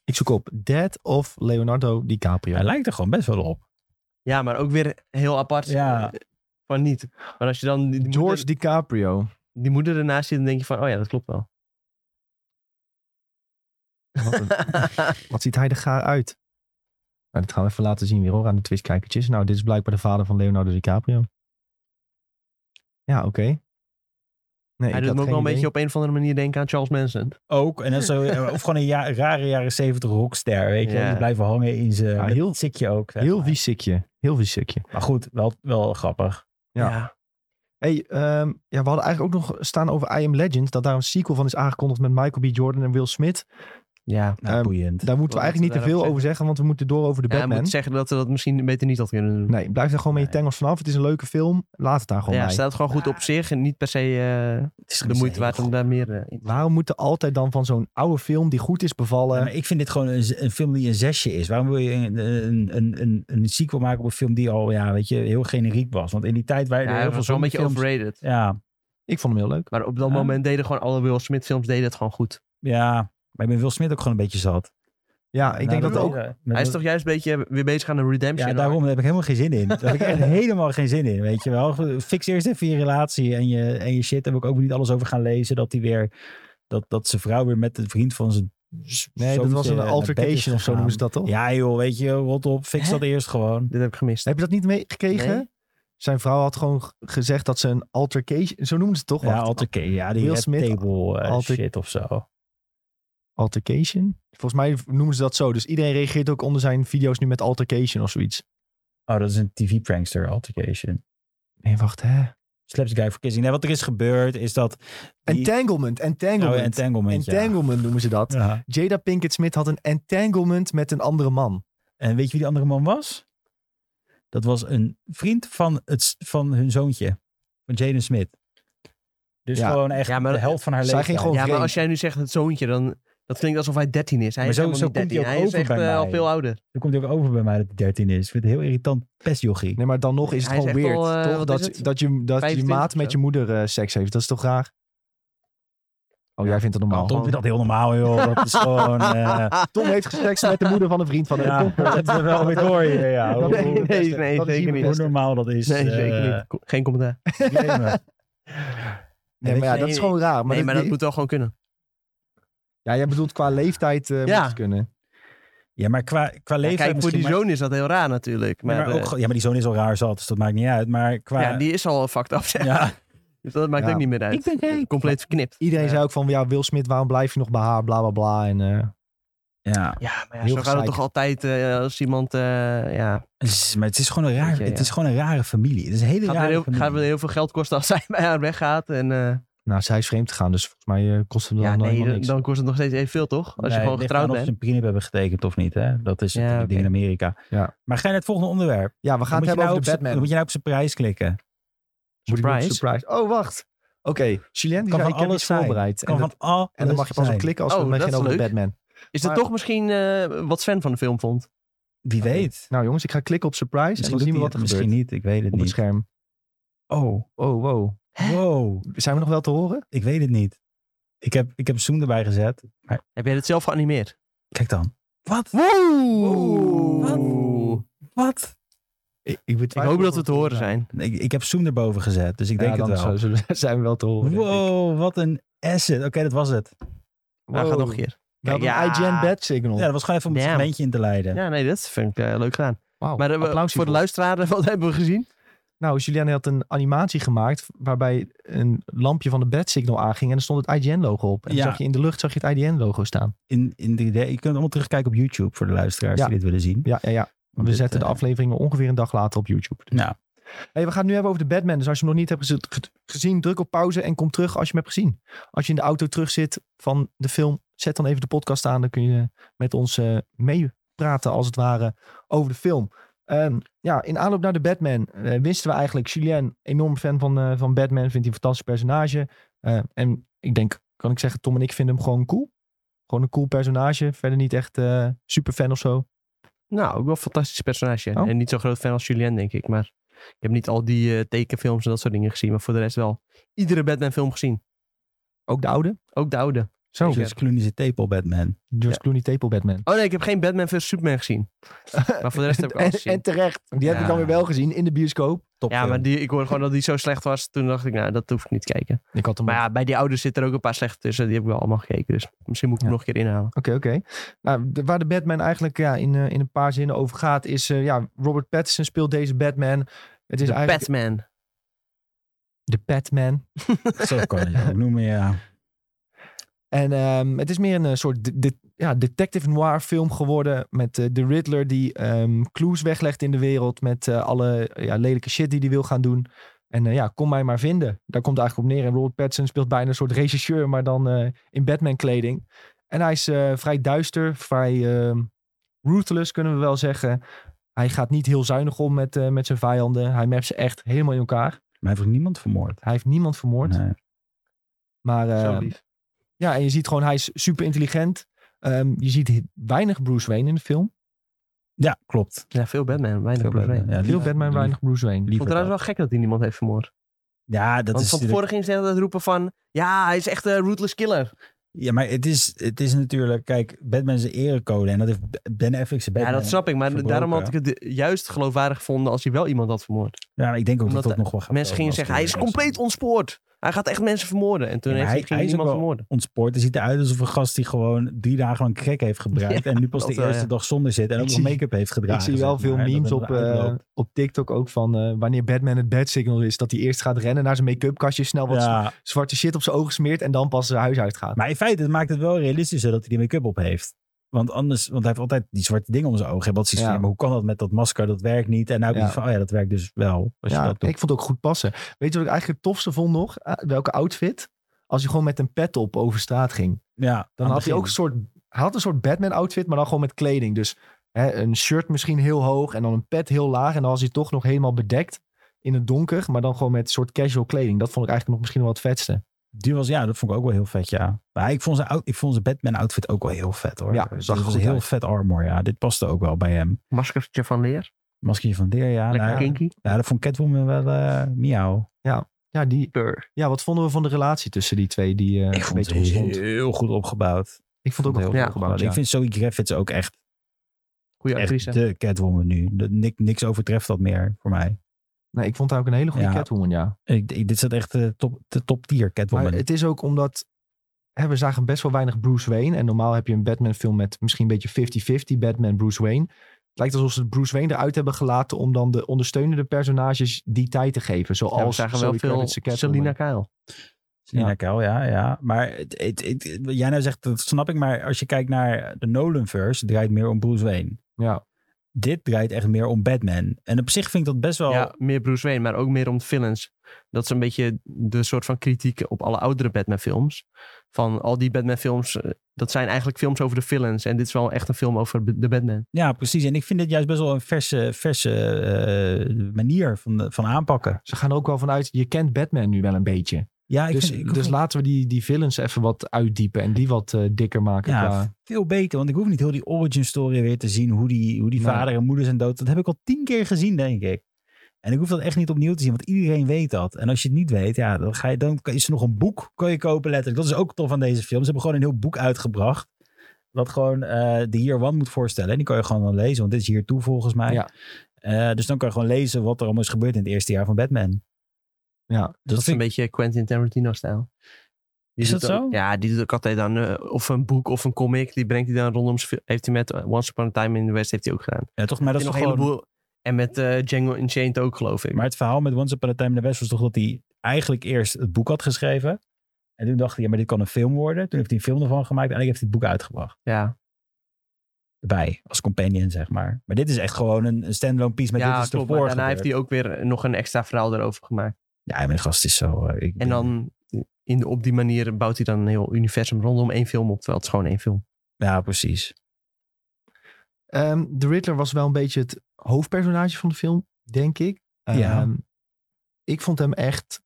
A: Ik zoek op Dead of Leonardo DiCaprio.
C: Hij lijkt er gewoon best wel op.
B: Ja, maar ook weer heel apart
C: Ja.
B: eh, van niet. Maar als je dan die, die
A: George
B: moeder,
A: DiCaprio.
B: die moeder ernaast ziet, dan denk je van, oh ja, dat klopt wel.
A: Wat, een- wat ziet hij er gaar uit? Nou, dat gaan we even laten zien weer hoor aan de Twitch-kijkertjes. Nou, dit is blijkbaar de vader van Leonardo DiCaprio. Ja, oké. Nee, ik
B: hij
A: had
B: doet me ook
A: geen
B: wel een
A: idee.
B: beetje op een of andere manier denken aan Charles Manson.
C: Ook. En dat is zo, of gewoon een ja- rare jaren zeventig rockster, weet je.
B: Ja.
C: Die blijven hangen in zijn
A: Ja, heel-
C: heel sikje ook. zeg
A: Heel
C: maar.
A: wiesikje. Heel wiesikje.
C: Maar goed, wel, wel grappig.
A: Ja. Hey, ehm, ja, we hadden eigenlijk ook nog staan over I Am Legend. Dat daar een sequel van is aangekondigd met Michael B. Jordan en Will Smith.
B: ja.
C: Nou,
A: Ehm,
C: boeiend.
A: Daar moeten we
B: Wat
A: eigenlijk niet te
B: moeten we
A: veel
B: daarop
A: over zeggen, want we moeten door over de
B: Ja, hij
A: Batman.
B: moet zeggen dat we dat misschien beter niet had kunnen doen.
A: Nee, blijf daar gewoon met je
C: Nee.
A: tengels vanaf. Het is een leuke film. Laat het daar gewoon
B: ja,
A: bij.
B: staat gewoon goed op zich en niet per se eh,
C: Het is
B: de
C: gewoon
B: moeite
C: een
B: waard om daar meer eh, in te
A: Waarom moeten altijd dan van zo'n oude film die goed is bevallen...
C: Ja, maar ik vind dit gewoon een, z- een film die een zesje is. Waarom wil je een, een, een, een, een sequel maken op een film die al ja, weet je, heel generiek was? Want in die tijd waren
B: Ja,
C: er
B: hij
C: heel veel
B: was wel een beetje
C: zombiefilms.
B: overrated.
C: Ja,
A: Ik vond hem heel leuk.
B: Maar op dat
C: Ja.
B: moment deden gewoon alle Will Smith films deden het gewoon goed.
C: ja, maar ik ben Will Smith ook gewoon een beetje zat.
A: Ja, ik
C: Nou,
A: denk dat ook...
C: Hij
B: Hij is toch juist een beetje eh, weer bezig aan de redemption.
C: Ja,
B: arc?
C: daarom daar heb ik helemaal geen zin in. Daar heb ik echt helemaal geen zin in, weet je wel. Goed, Fix eerst even je relatie en je, en je shit. Daar heb ik ook niet alles over gaan lezen. Dat hij weer, dat, dat zijn vrouw weer met een vriend van zijn
A: Nee, dat
C: zoontje
A: was een
C: eh, naar bed is
A: altercation of zo
C: gegaan.
A: noemen ze dat toch?
C: Ja joh, weet je, rot op. Fix
B: Hè?
C: dat eerst gewoon.
B: Dit heb ik gemist.
A: Heb je dat niet meegekregen?
B: Nee.
A: Zijn vrouw had gewoon g- gezegd dat ze een altercation... Zo noemen ze het toch?
C: Ja,
A: Wacht.
C: altercation. Ja, die
A: Will
C: red
A: Smith,
C: table eh,
A: alter-
C: shit of zo.
A: Altercation? Volgens mij noemen ze dat zo. Dus iedereen reageert ook onder zijn video's nu met altercation of zoiets.
C: Oh, dat is een TV-prankster altercation.
A: Nee, wacht hè.
C: Slaps guy verkissing. Nee, wat er is gebeurd is dat... die-
A: Entanglement,
C: Oh,
A: entanglement.
C: entanglement, ja.
A: entanglement noemen ze dat.
C: Ja.
A: Jada Pinkett Smith had een entanglement met een andere man.
C: En weet je wie die andere man was? Dat was een vriend van, het, s- van hun zoontje. Van Jaden Smith. Dus
A: Ja.
C: gewoon echt
B: Ja, maar
C: de helft van haar
A: zij
C: leven.
A: ging gewoon
B: ja, maar
A: vreemd.
B: als jij nu zegt het zoontje, dan dat klinkt alsof hij 13 is. Hij
C: Maar
B: is
C: zo-
B: helemaal
C: zo
B: niet
C: komt
B: 13.
C: hij ook
B: Hij is
C: over
B: echt
C: bij
B: eh, al
C: mij.
B: veel ouder.
C: Dan komt hij ook over bij mij dat hij 13 is. Ik vind het heel irritant. Best jochie.
A: Nee, maar dan nog is het
B: Hij is
A: gewoon
B: echt
A: weird,
B: al, eh,
A: toch?
B: wat
A: Dat,
B: is het?
A: dat je, dat je
B: 25
A: maat
B: of
A: met je
B: zo?
A: moeder eh, seks heeft. Dat is toch raar? Oh,
B: Ja.
A: jij vindt dat
C: Nou,
A: normaal?
C: Tom vindt dat heel normaal, joh. Dat is gewoon... eh,
A: Tom heeft seks met de moeder van een vriend van hem.
C: ja, dat is wel weer door hier, ja. Hoe,
B: Nee,
C: hoe-
B: nee, nee,
A: Dat is
B: zeker
A: hier
B: niet.
C: hoe normaal dat is.
B: Nee, zeker
C: eh,
B: niet. Ko- Geen commentaar.
C: claimen.
A: Nee, maar ja,
B: Nee,
A: dat is
B: nee,
A: gewoon raar. Maar
B: nee,
A: dat-
B: maar dat moet wel gewoon kunnen.
A: Ja, jij bedoelt qua leeftijd eh
B: Ja.
A: moet het kunnen.
C: Ja, maar qua, qua
B: Ja,
C: leeftijd
B: kijk, voor
C: misschien,
B: die
C: maar-
B: zoon is dat heel raar natuurlijk.
C: Nee,
B: Maar,
C: maar, ook,
B: eh,
C: gewoon- ja, maar die zoon is al raar zat, dus dat maakt niet uit. Maar qua...
B: ja, die is al fucked up, zeg.
C: ja.
B: Dus dat maakt
A: Ja.
B: ook niet meer uit. Eh,
C: Ik ben gay.
B: Compleet verknipt.
A: Iedereen
B: Ja.
A: zei ook van, ja, Will Smith, waarom blijf je nog bij haar? Bla, bla, bla. En, eh,
C: Ja.
B: Ja, maar ja,
A: Heel
B: zo gaat het
A: gezeik.
B: toch altijd eh, als iemand... eh, ja,
C: Het is- Maar het is gewoon een raar,
B: Ja, ja.
C: het is gewoon een rare familie. Het is een hele
B: gaat, weer
C: rare
B: heel,
C: familie.
B: gaat weer heel veel geld kosten als zij bij haar weggaat. En, eh,
A: nou, zij is vreemd gegaan, dus volgens mij eh, kost het dan
B: ja, nee,
A: helemaal
B: dan,
A: niks.
B: dan kost het nog steeds evenveel, toch? Als
C: Nee,
B: je gewoon
C: het ligt
B: getrouwd
C: aan of
B: bent.
C: ze een prenup hebben getekend of niet. Hè? Dat is
B: Ja,
C: natuurlijk een ding
B: oké.
C: in Amerika.
A: Ja.
C: Maar ga je naar het volgende onderwerp.
A: Ja, we gaan het
C: Dan moet je
A: hebben
C: nou
A: over de
C: op zijn-
A: Batman.
C: Dan moet je nou op zijn prijs klikken.
A: Moet ik doen op
B: Surprise.
A: surprise. Oh, wacht. Oké, Julien, die
C: Kan
A: zei,
C: van
A: ik heb
C: alles
A: iets
C: zijn.
A: voorbereid. En,
C: Kan
A: dat-
C: van al
A: en dan mag je pas op klikken als
B: Oh,
A: we het
B: dat
A: beginnen
B: is
A: over de
B: leuk.
A: Batman.
B: Is
A: Maar-
B: dat toch misschien eh, wat Sven van de film vond?
C: Wie
A: Oké.
C: weet.
A: Nou jongens, ik ga klikken op surprise
C: Misschien,
A: en dan zien we
C: doet
A: wat er
C: hij het, misschien
A: gebeurt
C: niet, ik weet het
A: op het
C: niet.
A: scherm.
C: Oh,
A: Oh, wow.
C: wow.
A: Zijn we nog wel te horen?
C: Ik weet het niet. Ik heb, ik heb Zoom erbij gezet. Maar
B: Heb jij het zelf geanimeerd?
C: kijk dan. Wat?
B: Oeh.
C: Wat?
A: Ik,
B: Ik hoop dat we te horen zijn.
C: Ik, ik heb Zoom erboven gezet, dus ik denk het wel.
A: zijn we wel te horen. denk ik.
C: Wow, wat een asset. Oké, dat was het.
B: Nou, gaat nog een keer.
A: Wel een
B: Kijk, ja.
A: IGN bad signal.
C: Ja, dat was gewoon even om het
B: Damn.
C: segmentje in te leiden.
B: Ja, nee, dat vind ik eh, leuk gedaan.
A: Wauw,
B: Maar hebben we-
A: applaus
B: voor de
A: hiervoor.
B: luisteraar, wat hebben we gezien?
A: Nou, Julian had een animatie gemaakt waarbij een lampje van de bad signal aanging en er stond het IGN-logo op. En
C: Ja.
A: dan zag je in de lucht zag je het IGN-logo staan.
C: In, in 3D. Je kunt het allemaal terugkijken op YouTube voor de luisteraars
A: Ja.
C: die dit willen zien.
A: Ja, ja, ja.
C: Want
A: We
C: dit,
A: zetten de
C: eh,
A: afleveringen ongeveer een dag later op YouTube. Dus-
C: Nou,
A: Hey, we gaan het nu hebben over de Batman. Dus als je hem nog niet hebt gez- ge- gezien, druk op pauze en kom terug als je hem hebt gezien. Als je in de auto terug zit van de film, zet dan even de podcast aan. Dan kun je met ons eh, meepraten als het ware over de film. Ehm, ja, in aanloop naar de Batman eh, wisten we eigenlijk... Julien, enorm fan van, eh, van Batman, vindt hij een fantastisch personage. Eh, en ik denk kan ik zeggen, Tom en ik vinden hem gewoon cool. Gewoon een cool personage. Verder niet echt eh super fan of zo.
B: Nou, ook wel een fantastisch personage.
A: Oh.
B: En niet zo groot fan als Julien, denk ik. Maar ik heb niet al die eh, tekenfilms en dat soort dingen gezien. Maar voor de rest wel iedere Batman-film gezien.
A: Ook de oude.
B: Ook de oude.
A: Zo.
B: Zeker.
C: Dus Clooney zit tepel Batman.
A: George
B: Ja.
A: Clooney, Tepel Batman.
B: Oh nee, ik heb geen Batman vs Superman gezien. Maar voor de rest heb ik
A: en,
B: alles
A: en
B: gezien.
A: terecht. Die heb ik
B: Ja.
A: dan weer wel gezien in de bioscoop.
C: Top
B: Ja,
C: film.
B: maar die, ik hoorde gewoon dat die zo slecht was. Toen dacht ik, nou, dat hoef ik niet te kijken.
A: Ik had hem
B: Maar ja, bij die ouders zitten er ook een paar slechte tussen. Die heb ik wel allemaal gekeken. Dus misschien moet ik hem nog een keer inhalen.
A: Oké, oké. Nou, de- waar de Batman eigenlijk ja, in, eh, in een paar zinnen over gaat, is eh, ja, Robert Pattinson speelt deze Batman. Het is
B: De
A: eigenlijk
B: Batman.
A: de Batman.
C: Zo kan je het ook noemen, ja.
A: En ehm, het is meer een eh, soort de- de- ja, detective noir film geworden met eh, de Riddler die ehm, clues weglegt in de wereld met eh, alle ja, lelijke shit die hij wil gaan doen. En eh, ja, kom mij maar vinden. Daar komt het eigenlijk op neer. En Robert Pattinson speelt bijna een soort regisseur, maar dan eh, in Batman kleding. En hij is eh, vrij duister, vrij ehm, ruthless kunnen we wel zeggen. Hij gaat niet heel zuinig om met, eh, met zijn vijanden. Hij merkt ze echt helemaal in elkaar.
C: Maar heeft ook niemand vermoord.
A: Hij heeft niemand vermoord.
C: Nee.
A: Maar
B: Zo
A: eh,
B: lief.
A: ja, en je ziet gewoon, hij is super intelligent. Ehm, je ziet he- weinig Bruce Wayne in de film.
C: Ja, klopt.
B: Ja, veel Batman. Weinig
C: Veel
B: Bruce
C: Batman,
B: Wayne.
C: ja.
A: Veel
C: lief-
A: Batman,
C: lief-
A: weinig Bruce Wayne.
B: Ik
C: liever
B: vond het trouwens wel gek dat hij niemand heeft vermoord.
C: dat. Ja, dat
B: Want
C: is
B: van
C: natuurlijk-
B: tevoren ging ze dat roepen van... Ja, hij is echt een ruthless killer.
C: Ja, maar het is, het is natuurlijk... Kijk, Batman is een erecode. En dat heeft Ben Affleck zijn Batman.
B: ja, dat snap ik. Maar
C: verbroken.
B: daarom had ik het juist geloofwaardig gevonden als hij wel iemand had vermoord.
C: Ja, maar ik denk ook
B: Omdat
C: dat dat nog wel gaat
B: mensen gingen
C: komen
B: zeggen,
C: als
B: hij is
C: er-
B: compleet ontspoord. Hij gaat echt mensen vermoorden. En toen
C: Ja, maar
B: heeft
C: hij- hij
B: hij, ging hij
C: is
B: iemand
C: ook wel-
B: vermoorden.
C: ontspoord. Het ziet eruit alsof een gast die gewoon drie dagen lang crack heeft gebruikt.
B: Ja,
C: en nu pas de
B: dat wel,
C: eerste
B: ja.
C: dag zonder zit. En
A: Ik
C: ook nog
A: zie-
C: make-up heeft gedragen.
A: Ik zie wel
C: zeg
A: veel
C: maar, dat
A: memes
C: het
A: op,
C: eruit
A: eh,
C: loopt.
A: op TikTok ook van eh, wanneer Batman het bad signal is. Dat hij eerst gaat rennen naar zijn make-up kastje, snel wat
C: ja,
A: z- zwarte shit op zijn ogen smeert en dan pas zijn huis uitgaat.
C: maar in feite het maakt het wel realistischer dat hij die make-up op heeft. Want anders, want hij heeft altijd die zwarte dingen om zijn ogen. En wat is
A: Ja.
C: maar hoe kan dat met dat masker? Dat werkt niet. En nou heb je
A: Ja.
C: van, oh ja, dat werkt dus wel. Als je
A: ja,
C: dat doet.
A: ik vond het ook goed passen. Weet je wat ik eigenlijk het tofste vond nog? Eh, welke outfit? Als hij gewoon met een pet op over straat ging.
C: ja, aan
A: Dan had
C: het
A: hij
C: begin.
A: ook een soort, hij had een soort Batman-outfit, maar dan gewoon met kleding. Dus hè, een shirt misschien heel hoog en dan een pet heel laag. En dan was hij toch nog helemaal bedekt in het donker, maar dan gewoon met een soort casual kleding. Dat vond ik eigenlijk nog misschien wel het vetste.
C: Die was, ja, dat vond ik ook wel heel vet, ja. Maar ik vond zijn, out- ik vond zijn Batman-outfit ook wel heel vet, hoor. Dus
A: Ja,
C: het
A: zag
C: was
A: goed
C: heel
A: uit.
C: vet armor, ja. Dit paste ook wel bij hem.
B: Maskertje van leer.
C: Maskertje van Deer, ja.
B: Lekker
C: Nou, ja,
B: kinky.
C: ja, dat vond Catwoman wel eh miauw.
A: Ja, die,
B: Purr.
A: ja, wat vonden we van de relatie tussen die twee? Die, eh,
C: Ik
A: een
C: vond
A: beetje
C: het
A: ontstond.
C: heel goed opgebouwd.
A: Ik vond het ook wel
C: Heel goed
A: goed
B: ja,
A: opgebouwd. Ja.
C: Ik vind Zoe Griffiths ook echt,
B: Goeie actrice.
C: echt de Catwoman nu. Dat, nik- niks overtreft dat meer voor mij.
A: Nee, ik vond haar ook een hele goede
C: Ja.
A: Catwoman, ja.
C: Ik, ik- dit zat echt de top, de top tier Catwoman.
A: Maar het is ook omdat hè, we zagen best wel weinig Bruce Wayne. En normaal heb je een Batman-film met misschien een beetje 50-50 Batman-Bruce Wayne. Het lijkt alsof ze Bruce Wayne eruit hebben gelaten om dan de ondersteunende personages die tijd te geven.
B: Ja, we
A: Zoals
B: zagen
A: Zoe
B: wel veel
A: Kravitz, de Catwoman.
B: Selina Kyle.
C: Selina
A: Ja.
C: Kyle, ja, ja. Maar het, het- het- wat jij nou zegt, dat snap ik. Maar als je kijkt naar de Nolan-verse, het draait meer om Bruce Wayne.
A: Ja.
C: Dit draait echt meer om Batman. En op zich vind ik dat best wel...
B: Ja, meer Bruce Wayne, maar ook meer om de villains. Dat is een beetje de soort van kritiek op alle oudere Batman films. Van al die Batman films, eh, dat zijn eigenlijk films over de villains. En dit is wel echt een film over de Batman.
C: Ja, precies. En ik vind dit juist best wel een verse, verse eh, manier van, van aanpakken.
A: Ze gaan er ook wel vanuit, je kent Batman nu wel een beetje.
C: Ja, ik
A: dus
C: vind, ik
A: dus
C: vind-
A: laten we die, die villains even wat uitdiepen en die wat eh, dikker maken.
C: ja,
A: qua-
C: veel beter. Want ik hoef niet heel die origin story weer te zien. Hoe die, hoe die
A: Nee.
C: vader en moeder zijn dood. Dat heb ik al tien keer gezien, denk ik. En ik hoef dat echt niet opnieuw te zien, want iedereen weet dat. En als je het niet weet, ja, dan, ga je, dan is er nog een boek kan je kopen letterlijk. Dat is ook tof aan deze film. Ze hebben gewoon een heel boek uitgebracht. Wat gewoon eh, de Year One moet voorstellen. En die kan je gewoon dan lezen, want dit is hier toe volgens mij.
A: Ja.
C: Eh, dus dan kan je gewoon lezen wat er allemaal is gebeurd in het eerste jaar van Batman.
A: Ja,
C: Dus
B: Dat, is
C: vind
B: een beetje Quentin Tarantino-stijl. Die
C: Is
B: doet
C: dat
B: ook-
C: zo?
B: Ja, die doet ook altijd dan eh, of een boek of een comic. Die brengt hij dan rondom. zijn fil- Heeft hij met eh, Once Upon a Time in the West heeft hij ook gedaan.
C: Ja, toch, maar dat is
B: En
C: toch
B: nog
C: gewoon...
B: een heleboel. En met eh, Django Unchained ook, geloof ik.
C: Maar het verhaal met Once Upon a Time in the West was toch dat hij eigenlijk eerst het boek had geschreven. En toen dacht hij, ja, maar dit kan een film worden. Toen heeft hij een film ervan gemaakt en eigenlijk heeft hij het boek uitgebracht.
B: ja,
C: Erbij, als companion, zeg maar. Maar dit is echt gewoon een, een standalone piece met
B: ja
C: dit is
B: klopt.
C: ervoor
B: Maar daarna heeft
C: gebeurd.
B: hij ook weer eh, nog een extra verhaal daarover gemaakt.
C: Ja, mijn gast is zo... eh, ik
B: En
C: ben-
B: dan in de, op die manier bouwt hij dan een heel universum rondom één film op. Terwijl het is gewoon één film.
C: Ja, precies.
A: Ehm, de Riddler was wel een beetje het hoofdpersonage van de film, denk ik.
C: Ja.
A: Ehm, Ik vond hem echt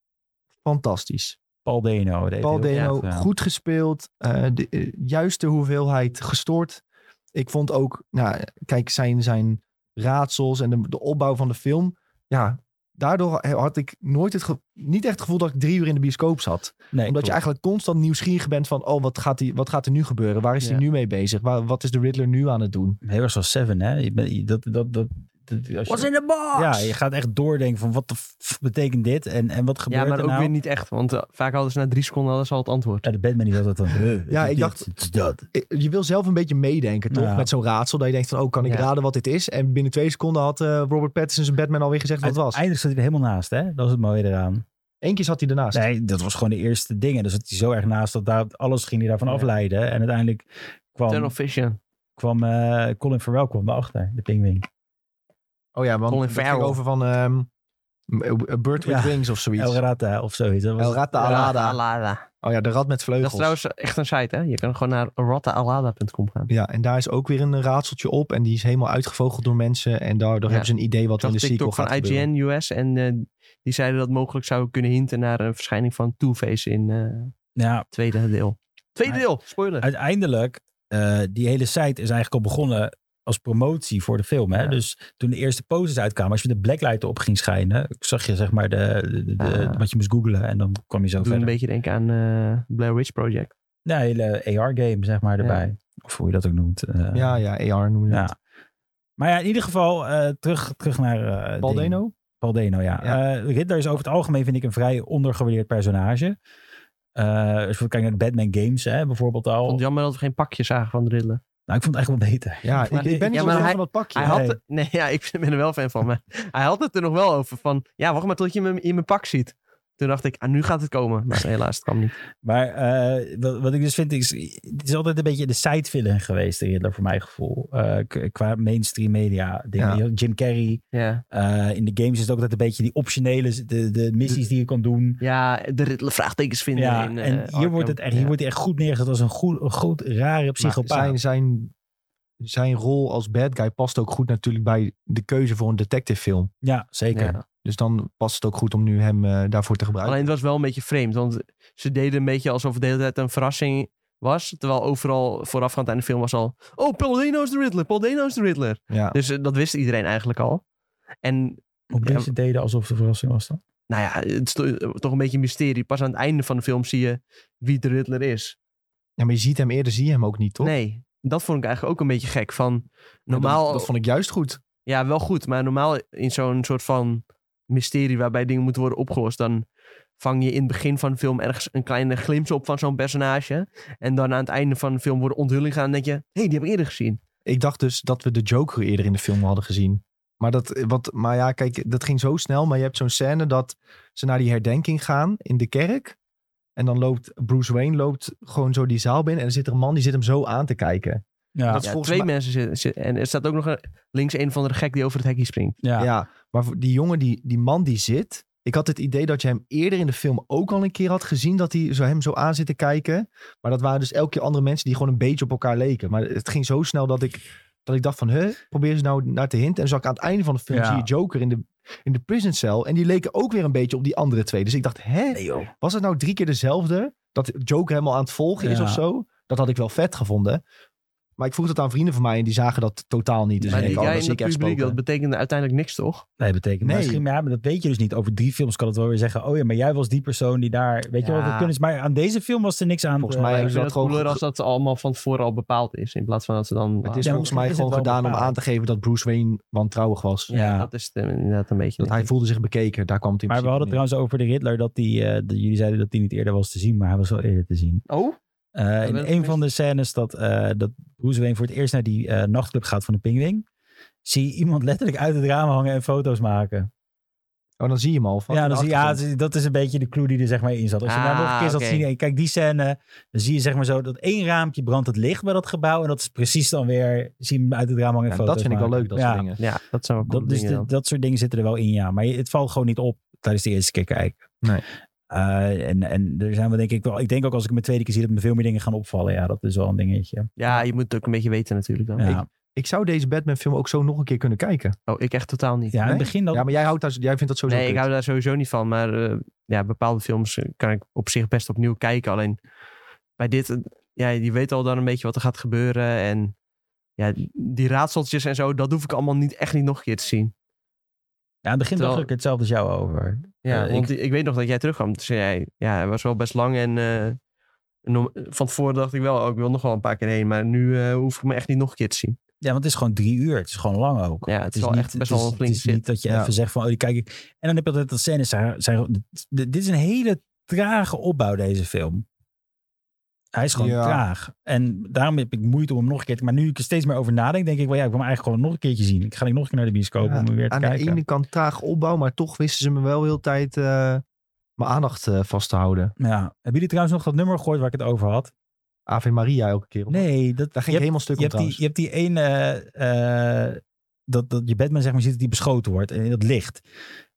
A: fantastisch.
C: Paul Deno. deed
A: Paul
C: heel
A: Deno,
C: goed, ja.
A: goed gespeeld. eh, de eh, juiste hoeveelheid gestoord. Ik vond ook, nou, kijk, zijn, zijn raadsels en de, de opbouw van de film. Ja, daardoor had ik nooit het ge- niet echt het gevoel dat ik drie uur in de bioscoop zat.
C: Nee,
A: Omdat
C: klopt.
A: je eigenlijk constant nieuwsgierig bent van, oh, wat gaat, die, wat gaat er nu gebeuren? Waar is hij
B: Ja.
A: nu mee bezig? Waar, wat is de Riddler nu aan het doen?
C: Heel erg zoals Seven, hè? Je bent- je- dat, dat, dat, dat, als je-
B: in the box?
C: ja, je gaat echt doordenken van wat de f- betekent dit en, en wat gebeurt
B: Ja, maar
C: er
B: ook
C: nou?
B: weer niet echt. Want eh, vaak hadden ze na drie seconden alles al het antwoord.
C: Ja, de Batman die was dat dan. huh,
A: Ja,
C: dit-
A: ik dacht-
C: dit is dat.
A: Eh, Je wil zelf een beetje meedenken, toch?
C: Ja.
A: Met zo'n raadsel. Dat je denkt van, oh, kan ik
B: Ja.
A: raden wat dit is? En binnen twee seconden had eh, Robert Pattinson zijn Batman alweer gezegd wat het was.
C: Uiteindelijk zat hij er helemaal naast, hè? Dat was het mooie eraan.
A: Eén keer zat hij ernaast.
C: Nee, dat was gewoon de eerste dingen. Dus het is zo erg naast dat daar, alles ging hij daarvan
B: Ja.
C: afleiden. En uiteindelijk
B: Tunnel
C: kwam,
B: Vision.
C: kwam eh, Colin Farrell kwam erachter, de pingwing.
A: Oh ja, want
B: Colin
A: het ging
B: Farrell.
A: over van ehm, A Bird with
C: Ja.
A: Wings of zoiets.
C: El Rata of zoiets. Dat was-
A: El Rata Alada.
B: Alada.
A: Oh ja, de rat met
B: Dat
A: vleugels.
B: is trouwens echt een site, hè? Je kan gewoon naar rottaalada.com gaan.
A: Ja, en daar is ook weer een raadseltje op. En die is helemaal uitgevogeld door mensen. En daardoor
B: Ja.
A: hebben ze een idee wat
B: Ik zag
A: in de sequel
B: TikTok
A: gaat
B: van IGN
A: gebeuren.
B: US en eh, die zeiden dat mogelijk zou kunnen hinten naar een verschijning van Two-Face in eh, het
C: Ja,
B: tweede deel. Tweede
C: Maar-
B: deel, spoiler.
C: uiteindelijk, eh, die hele site is eigenlijk al begonnen als promotie voor de film. Hè?
B: Ja.
C: Dus toen de eerste posters uitkwamen, als je de blacklight op ging schijnen, zag je zeg maar de, de- de-
B: Ah.
C: wat je moest googlen en dan kwam je zo
B: Doe
C: verder.
B: een beetje denken aan eh, Blair Witch Project.
C: Ja, een hele AR-game zeg maar
B: Ja.
C: erbij. Of hoe je dat ook noemt. eh,
A: Ja, ja, AR noemen ze
C: ja.
A: dat.
C: Maar ja, in ieder geval eh, terug, terug naar... eh,
A: Paul
C: ding.
A: Deno?
C: Paul Deno, ja.
A: Ja.
C: Eh, Riddler is over het algemeen, vind ik, een vrij ondergewaardeerd personage. Eh als we kijken naar de Batman games, hè, bijvoorbeeld al.
B: Ik vond het jammer dat we geen pakje zagen van de Riddler.
C: Nou, ik vond het eigenlijk wel beter.
A: Ja, ik,
B: Maar-
A: ik ben niet zo
B: Ja, maar
A: fan
B: hij-
A: van dat pakje.
B: Hij
C: Ja.
B: had, nee, ja, ik ben er wel fan van, maar hij had het er nog wel over van, ja, wacht maar tot je me in mijn pak ziet. Toen dacht ik, ah, nu gaat het komen. Maar helaas, het kwam niet.
C: Maar eh, wat, wat ik dus vind, is, het is altijd een beetje de side-villain geweest, de Riddler, voor mijn gevoel. Eh, k- qua mainstream media. dingen.
A: Ja.
C: Je had Jim Carrey.
B: Ja,
C: eh, in de games is het ook altijd een beetje die optionele, de, de missies die je kan doen.
B: ja de Riddler vraagtekens vinden.
C: Ja,
B: in, eh,
C: en hier
B: Arkham.
C: wordt, het echt,
B: Ja.
C: hier wordt hij echt goed neergezet als een goed, een goed rare
A: Maar
C: psychopaat.
A: zijn, zijn, zijn rol als bad guy past ook goed natuurlijk bij de keuze voor een detective film.
C: Ja, zeker.
B: Ja.
A: Dus dan past het ook goed om nu hem eh, daarvoor te gebruiken.
B: Alleen het was wel een beetje vreemd, want ze deden een beetje alsof het de hele tijd een verrassing was. Terwijl overal voorafgaand aan de film was al, oh, Paul Dano is de Riddler, Paul Dano is de Riddler.
A: ja.
B: Dus eh, dat wist iedereen eigenlijk al. En
C: Hoe
B: Ja.
C: deze deden alsof het een verrassing was dan?
B: nou ja, het is to- toch een beetje een mysterie. Pas aan het einde van de film zie je wie de Riddler is.
A: ja, maar je ziet hem eerder, zie je hem ook niet, toch?
B: Nee, dat vond ik eigenlijk ook een beetje gek. Van,
A: Maar
B: normaal,
A: Dat, dat vond ik juist goed.
B: ja wel goed, maar normaal in zo'n soort van mysterie waarbij dingen moeten worden opgelost, dan vang je in het begin van de film ergens een kleine glimp op van zo'n personage. En dan aan het einde van de film wordt een onthulling gaan en denk je, hé, hey, die heb ik eerder gezien.
A: Ik dacht dus dat we de Joker eerder in de film hadden gezien. Maar, dat, wat, maar ja, kijk, dat ging zo snel. Maar je hebt zo'n scène dat ze naar die herdenking gaan in de kerk. En dan loopt Bruce Wayne loopt gewoon zo die zaal binnen. En er zit er een man die zit hem zo aan te kijken.
C: Ja,
A: Dat is
B: Ja,
A: volgens
B: twee
A: mij-
B: mensen zitten. zitten- en er staat ook nog een, links een van de gek die over het hekje springt.
C: ja.
A: Ja, maar voor die jongen, die, die man die zit. Ik had het idee dat je hem eerder in de film ook al een keer had gezien. Dat hij zo hem zo aan zit te kijken. Maar dat waren dus elke keer andere mensen die gewoon een beetje op elkaar leken. Maar het ging zo snel dat ik, dat ik dacht van, huh, probeer ze nou naar te hinten. En zag ik aan het einde van de film
C: Ja.
A: zie je Joker in de, in de prison cell. En die leken ook weer een beetje op die andere twee. Dus ik dacht, hè,
C: Nee, joh.
A: was het nou drie keer dezelfde? Dat Joker helemaal aan het volgen is
C: Ja.
A: of zo? Dat had ik wel vet gevonden. Maar ik vroeg dat aan vrienden van mij en die zagen dat totaal niet. Dus
B: maar
A: ik
B: die
A: denk, oh,
B: guy
A: dat
B: in
A: is
B: dat
A: ik echt
B: publiek, dat
A: spoken.
B: betekende uiteindelijk niks, toch?
C: Nee, betekent
A: Nee.
C: misschien, maar ja, maar dat weet je dus niet. Over drie films kan het wel weer zeggen, oh ja, maar jij was die persoon die daar, weet je
B: Ja.
C: wel, dat kunnen ze. Maar aan deze film was er niks aan.
A: Volgens
C: te-
A: mij
B: ik
A: hebben
B: vind
A: ze
B: het
A: dat gewoon
B: cooler als dat allemaal van tevoren al bepaald is. In plaats van dat ze dan...
A: Het is
C: Ja, maar
A: volgens mij
C: is het
A: gewoon
C: wel
A: gedaan om
C: bepaald?
A: aan te geven dat Bruce Wayne wantrouwig was.
C: ja.
B: Dat is het, eh, inderdaad een beetje...
A: Dat hij voelde zich bekeken, daar kwam het in
C: Maar we
A: principe
C: hadden het trouwens over de Riddler, dat die, eh, dat jullie zeiden dat die niet eerder was te zien, maar hij was wel eerder te zien.
B: Oh?
C: Eh, in
B: ben ik
C: een van de scènes dat, eh, dat Bruce Wayne voor het eerst naar die eh, nachtclub gaat van de pingwing, zie je iemand letterlijk uit het raam hangen en foto's maken.
A: neer. Oh, dan zie je hem al. van
C: ja,
A: de
C: dan zie je, ja,
A: achtergrond.
C: dat is een beetje de clue die er zeg maar in zat. Als je
B: Ah,
C: nou nog een keer zat
B: oké.
C: zien, en je kijkt die scène, dan zie je zeg maar zo dat één raampje brandt het licht bij dat gebouw en dat is precies dan weer, zie je hem uit het raam hangen en
A: Ja,
C: foto's
A: dat vind ik wel
C: maken.
A: leuk, dat
C: ja.
A: soort dingen.
B: Ja, dat zou wel
C: Dat, dus
B: dingen
C: de-
B: dan.
C: dat soort dingen zitten er wel in, ja. Maar je- het valt gewoon niet op tijdens de eerste keer kijken.
A: Nee.
C: Eh, en, en er zijn wel denk ik wel... Ik denk ook als ik hem een tweede keer zie dat me veel meer dingen gaan opvallen. Ja, dat is wel een dingetje.
B: Ja, je moet het ook een beetje weten natuurlijk dan.
C: Ja.
B: Ik-
A: Ik zou deze Batman film ook zo nog een keer kunnen kijken.
B: Oh, ik echt totaal niet.
C: Ja, in
A: Nee?
C: het begin dat...
A: Ja, maar jij, houdt daar, jij vindt dat sowieso
B: nee, ik
A: kut.
B: hou daar sowieso niet van. Maar eh, ja, bepaalde films eh, kan ik op zich best opnieuw kijken. Alleen bij dit, eh, ja, je weet al dan een beetje wat er gaat gebeuren. En ja, die raadseltjes en zo, dat hoef ik allemaal niet, echt niet nog een keer te zien.
C: Ja, in het begin dacht
B: Terwijl-
C: ik hetzelfde als jou over.
B: Ja,
C: Eh,
B: want ik... ik weet nog dat jij terugkwam. Dus jij, ja, het was wel best lang en... eh, no- van tevoren dacht ik wel, oh, ik wil nog wel een paar keer heen. Maar nu eh, hoef ik me echt niet nog een keer te zien.
C: Ja, want het is gewoon drie uur. Het is gewoon lang ook.
B: Ja, het is wel echt
C: het
B: best wel
C: is-
B: een flink
C: Het is niet
B: zit.
C: dat je
A: Ja.
C: even zegt van, oh, die kijk ik. En dan heb je altijd dat scènes. Zijn, zijn, dit dit is een hele trage opbouw, deze film. Hij is gewoon
A: Ja.
C: traag. En daarom heb ik moeite om hem nog een keer te... Maar nu ik er steeds meer over nadenk, denk ik wel, ja, ik wil hem eigenlijk gewoon nog een keertje zien. Ik ga niet nog een keer naar de bioscoop
A: Ja,
C: om hem Oh, weer te
A: Aan
C: kijken.
A: de ene kant traag opbouw, maar toch wisten ze me wel heel de tijd eh, mijn aandacht eh, vast te houden.
C: Ja. Hebben jullie trouwens nog dat nummer gehoord waar ik het over had?
A: Ave Maria elke keer. Op.
C: Nee, dat,
A: Daar
C: je
A: ging ik
C: hebt-
A: helemaal stuk
C: je
A: om
C: hebt, die,
A: trouwens.
C: je hebt die ene, eh, eh, dat, dat je Batman zeg maar zit die beschoten wordt en in dat licht.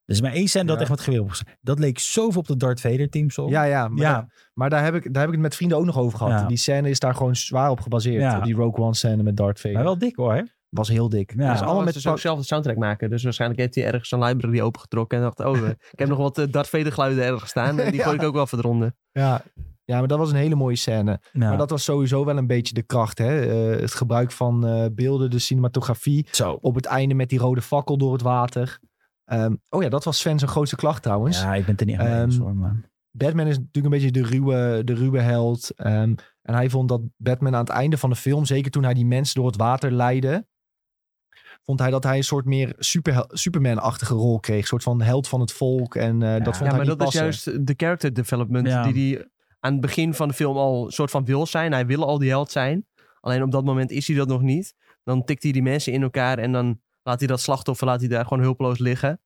C: Er is maar één scène dat
A: Ja.
C: echt met geweer op is. Dat leek zoveel op de Darth Vader team song.
A: Ja, ja. Maar,
C: Ja.
A: Daar, maar daar, heb ik, daar heb ik het met vrienden ook nog over gehad.
C: Ja.
A: Die scène is daar gewoon zwaar op gebaseerd.
C: Ja.
A: Op die Rogue One scène met Darth Vader.
C: maar wel dik hoor.
A: Was heel dik.
C: Ja.
A: Ja.
C: Ja,
A: allemaal met
B: oh, zou
A: pak-
B: zelf de soundtrack maken. Dus waarschijnlijk heeft hij ergens een library opengetrokken. En dacht, oh, eh, ik heb nog wat eh, Darth Vader geluiden ergens staan. En die
A: Ja.
B: gooi ik ook wel verdronden.
A: ja. ja, maar dat was een hele mooie scène.
C: Ja.
A: Maar dat was sowieso wel een beetje de kracht. Hè? Eh, het gebruik van eh, beelden, de cinematografie.
C: Zo.
A: Op het einde met die rode fakkel door het water. Ehm, oh ja, dat was Sven zijn grootste klacht trouwens.
C: Ja, ik ben het er niet aan
A: Ehm,
C: eens hoor. Maar.
A: Batman is natuurlijk een beetje de ruwe, de ruwe held. Ehm, en hij vond dat Batman aan het einde van de film, zeker toen hij die mensen door het water leidde, vond hij dat hij een soort meer superhel- Superman-achtige rol kreeg. Een soort van held van het volk. En eh, dat vond
C: Ja,
A: hij
B: Ja, maar
A: niet
B: dat
A: passen.
B: is juist de character development
C: Ja.
B: die hij aan het begin van de film al een soort van wil zijn. Hij wil al die held zijn. Alleen op dat moment is hij dat nog niet. Dan tikt hij die mensen in elkaar en dan laat hij dat slachtoffer laat hij daar gewoon hulpeloos liggen.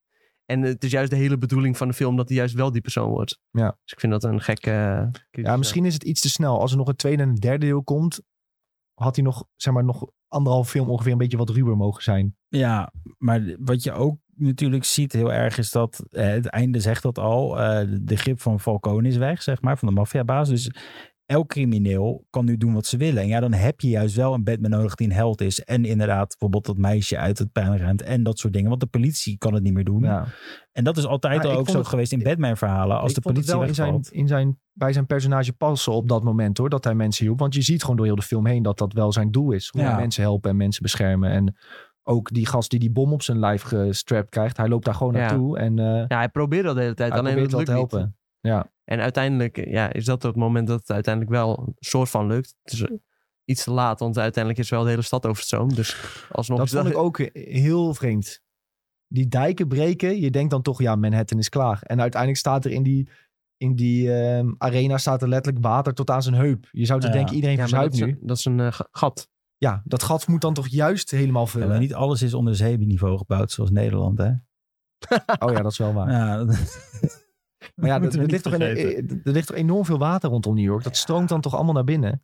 B: En het is juist de hele bedoeling van de film dat hij juist wel die persoon wordt.
A: Ja.
B: Dus ik vind dat een gekke... Dus, eh,
A: Ja, misschien is het iets te snel. Als er nog een tweede en een derde deel komt, had hij nog, zeg maar, nog anderhalf film ongeveer een beetje wat ruwer mogen zijn.
C: Ja, maar wat je ook natuurlijk ziet heel erg is dat eh, het einde zegt dat al. eh, de grip van Falcone is weg, zeg maar, van de maffiabaas. Dus elk crimineel kan nu doen wat ze willen. En ja, dan heb je juist wel een Batman nodig die een held is. En inderdaad, bijvoorbeeld dat meisje uit het pijnruimte en dat soort dingen. Want de politie kan het niet meer doen. En dat is altijd
A: Maar
C: al
A: Nou, ik
C: ook
A: vond
C: zo
A: het-
C: geweest in Batman-verhalen. Als
A: Ik
C: de
A: vond het
C: politie
A: wel in zijn, eh,
C: wegvalt.
A: in zijn, bij zijn personage passen op dat moment hoor, dat hij mensen hielp. Want je ziet gewoon door heel de film heen dat dat wel zijn doel is. Hoe
C: Ja.
A: hij mensen helpen en mensen beschermen. En ook die gast die die bom op zijn lijf gestrapt krijgt, hij loopt daar gewoon
B: Ja.
A: naartoe en eh,
B: Ja, hij probeert dat de hele tijd.
A: hij
B: alleen
A: probeert
B: dat
A: wel
B: lukt
A: te
B: niet.
A: helpen.
B: En uiteindelijk eh, ja, is dat het moment dat het uiteindelijk wel een soort van lukt. Het is eh, iets te laat, want uiteindelijk is wel de hele stad overstroomd. Dus alsnog
A: Dat
B: is dat...
A: vond ik ook heel vreemd. Die dijken breken, je denkt dan toch, ja, Manhattan is klaar. En uiteindelijk staat er in die, in die ehm, arena staat er letterlijk water tot aan zijn heup. Je zou toch
C: Ja.
A: denken, iedereen
B: Ja, maar dat,
A: verzuipt
B: is,
A: nu.
B: een- dat is een eh, ga- gat.
A: Ja, dat gat moet dan toch juist helemaal
C: Ja,
A: vullen.
C: maar niet alles is onder zeeniveau gebouwd, zoals Nederland, hè?
A: Oh ja, dat is wel waar.
C: Ja, dat-
A: Maar ja,
C: Moeten we
A: er, er
C: niet
A: ligt toch een-
C: vergeten.
A: eh, er ligt toch enorm veel water rondom New York. Dat stroomt dan toch allemaal naar binnen.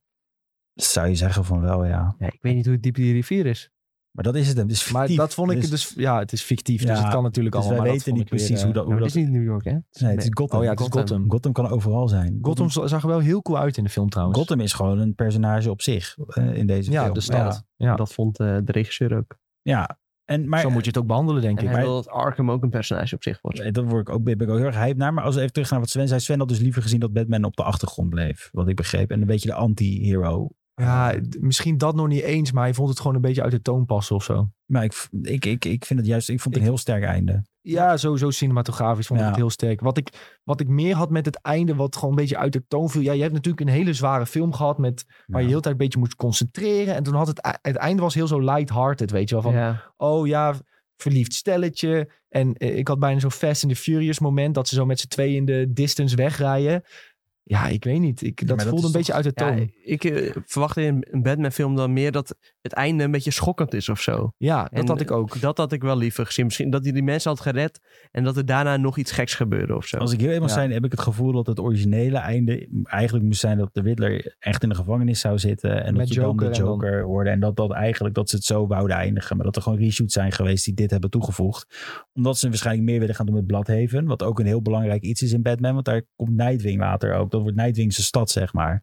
C: Zou je zeggen van wel, ja.
B: Ja, ik weet niet hoe diep die rivier is.
C: Maar dat is het. hem. Het is
A: Maar
C: fictief.
A: dat vond ik
C: Dus-
A: dus... Ja, het is fictief, dus
C: Ja,
A: het kan natuurlijk
C: Dus
A: allemaal.
C: wij
A: maar
C: weten
A: dat
C: niet
A: vond ik
C: precies
A: weer, eh,
C: hoe dat...
B: Nou,
C: Hoe
B: dat
C: dat
B: is niet New York, hè?
C: nee, het is Gotham.
A: Oh ja, het is
B: Gotham.
A: Gotham.
C: Gotham kan overal zijn.
A: Gotham zag er wel heel cool uit in de film trouwens.
C: Gotham is gewoon een personage op zich eh, in deze
A: ja,
C: film.
A: de stad. Ja.
B: Dat vond eh, de regisseur ook.
C: Ja, ja. En, maar,
A: Zo moet je het ook behandelen, denk
B: En
A: ik.
B: hij
C: maar-
B: wil dat Arkham ook een personage op zich wordt.
C: Eh, Dat word ik ook, ben ik ook heel erg hype naar. Maar als we even terug naar wat Sven zei. Sven had dus liever gezien dat Batman op de achtergrond bleef. Wat ik begreep. En een beetje de anti-hero.
A: Ja, d- misschien dat nog niet eens, maar hij vond het gewoon een beetje uit de toon passen of zo.
C: Maar ik, ik, ik, ik vind het juist... Ik vond het een heel sterk einde.
A: Ja, sowieso cinematografisch vond ik
C: Ja.
A: het heel sterk. Wat ik, wat ik meer had met het einde, wat gewoon een beetje uit de toon viel. Ja, je hebt natuurlijk een hele zware film gehad met, waar je heel de tijd een beetje moest concentreren. En toen had het, e- het einde was heel zo light-hearted, weet je wel. Van,
B: Ja.
A: oh ja, verliefd stelletje. En eh, ik had bijna zo'n Fast and the Furious moment, dat ze zo met z'n tweeën in de distance wegrijden. Ja, ik weet niet. Ik,
C: maar
A: dat
C: dat
A: voelde
C: is
A: een
C: toch-
A: beetje uit de
B: Ja,
A: toon. Ja,
B: ik eh, verwacht in een Batman-film dan meer dat het einde een beetje schokkend is of zo.
A: dat
B: En
A: had ik ook.
B: Dat had ik wel liever gezien. Misschien dat hij die mensen had gered en dat er daarna nog iets geks gebeurde of zo.
C: Als ik heel even
A: Ja.
C: zijn, heb ik het gevoel dat het originele einde eigenlijk moest zijn dat de Riddler echt in de gevangenis zou zitten. En
A: Met
C: dat je
A: Joker
C: dan
A: en
C: de
A: dan-
C: Joker hoorde. En dat dat eigenlijk dat ze het zo wouden eindigen. Maar dat er gewoon reshoots zijn geweest die dit hebben toegevoegd. Omdat ze waarschijnlijk meer willen gaan doen met Bloodhaven. Wat ook een heel belangrijk iets is in Batman. Want daar komt Nightwing later ook. Dat wordt Nightwing zijn stad, zeg maar.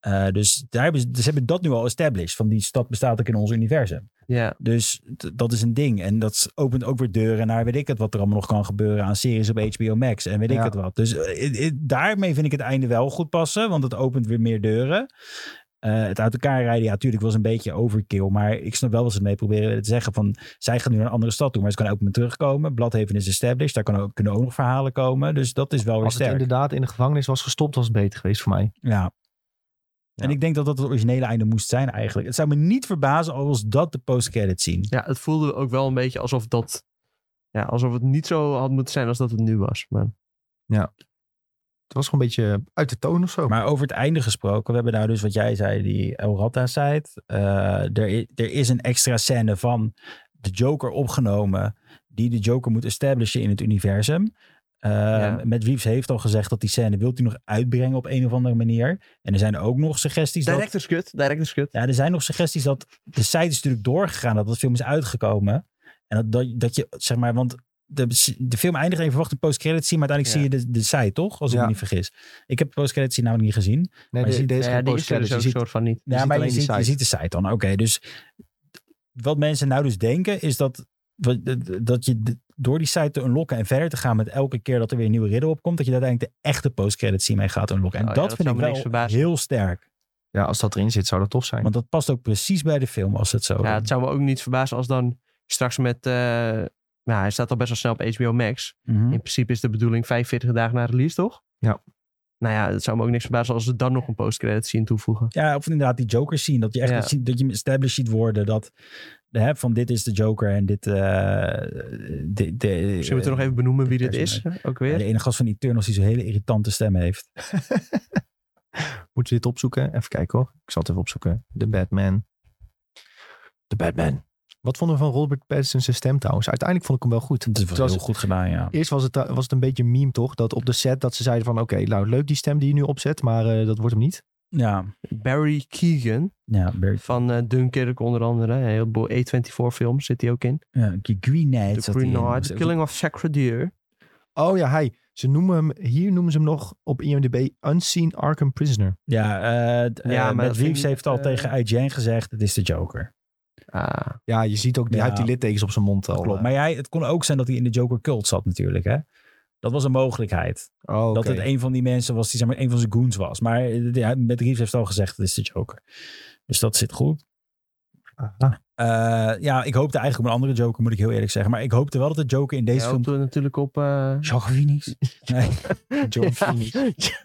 C: Eh, Eh, dus daar hebben ze, ze hebben dat nu al established. Van die stad bestaat ook in ons universum.
B: Ja,
C: Dus t- dat is een ding. En dat opent ook weer deuren naar weet ik het wat er allemaal nog kan gebeuren aan series op HBO Max en weet ik
A: Ja.
C: het wat. Dus eh, eh, eh, daarmee vind ik het einde wel goed passen, want het opent weer meer deuren. Eh, het uit elkaar rijden, ja, natuurlijk was een beetje overkill. Maar ik snap wel wat ze mee proberen te zeggen. Van zij gaan nu naar een andere stad toe, maar ze kunnen ook met terugkomen. Bladhaven is established, daar kan ook, kunnen ook nog verhalen komen. Dus dat is wel weer
A: Als het
C: sterk.
A: inderdaad in de gevangenis was gestopt, was het beter geweest voor mij.
C: Ja. En
A: Ja.
C: ik denk dat dat het originele einde moest zijn eigenlijk. Het zou me niet verbazen al was dat de post-credit scene.
B: ja, het voelde ook wel een beetje alsof dat... Ja, alsof het niet zo had moeten zijn als dat het nu was. Maar
A: Het was gewoon een beetje uit de toon of zo.
C: Maar over het einde gesproken, we hebben nou dus wat jij zei, die El Ratta-site. er, i- er is een extra scène van de Joker opgenomen, die de Joker moet establishen in het universum. Eh,
B: Ja.
C: Matt Reeves heeft al gezegd dat die scène wilt hij nog uitbrengen op een of andere manier. En er zijn ook nog suggesties dat...
B: director's cut, director's cut.
C: Ja, er zijn nog suggesties dat de site is natuurlijk doorgegaan, dat dat film is uitgekomen. En dat, dat, dat je, zeg maar, want de, de film eindigt even, wacht een post-credit scene, maar uiteindelijk zie je de, de site, toch? Als ik
A: Ja.
C: me niet vergis. Ik heb de post-credit scene namelijk niet gezien.
A: nee,
C: maar je
A: de-
C: ziet-
A: deze
B: Ja,
A: geen
B: die is er
A: postcredits,
B: dus
A: je
B: ook
A: ziet-
B: soort van niet.
A: ziet
C: ja, maar je
A: alleen die
C: ziet, je
A: site.
C: ziet de site dan. Oké, dus wat mensen nou dus denken is dat, wat- dat- dat je d- door die site te unlocken en verder te gaan met elke keer dat er weer een nieuwe ridder opkomt, dat je daar uiteindelijk de echte post-credit scene mee gaat unlocken. En
B: Oh ja,
C: dat,
B: dat
C: vind
B: zou
C: ik
B: me niks
C: wel
B: verbazen.
C: heel sterk.
A: Ja, als dat erin zit, zou dat tof zijn.
C: Want dat past ook precies bij de film als het zo
B: Ja, het zou me ook niet verbazen als dan straks met... eh, nou, hij staat al best wel snel op HBO Max.
C: Mhm.
B: In principe is de bedoeling 45 dagen na release, toch?
A: Ja.
B: Nou ja, het zou me ook niks verbazen als ze dan nog een post-credit zien toevoegen.
C: Ja, of inderdaad die Joker zien. Dat je echt
B: Ja.
C: ziet, dat je hem established ziet worden. Dat hè, van dit is de Joker en dit... eh de, eh, de,
B: Misschien moeten we nog even benoemen wie dit is, ook
C: De
B: weer.
C: ene gast van Eternals die zo'n hele irritante stem heeft.
A: Moeten we dit opzoeken? Even kijken hoor. Ik zal het even opzoeken. De Batman. De Batman. Wat vonden we van Robert Pattinson's stem trouwens? Uiteindelijk vond ik hem wel goed.
C: Dat is
A: Het
C: wel
A: was-
C: heel goed gedaan, ja.
A: Eerst was het, was het een beetje een meme toch? Dat op de set dat ze zeiden van... Oké, nou leuk die stem die je nu opzet, maar eh, dat wordt hem niet.
C: Ja,
B: Barry Keegan
C: ja, Bert-
B: van eh, Dunkirk onder andere. Een heleboel A24 films zit hij ook in.
C: ja die Green Knight.
B: The
C: zat hij in. Dus,
B: Green
C: eh,
B: Knight, The
C: Zo-
B: Killing of Sacred Deer.
A: Oh ja, hij. Ze noemen hem, hier noemen ze hem nog op IMDb Unseen Arkham Prisoner.
C: Ja, eh d- eh,
B: Ja, maar
C: Matt
B: dat vind
C: Reeves
B: ik-
C: heeft al
B: eh,
C: tegen IGN gezegd, het is de Joker.
B: Ah,
A: Ja, je ziet ook, die,
C: Ja.
A: hij heeft die littekens op zijn mond al.
B: eh.
C: Klopt. Maar jij, het kon ook zijn dat hij in de Joker cult zat natuurlijk, hè. Dat was een mogelijkheid.
A: eh. Oh, oké.
C: Dat het een van die mensen was die zeg maar, een van zijn goons was. Maar eh, ja, met Reeves heeft al gezegd, het is de Joker. Dus dat zit goed.
A: Ah.
C: Eh, ja, ik hoopte eigenlijk op een andere Joker, moet ik heel eerlijk zeggen. Maar ik hoopte wel dat de Joker in deze
B: hij
C: film...
B: hoopt er natuurlijk op... eh,
C: John Phoenix? Nee. John
B: Ja.
C: Phoenix.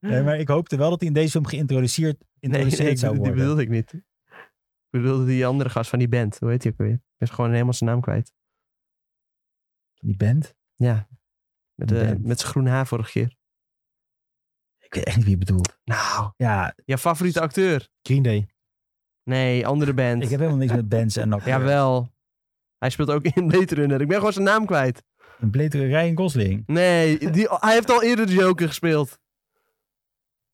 C: Nee, maar ik hoopte wel dat hij in deze film geïntroduceerd
B: Nee,
C: introduceerd
B: nee, ik
C: zou
B: bedoel- die
C: worden.
B: bedoelde ik niet. Ik bedoelde die andere gast van die band. Hoe heet hij ook weer? Ik ben gewoon helemaal zijn naam kwijt.
C: Die band?
B: Ja. Met, eh,
C: Band.
B: met zijn groen haar vorige keer.
C: Ik weet echt niet wie je bedoelt.
B: Nou,
C: Ja,
B: jouw favoriete acteur.
A: Green Day.
B: Nee, andere band.
C: ik heb helemaal niks met bands en acteurs.
B: Jawel. Hij speelt ook in Blade Runner. Ik ben gewoon zijn naam kwijt.
C: Een bletere Ryan Gosling.
B: Nee, die, hij heeft al eerder de Joker gespeeld.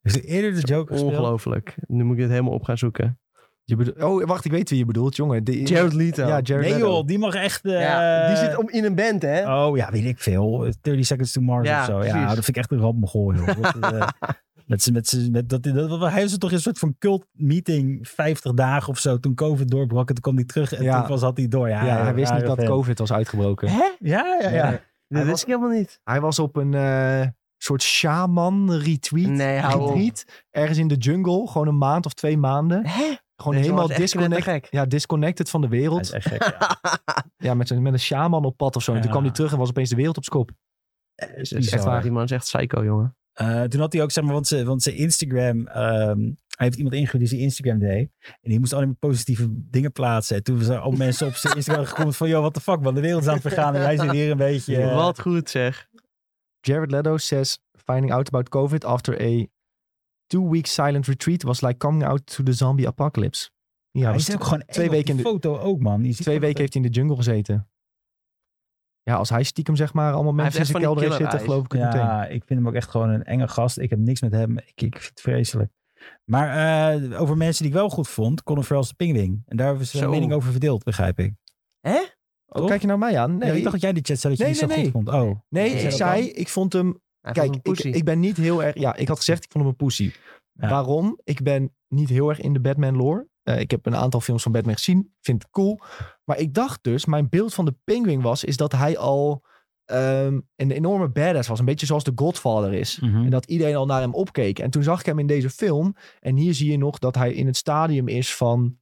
C: Is er eerder de Joker gespeeld?
B: Ongelooflijk. Nu moet ik het helemaal op gaan zoeken.
A: Je bedo- oh, wacht, ik weet wie je bedoelt, jongen. Die-
B: Jared Leto.
A: Ja, Jared
C: Nee
A: Leto.
C: joh, die mag echt... eh,
B: Ja, die zit om in een band, hè?
C: Oh ja, weet ik veel. 30 Seconds to Mars
B: Ja,
C: of zo. Ja,
B: precies.
C: dat vind ik echt een rampengooi. joh. Dat, eh, met z'n- met z'n- met dat, dat, dat- hij was er toch in een soort van cult meeting 50 dagen of zo. Toen COVID doorbrak en toen kwam hij terug en
A: Ja.
C: toen was, had hij door. Ja,
A: Ja, hij wist niet
C: rare
A: dat
C: vent.
A: COVID was uitgebroken.
C: Hè? Ja, ja, ja.
A: Nee.
B: Dat wist
A: was-
B: ik helemaal niet.
A: Hij was op een eh, soort shaman retweet.
B: Nee, hou op.
A: retreat, ergens in de jungle, gewoon een maand of twee maanden.
B: Hè?
A: Gewoon
B: Deze
A: helemaal
B: man is echt
A: disconnect,
B: knettergek.
A: ja, disconnected van de
C: Hij
A: wereld.
C: is echt gek. ja.
A: Ja, met, een- met een shaman op pad of zo. En toen
C: Ja.
A: kwam hij terug en was opeens de wereld op zijn kop.
B: Is
C: bizar.
B: echt waar. Die man is echt psycho, jongen.
C: Eh, toen had hij ook, zeg maar, want zijn, want zijn Instagram... ehm, hij heeft iemand ingehuurd die zijn Instagram deed. En die moest alleen maar positieve dingen plaatsen. En toen zijn al mensen op zijn Instagram gekomen van... ...joh, what the fuck man, de wereld is aan het vergaan. En hij zit hier een beetje... eh,
B: Wat goed zeg.
A: Jared Leto says finding out about COVID after a two-week silent retreat was like coming out to the zombie apocalypse. Ja,
C: hij
A: was
C: is ook gewoon
A: twee
C: twee weken
A: weken in de-
C: foto ook, man. Je ziet
A: Dus twee
C: ook
A: weken
C: dat-
A: heeft hij in de jungle gezeten. Ja, als hij stiekem zeg maar allemaal
B: heeft
A: mensen in
B: echt
A: zijn
B: van die
A: kelder heeft
B: killer
A: zitten, geloof ik het meteen.
C: Ja, ik vind hem ook echt gewoon een enge gast. Ik heb niks met hem. Ik, ik vind het vreselijk. Maar eh, over mensen die ik wel goed vond, Colin Farrell is de pingwing. En daar hebben ze een
B: Zo.
C: mening over verdeeld, begrijp ik.
B: Hè?
A: Oh, kijk je nou mij aan?
C: Nee,
A: Nee,
C: ik dacht dat jij in de chat zei dat je
A: Nee,
C: die
A: nee,
C: zo goed vond. Oh,
A: nee,
B: Nee,
A: ik
B: dat
A: zei, ik vond hem
B: Hij vond
A: Kijk,
B: hem
A: ik,
B: pussy.
A: ik ben niet heel erg... Ja, ik had gezegd, ik vond hem een pussy.
C: Ja.
A: Waarom? Ik ben niet heel erg in de Batman lore. Eh, ik heb een aantal films van Batman gezien. Vind het cool. Maar ik dacht dus, mijn beeld van de Penguin was, is dat hij al ehm, een enorme badass was. Een beetje zoals de Godfather is.
B: Hm.
A: En dat iedereen al naar hem opkeek. En toen zag ik hem in deze film. En hier zie je nog dat hij in het stadium is van.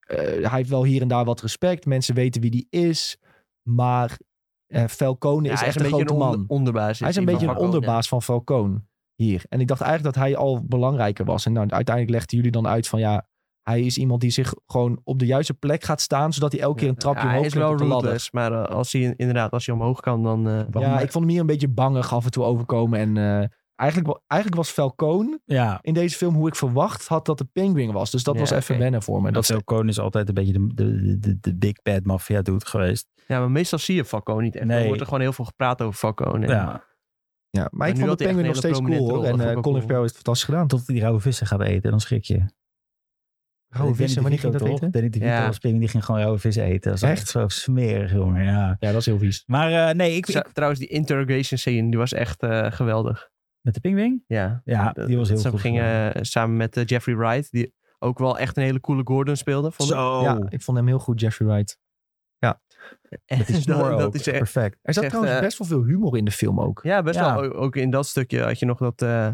A: eh, hij heeft wel hier en daar wat respect. Mensen weten wie die is. Maar eh Falcone
B: Ja,
A: is
B: hij
A: echt
B: is
A: een,
B: een beetje
A: grote
B: een
A: man.
B: onder- onderbaas.
A: hij is een
B: die
A: beetje
B: van
A: een
B: Falcone.
A: onderbaas van Falcone hier. En ik dacht eigenlijk dat hij al belangrijker was. En nou, uiteindelijk legden jullie dan uit van ja. Hij is iemand die zich gewoon op de juiste plek gaat staan. Zodat hij elke keer een trapje
B: Ja,
A: omhoog
B: hij is
A: klimt
B: wel
A: op de ladder.
B: ruthless, maar eh, als hij in- inderdaad als hij omhoog kan, dan... eh,
A: Ja, ik vond hem hier een beetje bangig af en toe overkomen. En eh, eigenlijk, wa- eigenlijk was Falcone
C: ja.
A: in deze film hoe ik verwacht had dat de Penguin was. Dus dat
B: Ja,
A: was even
B: oké. Nou,
A: wennen voor me.
C: Maar
A: Dat
C: dat Falcone is altijd een beetje de, de, de, de big bad maffia doet geweest.
B: Ja, maar meestal zie je Falcone niet echt.
C: Nee.
B: Er wordt er gewoon heel veel gepraat over Falcone.
C: Ja.
A: ja, maar
B: Maar
A: ik vond de
B: nu had hij echt
A: Penguin
B: een
A: nog
B: hele
A: steeds cool
B: prominente
A: hoor.
B: rol,
A: En
B: dat vond
A: eh
B: ik ook
A: Colin
B: cool.
A: Farrell heeft het fantastisch gedaan.
C: Tot die rauwe vissen gaat eten, dan schrik je.
B: Oh,
A: Rauwe vissen, wanneer ging dat eten?
C: Danny DeVito
B: Ja.
C: als Penguin, die ging gewoon rauwe vissen eten. Dat is
A: Echt?
C: echt zo smerig, jongen. Ja.
A: Ja, dat is heel vies.
C: Maar eh, nee, ik,
B: Zo-
C: ik-
B: trouwens, die interrogation scene, die was echt eh, geweldig.
C: Met de pingwing?
B: Ja,
C: Ja, die was heel
B: Ze
C: goed.
B: gingen eh, samen met eh, Jeffrey Wright, die ook wel echt een hele coole Gordon speelde. Vond ik.
C: Zo.
A: Ja, ik vond hem heel goed, Jeffrey Wright.
B: En
C: Met die snor
B: dat, dat
C: ook.
B: is echt,
C: Perfect.
A: Er zat
B: Zegt,
A: trouwens
B: eh,
A: best wel veel humor in de film ook.
B: Ja, best
C: Ja.
B: wel. O- Ook in dat stukje had je nog dat... eh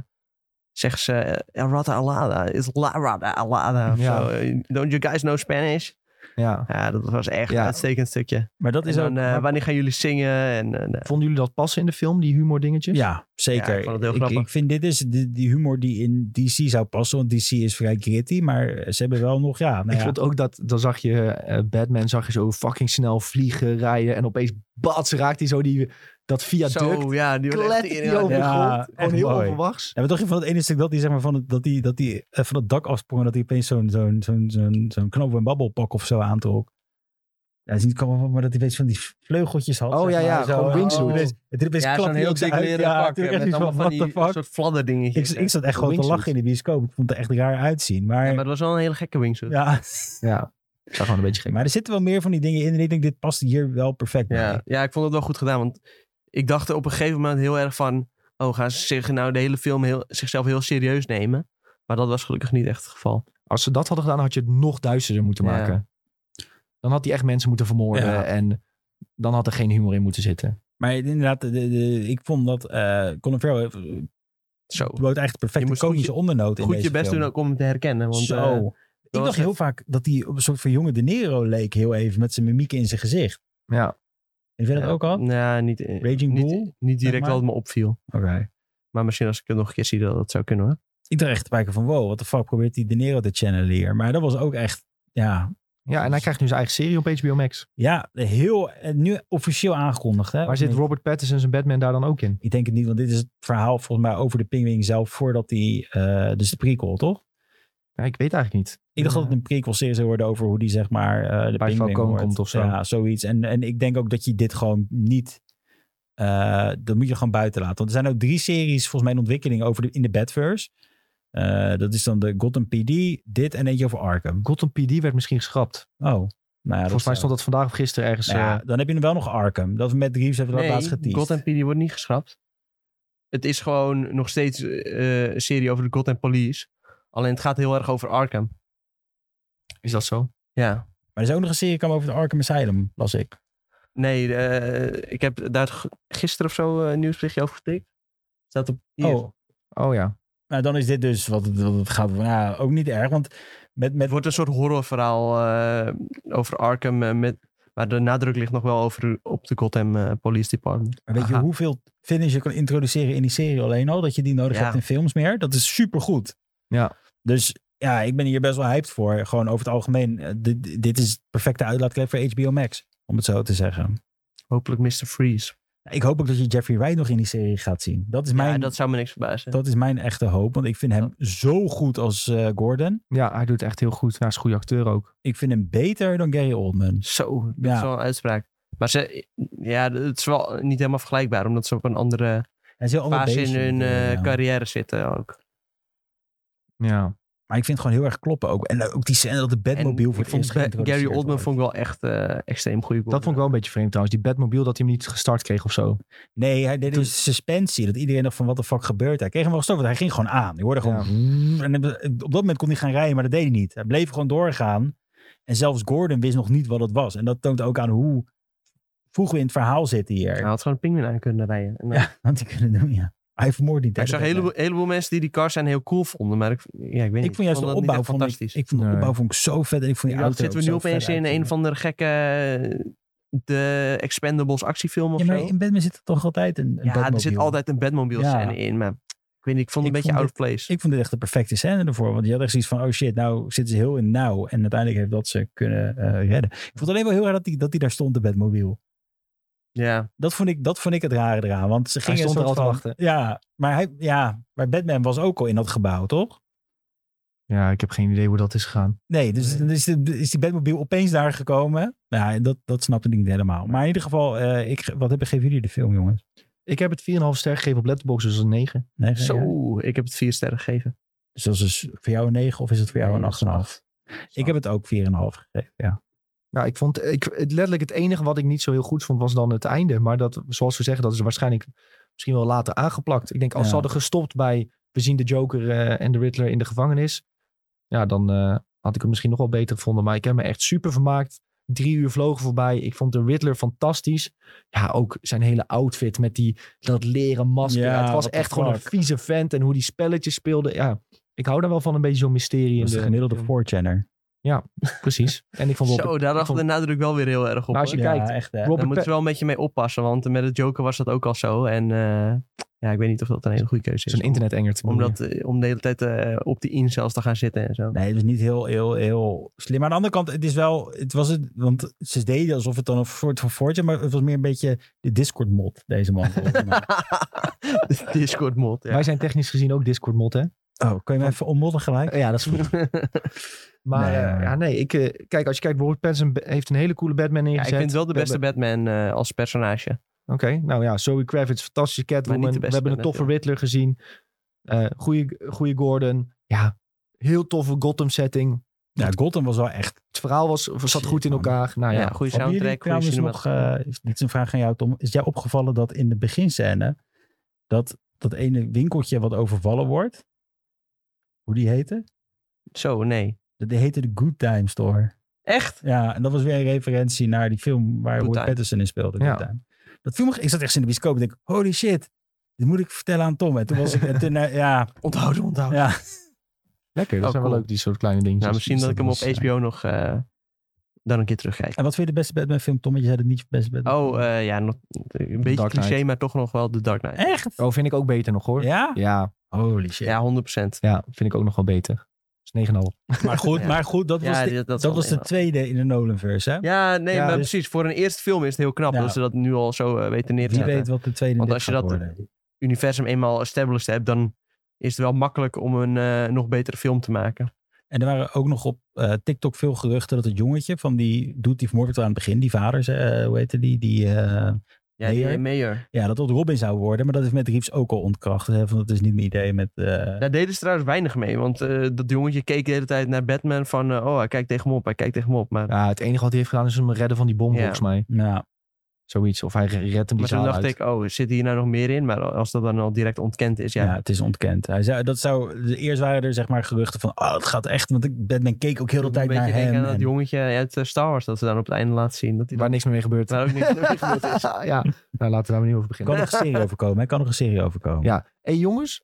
B: Zegt ze, eh, Rada Alada, is La Rada Alada of
A: Ja.
B: zo. Eh, Don't you guys know Spanish?
A: Ja.
B: Ja, dat was echt
A: Ja.
B: een uitstekend stukje.
C: Maar dat
B: En
C: is ook...
B: dan, eh, wanneer gaan jullie zingen? En, eh, nou,
A: Vonden jullie dat passen in de film, die humor dingetjes?
C: ja,
B: Ja,
C: zeker.
B: ik vond het heel
C: ik,
B: grappig.
C: ik vind dit is de, die humor die in DC zou passen. Want DC is vrij gritty, maar ze hebben wel nog... Ja, nou
A: ik
C: ja.
A: vond ook dat, dan zag je eh, Batman, zag je zo fucking snel vliegen, rijden. En opeens, bats, raakt hij zo die, dat viaduct.
B: zo, ja, die was echt
A: klettert hij
B: tering-
A: over de
C: Ja,
A: grond. Gewoon
C: echt
A: heel
C: mooi.
A: onverwachts.
C: Ja, maar toch van het ene stuk dat hij, zeg maar, van het, dat die, dat die, eh, van het dak afsprong... en dat hij opeens zo'n zo'n zo'n zo'n zo'n knoop- en babbelpak of zo aantrok. Ja, dat is niet komen, maar dat hij weet van die vleugeltjes had.
A: Oh,
C: zeg
A: ja, ja,
C: maar, zo.
A: gewoon wingsuit.
C: Oh. Het is- Het is
B: Ja, zo'n heel dik leren
C: Ik
B: pak. eh,
C: echt
B: Met
C: iets
B: allemaal
C: van,
B: van
C: what
B: die
C: the fuck?
B: soort fladderdingetjes.
C: Ik, ik zat echt gewoon te
A: wingsuit.
C: lachen in de bioscoop. Ik vond het er echt raar uitzien.
B: Ja,
C: Maar,
B: maar dat was wel een hele gekke wingsuit.
C: ja.
A: Ja, ik zag gewoon een beetje gek.
C: maar er zitten wel meer van die dingen in. En ik denk, dit past hier wel perfect bij.
B: Ja, ja, ik vond het wel goed gedaan. Want ik dacht op een gegeven moment heel erg van... Oh, gaan ze zich nou de hele film heel, zichzelf heel serieus nemen? Maar dat was gelukkig niet echt het geval.
A: Als ze dat hadden gedaan, had je het nog duisterder moeten
B: Ja.
A: maken. Dan had hij echt mensen moeten vermoorden.
C: Ja.
A: En dan had er geen humor in moeten zitten.
C: Maar inderdaad, de, de- ik vond dat eh Colin Farrell eh,
B: Zo.
C: bood echt de
B: Je
C: perfecte
B: moest goed
C: komische ondernoot in
B: Goed
C: deze
B: je best
C: film.
B: doen ook om hem te herkennen. Want,
C: Zo.
B: eh,
C: ik
B: was
C: dacht heel
B: echt-
C: vaak dat hij op een soort van jonge De Niro leek, heel even, met zijn mimiek in zijn gezicht.
A: Ja.
C: En vind je dat ook al?
B: nou, niet, eh,
C: Raging Bull?
B: niet, niet direct
C: maar.
B: dat het me opviel.
C: Oké.
B: Maar misschien als ik het nog een keer zie, dat dat zou kunnen hoor.
C: Ik dacht echt bij keer van, wow, wat de fuck probeert die De Niro te channelen hier? Maar dat was ook echt, ja,
A: Ja, en hij krijgt nu zijn eigen serie op HBO Max.
C: ja heel, eh, nu officieel aangekondigd. Hè?
A: Maar zit
C: Of niet?
A: Robert Pattinson zijn Batman daar dan ook in?
C: Ik denk het niet, want dit is het verhaal volgens mij over de pingwing zelf voordat hij, eh, dus de prequel, toch?
A: Ja, ik weet eigenlijk niet. Eh,
C: Ik dacht dat het een prequel-serie zou worden over hoe die zeg maar eh, de
A: Bij
C: Penguin
A: Falcone
C: wordt.
A: komt of zo.
C: Ja, zoiets. En, en ik denk ook dat je dit gewoon niet... eh, dat moet je gewoon buiten laten. Want er zijn ook drie series volgens mij in ontwikkeling over de, in de Batverse. Eh, dat is dan de Gotham PD, dit en eentje over Arkham.
A: Gotham PD werd misschien geschrapt.
C: Oh, nou ja, dat
A: Volgens mij
C: zou-
A: stond dat vandaag of gisteren ergens.
C: Nou ja,
A: eh,
C: dan heb je hem wel nog Arkham. Dat met Reeves hebben we dat laatst
B: Nee,
C: geteased.
B: Gotham PD wordt niet geschrapt. Het is gewoon nog steeds eh, een serie over de Gotham Police. Alleen het gaat heel erg over Arkham.
A: is dat zo?
B: Ja.
C: Maar er is ook nog een serie komen over de Arkham Asylum, las ik.
B: Nee, eh, ik heb daar g- gisteren of zo eh, een nieuwsberichtje over getikt. Staat op hier.
C: Oh,
A: Oh ja.
C: nou dan is dit dus wat het, wat het gaat. Nou, ook niet erg, want met, met
B: Het wordt een soort horrorverhaal eh, over Arkham. eh, met, maar de nadruk ligt nog wel over, op de Gotham eh, Police Department.
C: Maar weet je
A: Aha.
C: hoeveel finish je kan introduceren in die serie alleen al? Dat je die nodig
B: Ja.
C: hebt in films meer? Dat is supergoed.
A: Ja.
C: Dus ja, ik ben hier best wel hyped voor. Gewoon over het algemeen. eh, Dit, dit is het perfecte uitlaatklep voor HBO Max. Om het zo te zeggen.
B: Hopelijk Mr. Freeze.
C: Ik hoop ook dat je Jeffrey Wright nog in die serie gaat zien. Dat is
B: Maar
C: mijn,
B: dat
C: dat...
B: zou me niks verbazen.
C: is mijn echte hoop. Want ik vind hem zo goed als eh, Gordon.
A: Ja, hij doet echt heel goed. Hij is een goede acteur ook.
C: Ik vind hem beter dan Gary Oldman.
B: Zo, dat
C: Ja.
B: is wel een uitspraak. Maar ze, ja, het is wel niet helemaal vergelijkbaar, omdat ze op een andere
C: Hij is heel ander
B: fase in
C: beestje
B: hun eh,
C: natuurlijk, ja.
B: carrière zitten ook.
A: Ja.
C: Maar ik vind het gewoon heel erg kloppen ook. En ook die scène dat de Batmobile voor
B: ik
C: het eerst
B: vond Ba-
C: geïntroduceerd
B: Gary Oldman
C: wordt.
B: vond ik wel echt eh, extreem goede
A: Dat vond ik wel een beetje vreemd trouwens. Die Batmobile dat hij hem niet gestart kreeg of zo.
C: Nee, hij deed dus suspensie. Dat iedereen dacht van, wat de fuck gebeurt er? Hij kreeg hem wel gestopt, want hij ging gewoon aan. Je hoorde gewoon... En op dat moment kon hij gaan rijden, maar dat deed hij niet. Hij bleef gewoon doorgaan. En zelfs Gordon wist nog niet wat het was. En dat toont ook aan hoe vroeg we in het verhaal zitten hier.
B: Hij had gewoon een pinguïn aan kunnen rijden. En, eh,
C: Ja, had hij kunnen doen, nou, ja. Hij vermoordt niet. hè,
B: ik zag een
C: dat weet
B: heleboel, heleboel mensen die die cars zijn heel cool vonden. Maar ik, ja, ik weet niet.
C: Ik vond juist de
B: dat niet
C: opbouw
B: echt
C: van
B: fantastisch.
C: Ik vond de
A: Nee.
C: opbouw vond ik zo vet. En ik vond die
B: Ja, dan
C: auto
B: zitten we nu
C: ook zo
B: opeens
C: vet
B: in
C: uitzien.
B: een van de gekke eh, de Expendables actiefilm of
C: Ja, maar
B: zo.
C: in Batman zit er toch altijd een, een
B: Ja, er zit
C: Batmobile.
B: altijd een Batmobile
C: Ja.
B: scène in, maar ik weet niet, ik
C: Ik
B: vond het een beetje
C: vond
B: out of place.
C: Ik vond dit echt de perfecte scène ervoor. Want je had echt zoiets van, oh shit, nou zitten ze heel in nauw. En uiteindelijk heeft dat ze kunnen eh, redden. Ik vond het alleen wel heel raar dat hij dat die daar stond, de Batmobile.
B: ja,
C: Dat vond ik, dat vond ik het rare eraan. Want ze
A: Hij
C: gingen een
A: stond er
C: soort
A: al te
C: van- Ja maar, hij, ja, maar Batman was ook al in dat gebouw, toch?
A: Ja, ik heb geen idee hoe dat is gegaan.
C: Nee, dus dan is, de- is die Batmobile opeens daar gekomen. Nou Ja, dat, dat snapte ik niet helemaal. Maar in ieder geval, eh, ik, ge- wat hebben, geven jullie de film, jongens?
A: Ik heb het 4,5 ster gegeven op Letterboxd, dus een 9.
C: Nee,
B: zo,
C: ja.
B: ik heb het vier sterren gegeven.
C: Dus dat is dus voor jou een 9 of is het voor jou een 8,5? Ik heb het ook 4,5 gegeven, ja.
A: Ja, Nou, ik vond ik, het- letterlijk het enige wat ik niet zo heel goed vond was dan het einde. Maar dat, zoals we zeggen, dat is waarschijnlijk misschien wel later aangeplakt. Ik denk, als
C: Ja.
A: ze hadden gestopt bij we zien de Joker eh, en de Riddler in de gevangenis. Ja, dan eh, had ik het misschien nog wel beter gevonden. Maar ik heb me echt super vermaakt. Drie uur vlogen voorbij. Ik vond de Riddler fantastisch. Ja, ook zijn hele outfit met die, dat leren masker.
C: Ja,
A: Ja, het was
C: what the
A: echt gewoon een
C: fuck.
A: vieze vent. En hoe die spelletjes speelde. Ja, ik hou daar wel van een beetje zo'n mysterie.
C: Dat is
A: in
C: de
A: de-
C: gemiddelde 4channer.
A: Precies. En ik vond Robert,
B: Zo, daar lag
A: ik vond-
B: de nadruk wel weer heel erg op.
A: Maar als
B: hoor.
A: je
C: ja,
A: kijkt,
C: echt eh, hè.
B: Daar
A: Robert
B: moeten we wel een beetje mee oppassen, want met het Joker was dat ook al zo. En eh, ja, ik weet niet of dat een hele goede keuze is.
A: Zo'n internet-engert.
B: Om, om dat, eh, om de hele tijd eh, op die incels te gaan zitten en zo.
C: Nee, het is niet heel, heel, heel slim. Maar aan de andere kant, het is wel, het was het, want ze deden alsof het dan een soort van voortje, maar het was meer een beetje de Discord-mod, deze man. volgens mij.
B: De Discord-mod, ja.
A: Wij zijn technisch gezien ook Discord-mod, hè?
C: oh, kun je me even ontmodden gelijk?
A: Ja, dat is goed. Maar
C: Nee,
A: eh,
C: maar-
A: ja, nee, ik, eh, kijk, als je kijkt, Robert Pattinson be- heeft een hele coole Batman
B: Ja, ik
A: ingezet.
B: vind het wel de
A: We
B: beste Batman eh, als personage.
A: hebben- Oké, nou ja, Zoe Kravitz, fantastische
B: Maar
A: Catwoman.
B: niet de
A: We
B: beste
A: hebben een
B: Batman,
A: toffe Riddler gezien. Eh goede, goede Gordon. Ja, heel toffe Gotham-setting.
C: Ja, Nou, Gotham was wel echt.
A: Het verhaal was, zat
C: Shit,
A: goed in
C: man.
A: elkaar. Nou ja,
B: ja, goede
C: Ah, Hebben jullie
B: soundtrack, goede
C: trouwens
B: cinema.
C: nog, eh, dit is een vraag aan jou Tom, is jou opgevallen dat in de beginscène, dat dat ene winkeltje wat overvallen wordt, hoe die heette?
B: Zo, nee.
C: Dat die heette de Good Time Store.
B: Echt?
C: Ja, en dat was weer een referentie naar die film waar
B: Good
C: Robert
B: Time.
C: Pattinson in speelde.
A: Ja.
C: Good Time. Dat film, ik zat echt in de bioscoop en denk, holy shit, dit moet ik vertellen aan Tom. En toen was ik, en toen, eh, ja,
B: Onthouden, onthouden.
C: ja.
A: lekker. Dat
B: Oh,
A: zijn
B: cool.
A: wel leuk, die soort kleine dingetjes.
B: nou, misschien
C: dus
B: dat ik
C: dat
B: hem op
C: was,
B: HBO nog eh, dan een keer terugkijk.
C: En wat vind je de beste Batman film, Tom? Want je zei het niet je beste Batman
B: Oh,
C: film.
B: eh, ja, nog een beetje
A: Dark
B: cliché,
A: Knight.
B: maar toch nog wel The Dark Knight.
C: Echt?
A: Oh, vind ik ook beter nog, hoor.
C: Ja?
A: Ja,
C: Holy shit.
B: eh, Ja, 100%.
A: ja, vind ik ook nog wel beter. Dus 9,5.
C: Maar goed,
B: Ja.
C: maar goed, dat was
B: Ja,
C: de,
B: dit- dat
C: dat
B: zal
C: was de
B: helemaal.
C: tweede in de Nolanverse, hè?
B: Ja, nee,
A: Ja,
B: maar
C: dus-
B: precies. Voor een eerste film is het heel knap
C: Ja.
B: dat ze dat nu al zo eh, weten neer te
C: Wie
B: zetten.
C: weet wat de tweede
B: Want
C: dit
B: als je
C: gaat
B: dat-
C: worden.
B: universum eenmaal established hebt, dan is het wel makkelijk om een eh, nog betere film te maken.
C: En er waren ook nog op eh, TikTok veel geruchten dat het jongetje van die doet die vermoord werd aan het begin, die vader, eh, hoe heette die? Die, eh,
B: Ja, die
C: Mayer?
B: Mayer.
C: Ja, dat dat Robin zou worden, maar dat is met Reeves ook al ontkracht. Hè? Van, dat is niet mijn idee met... eh,
B: Daar deden ze trouwens weinig mee, want eh, dat jongetje keek de hele tijd naar Batman van, eh, oh, hij kijkt tegen me op, hij kijkt tegen me op. Maar,
A: Ja, het enige wat hij heeft gedaan is hem redden van die bom,
B: Ja.
A: volgens mij.
C: nou,
A: Zoiets. Of hij redt hem die
B: maar toen
A: zaal
B: dacht
A: uit.
B: ik, oh, zit hier nou nog meer in? Maar als dat dan al direct ontkend is,
C: ja.
B: ja.
C: het is ontkend. Hij zou, dat zou, eerst waren er zeg maar geruchten van, oh, het gaat echt, want ik, Batman keek ook heel de
B: Doet me
C: tijd
B: een
C: naar
B: beetje denken
C: hem.
B: aan
C: en-
B: dat jongetje uit eh, Star Wars dat ze dan op het einde laten zien. Dat hij
A: Waar
B: dan,
A: niks meer mee gebeurt.
B: waar ook niks gebeurd is.
A: ja, nou laten we daar maar niet over beginnen.
C: Kan nog een serie overkomen, hè? Kan nog een serie overkomen.
A: Ja. Hé hey, jongens,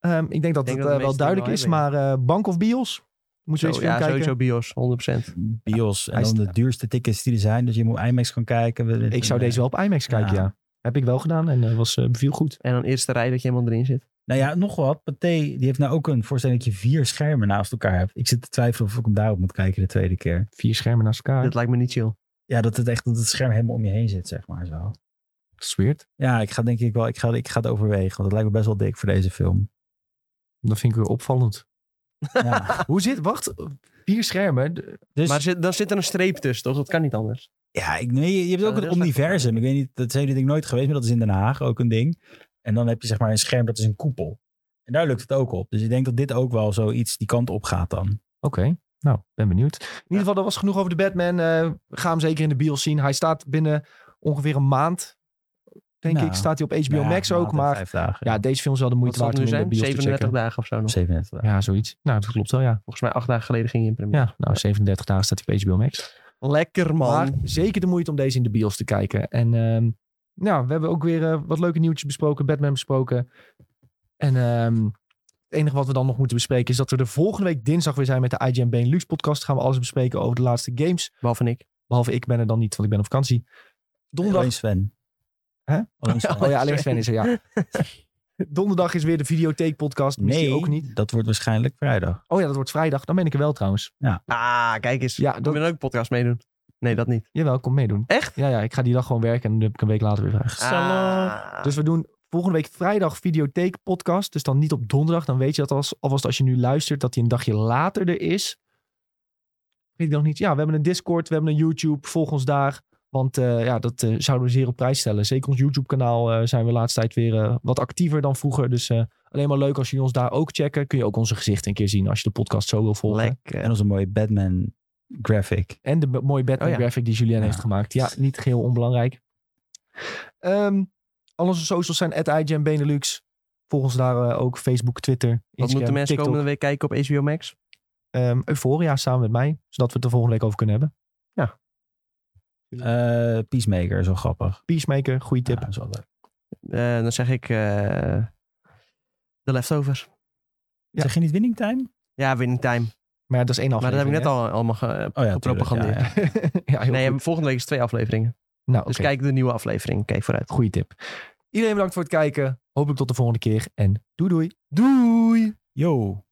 A: Ehm, ik denk dat het
B: denk dat de
A: eh, wel
B: meesten
A: duidelijk
B: wel
A: is,
B: hebben,
A: maar eh, Bank of Bios? Moeten we
B: Zo,
A: eens
B: ja,
A: kijken?
B: sowieso BIOS, 100%.
C: Bios, en
A: Hij
C: dan
A: is-
C: de duurste tickets die er zijn, dus je moet IMAX gaan kijken.
A: Ik zou deze wel op IMAX kijken,
C: Ja.
A: ja. Heb ik wel gedaan en eh, was eh, beviel goed.
B: En dan eerste rij dat je helemaal erin zit.
C: Nou ja, nog wat. Pathé, die heeft nou ook een voorstelling dat je vier schermen naast elkaar hebt. Ik zit te twijfelen of ik hem daarop moet kijken de tweede keer.
A: Vier schermen naast elkaar.
B: Dat
A: Dat
B: lijkt me niet chill.
C: Ja, dat het echt dat het scherm helemaal om je heen zit, zeg maar zo.
A: is weird.
C: Ja, ik ga denk ik wel, ik ga, ik ga het overwegen, want het lijkt me best wel dik voor deze film.
A: Dat vind ik weer opvallend.
B: Ah.
C: Ja,
A: Hoe zit, wacht, vier schermen? De-
C: dus,
B: Maar zit, dan zit er een streep tussen, toch? Dat kan niet anders.
C: ja ik, nee, je- je hebt
B: Ja,
C: ook
B: dat
C: het
B: is echt-
C: universum. Ik weet niet, dat is denk ik nooit geweest, maar dat is in Den Haag ook een ding. En dan heb je zeg maar een scherm, dat is een koepel. En daar lukt het ook op. Dus ik denk dat dit ook wel zoiets die kant op gaat dan.
A: Oké, nou, ben benieuwd. In ieder geval, dat was genoeg over de Batman. Eh, ga hem zeker in de bios zien. Hij staat binnen ongeveer een maand, denk
C: Nou,
A: ik. Staat hij op HBO
C: Ja,
A: Max
C: nou,
A: ook. Maar
C: Vijf dagen.
A: ja, deze film is wel de
B: Wat
A: moeite
B: zal het
A: waard om
B: nu
A: in de
B: zijn?
A: bios te
B: 37
A: checken.
B: dagen of zo nog.
C: 37 dagen.
A: Ja, zoiets. Nou, dat klopt wel, ja.
B: Volgens mij acht dagen geleden ging je in première.
A: Ja, nou, 37 dagen staat hij op HBO Max.
B: Lekker man.
A: Maar zeker de moeite om deze in de bios te kijken. En ehm, nou, we hebben ook weer eh, wat leuke nieuwtjes besproken. Batman besproken. En ehm, het enige wat we dan nog moeten bespreken... is dat we de volgende week dinsdag weer zijn met de IGN Benelux podcast. Gaan we alles bespreken over de laatste games.
B: Behalve ik.
A: Behalve ik ben er dan niet, want ik ben op vakantie. Donderdag...
C: Alleen Sven.
A: Hè?
C: Alleen Sven.
A: Oh ja, alleen Sven is er, ja. Donderdag is weer de Videotheek podcast. Mist die
C: Nee,
A: ook niet.
C: dat wordt waarschijnlijk vrijdag.
A: Oh ja, dat wordt vrijdag. Dan ben ik er wel trouwens.
B: Ah, kijk eens.
A: Ja,
B: Ja,
A: dat-
B: Kom je dan ook een podcast meedoen? Nee, dat niet.
A: Jawel, kom meedoen.
B: Echt?
A: Ja, ja, ik ga die dag gewoon werken en dan heb ik een week later weer vrij.
B: Ah.
A: Dus we doen volgende week vrijdag videotheek podcast. Dus dan niet op donderdag. Dan weet je dat als, alvast als je nu luistert dat die een dagje later er is. Weet ik nog niet. Ja, we hebben een Discord, we hebben een YouTube. Volg ons daar. Want eh, ja, dat eh, zouden we zeer op prijs stellen. Zeker ons YouTube-kanaal eh, zijn we de laatste tijd weer eh, wat actiever dan vroeger. Dus eh, alleen maar leuk als jullie ons daar ook checken. Kun je ook onze gezichten een keer zien als je de podcast zo wil volgen.
B: Lekker.
C: En onze mooie Batman graphic.
A: En de b- mooie Batman
B: Oh ja.
A: graphic die Julien
C: Ja.
A: heeft gemaakt. Ja, niet geheel onbelangrijk. Ehm, al onze socials zijn at Benelux. Volg ons daar eh, ook Facebook, Twitter, Instagram,
B: Wat moeten mensen
A: TikTok.
B: komende week kijken op HBO Max?
A: Ehm, Euphoria samen met mij, zodat we het er volgende week over kunnen hebben.
C: Eh, Peacemaker, zo grappig.
A: Peacemaker, goede tip.
C: Ja, dat is wel leuk.
B: Eh, dan zeg ik eh The Leftovers.
A: Ja.
C: Zeg je niet winning time?
B: Ja, Winning Time.
A: Maar ja, dat is één
B: maar dat heb ik
A: aflevering.
B: net al allemaal ge-
C: Oh ja,
B: gepropagandeerd.
C: tuurlijk,
A: hè? ja, heel
B: nee,
A: goed.
B: volgende week is twee afleveringen.
A: Nou,
B: Dus
A: oké.
B: kijk de nieuwe aflevering. Kijk vooruit.
A: Goeie tip. Iedereen bedankt voor het kijken. Hopelijk tot de volgende keer. En doei doei. Doei.
C: Yo.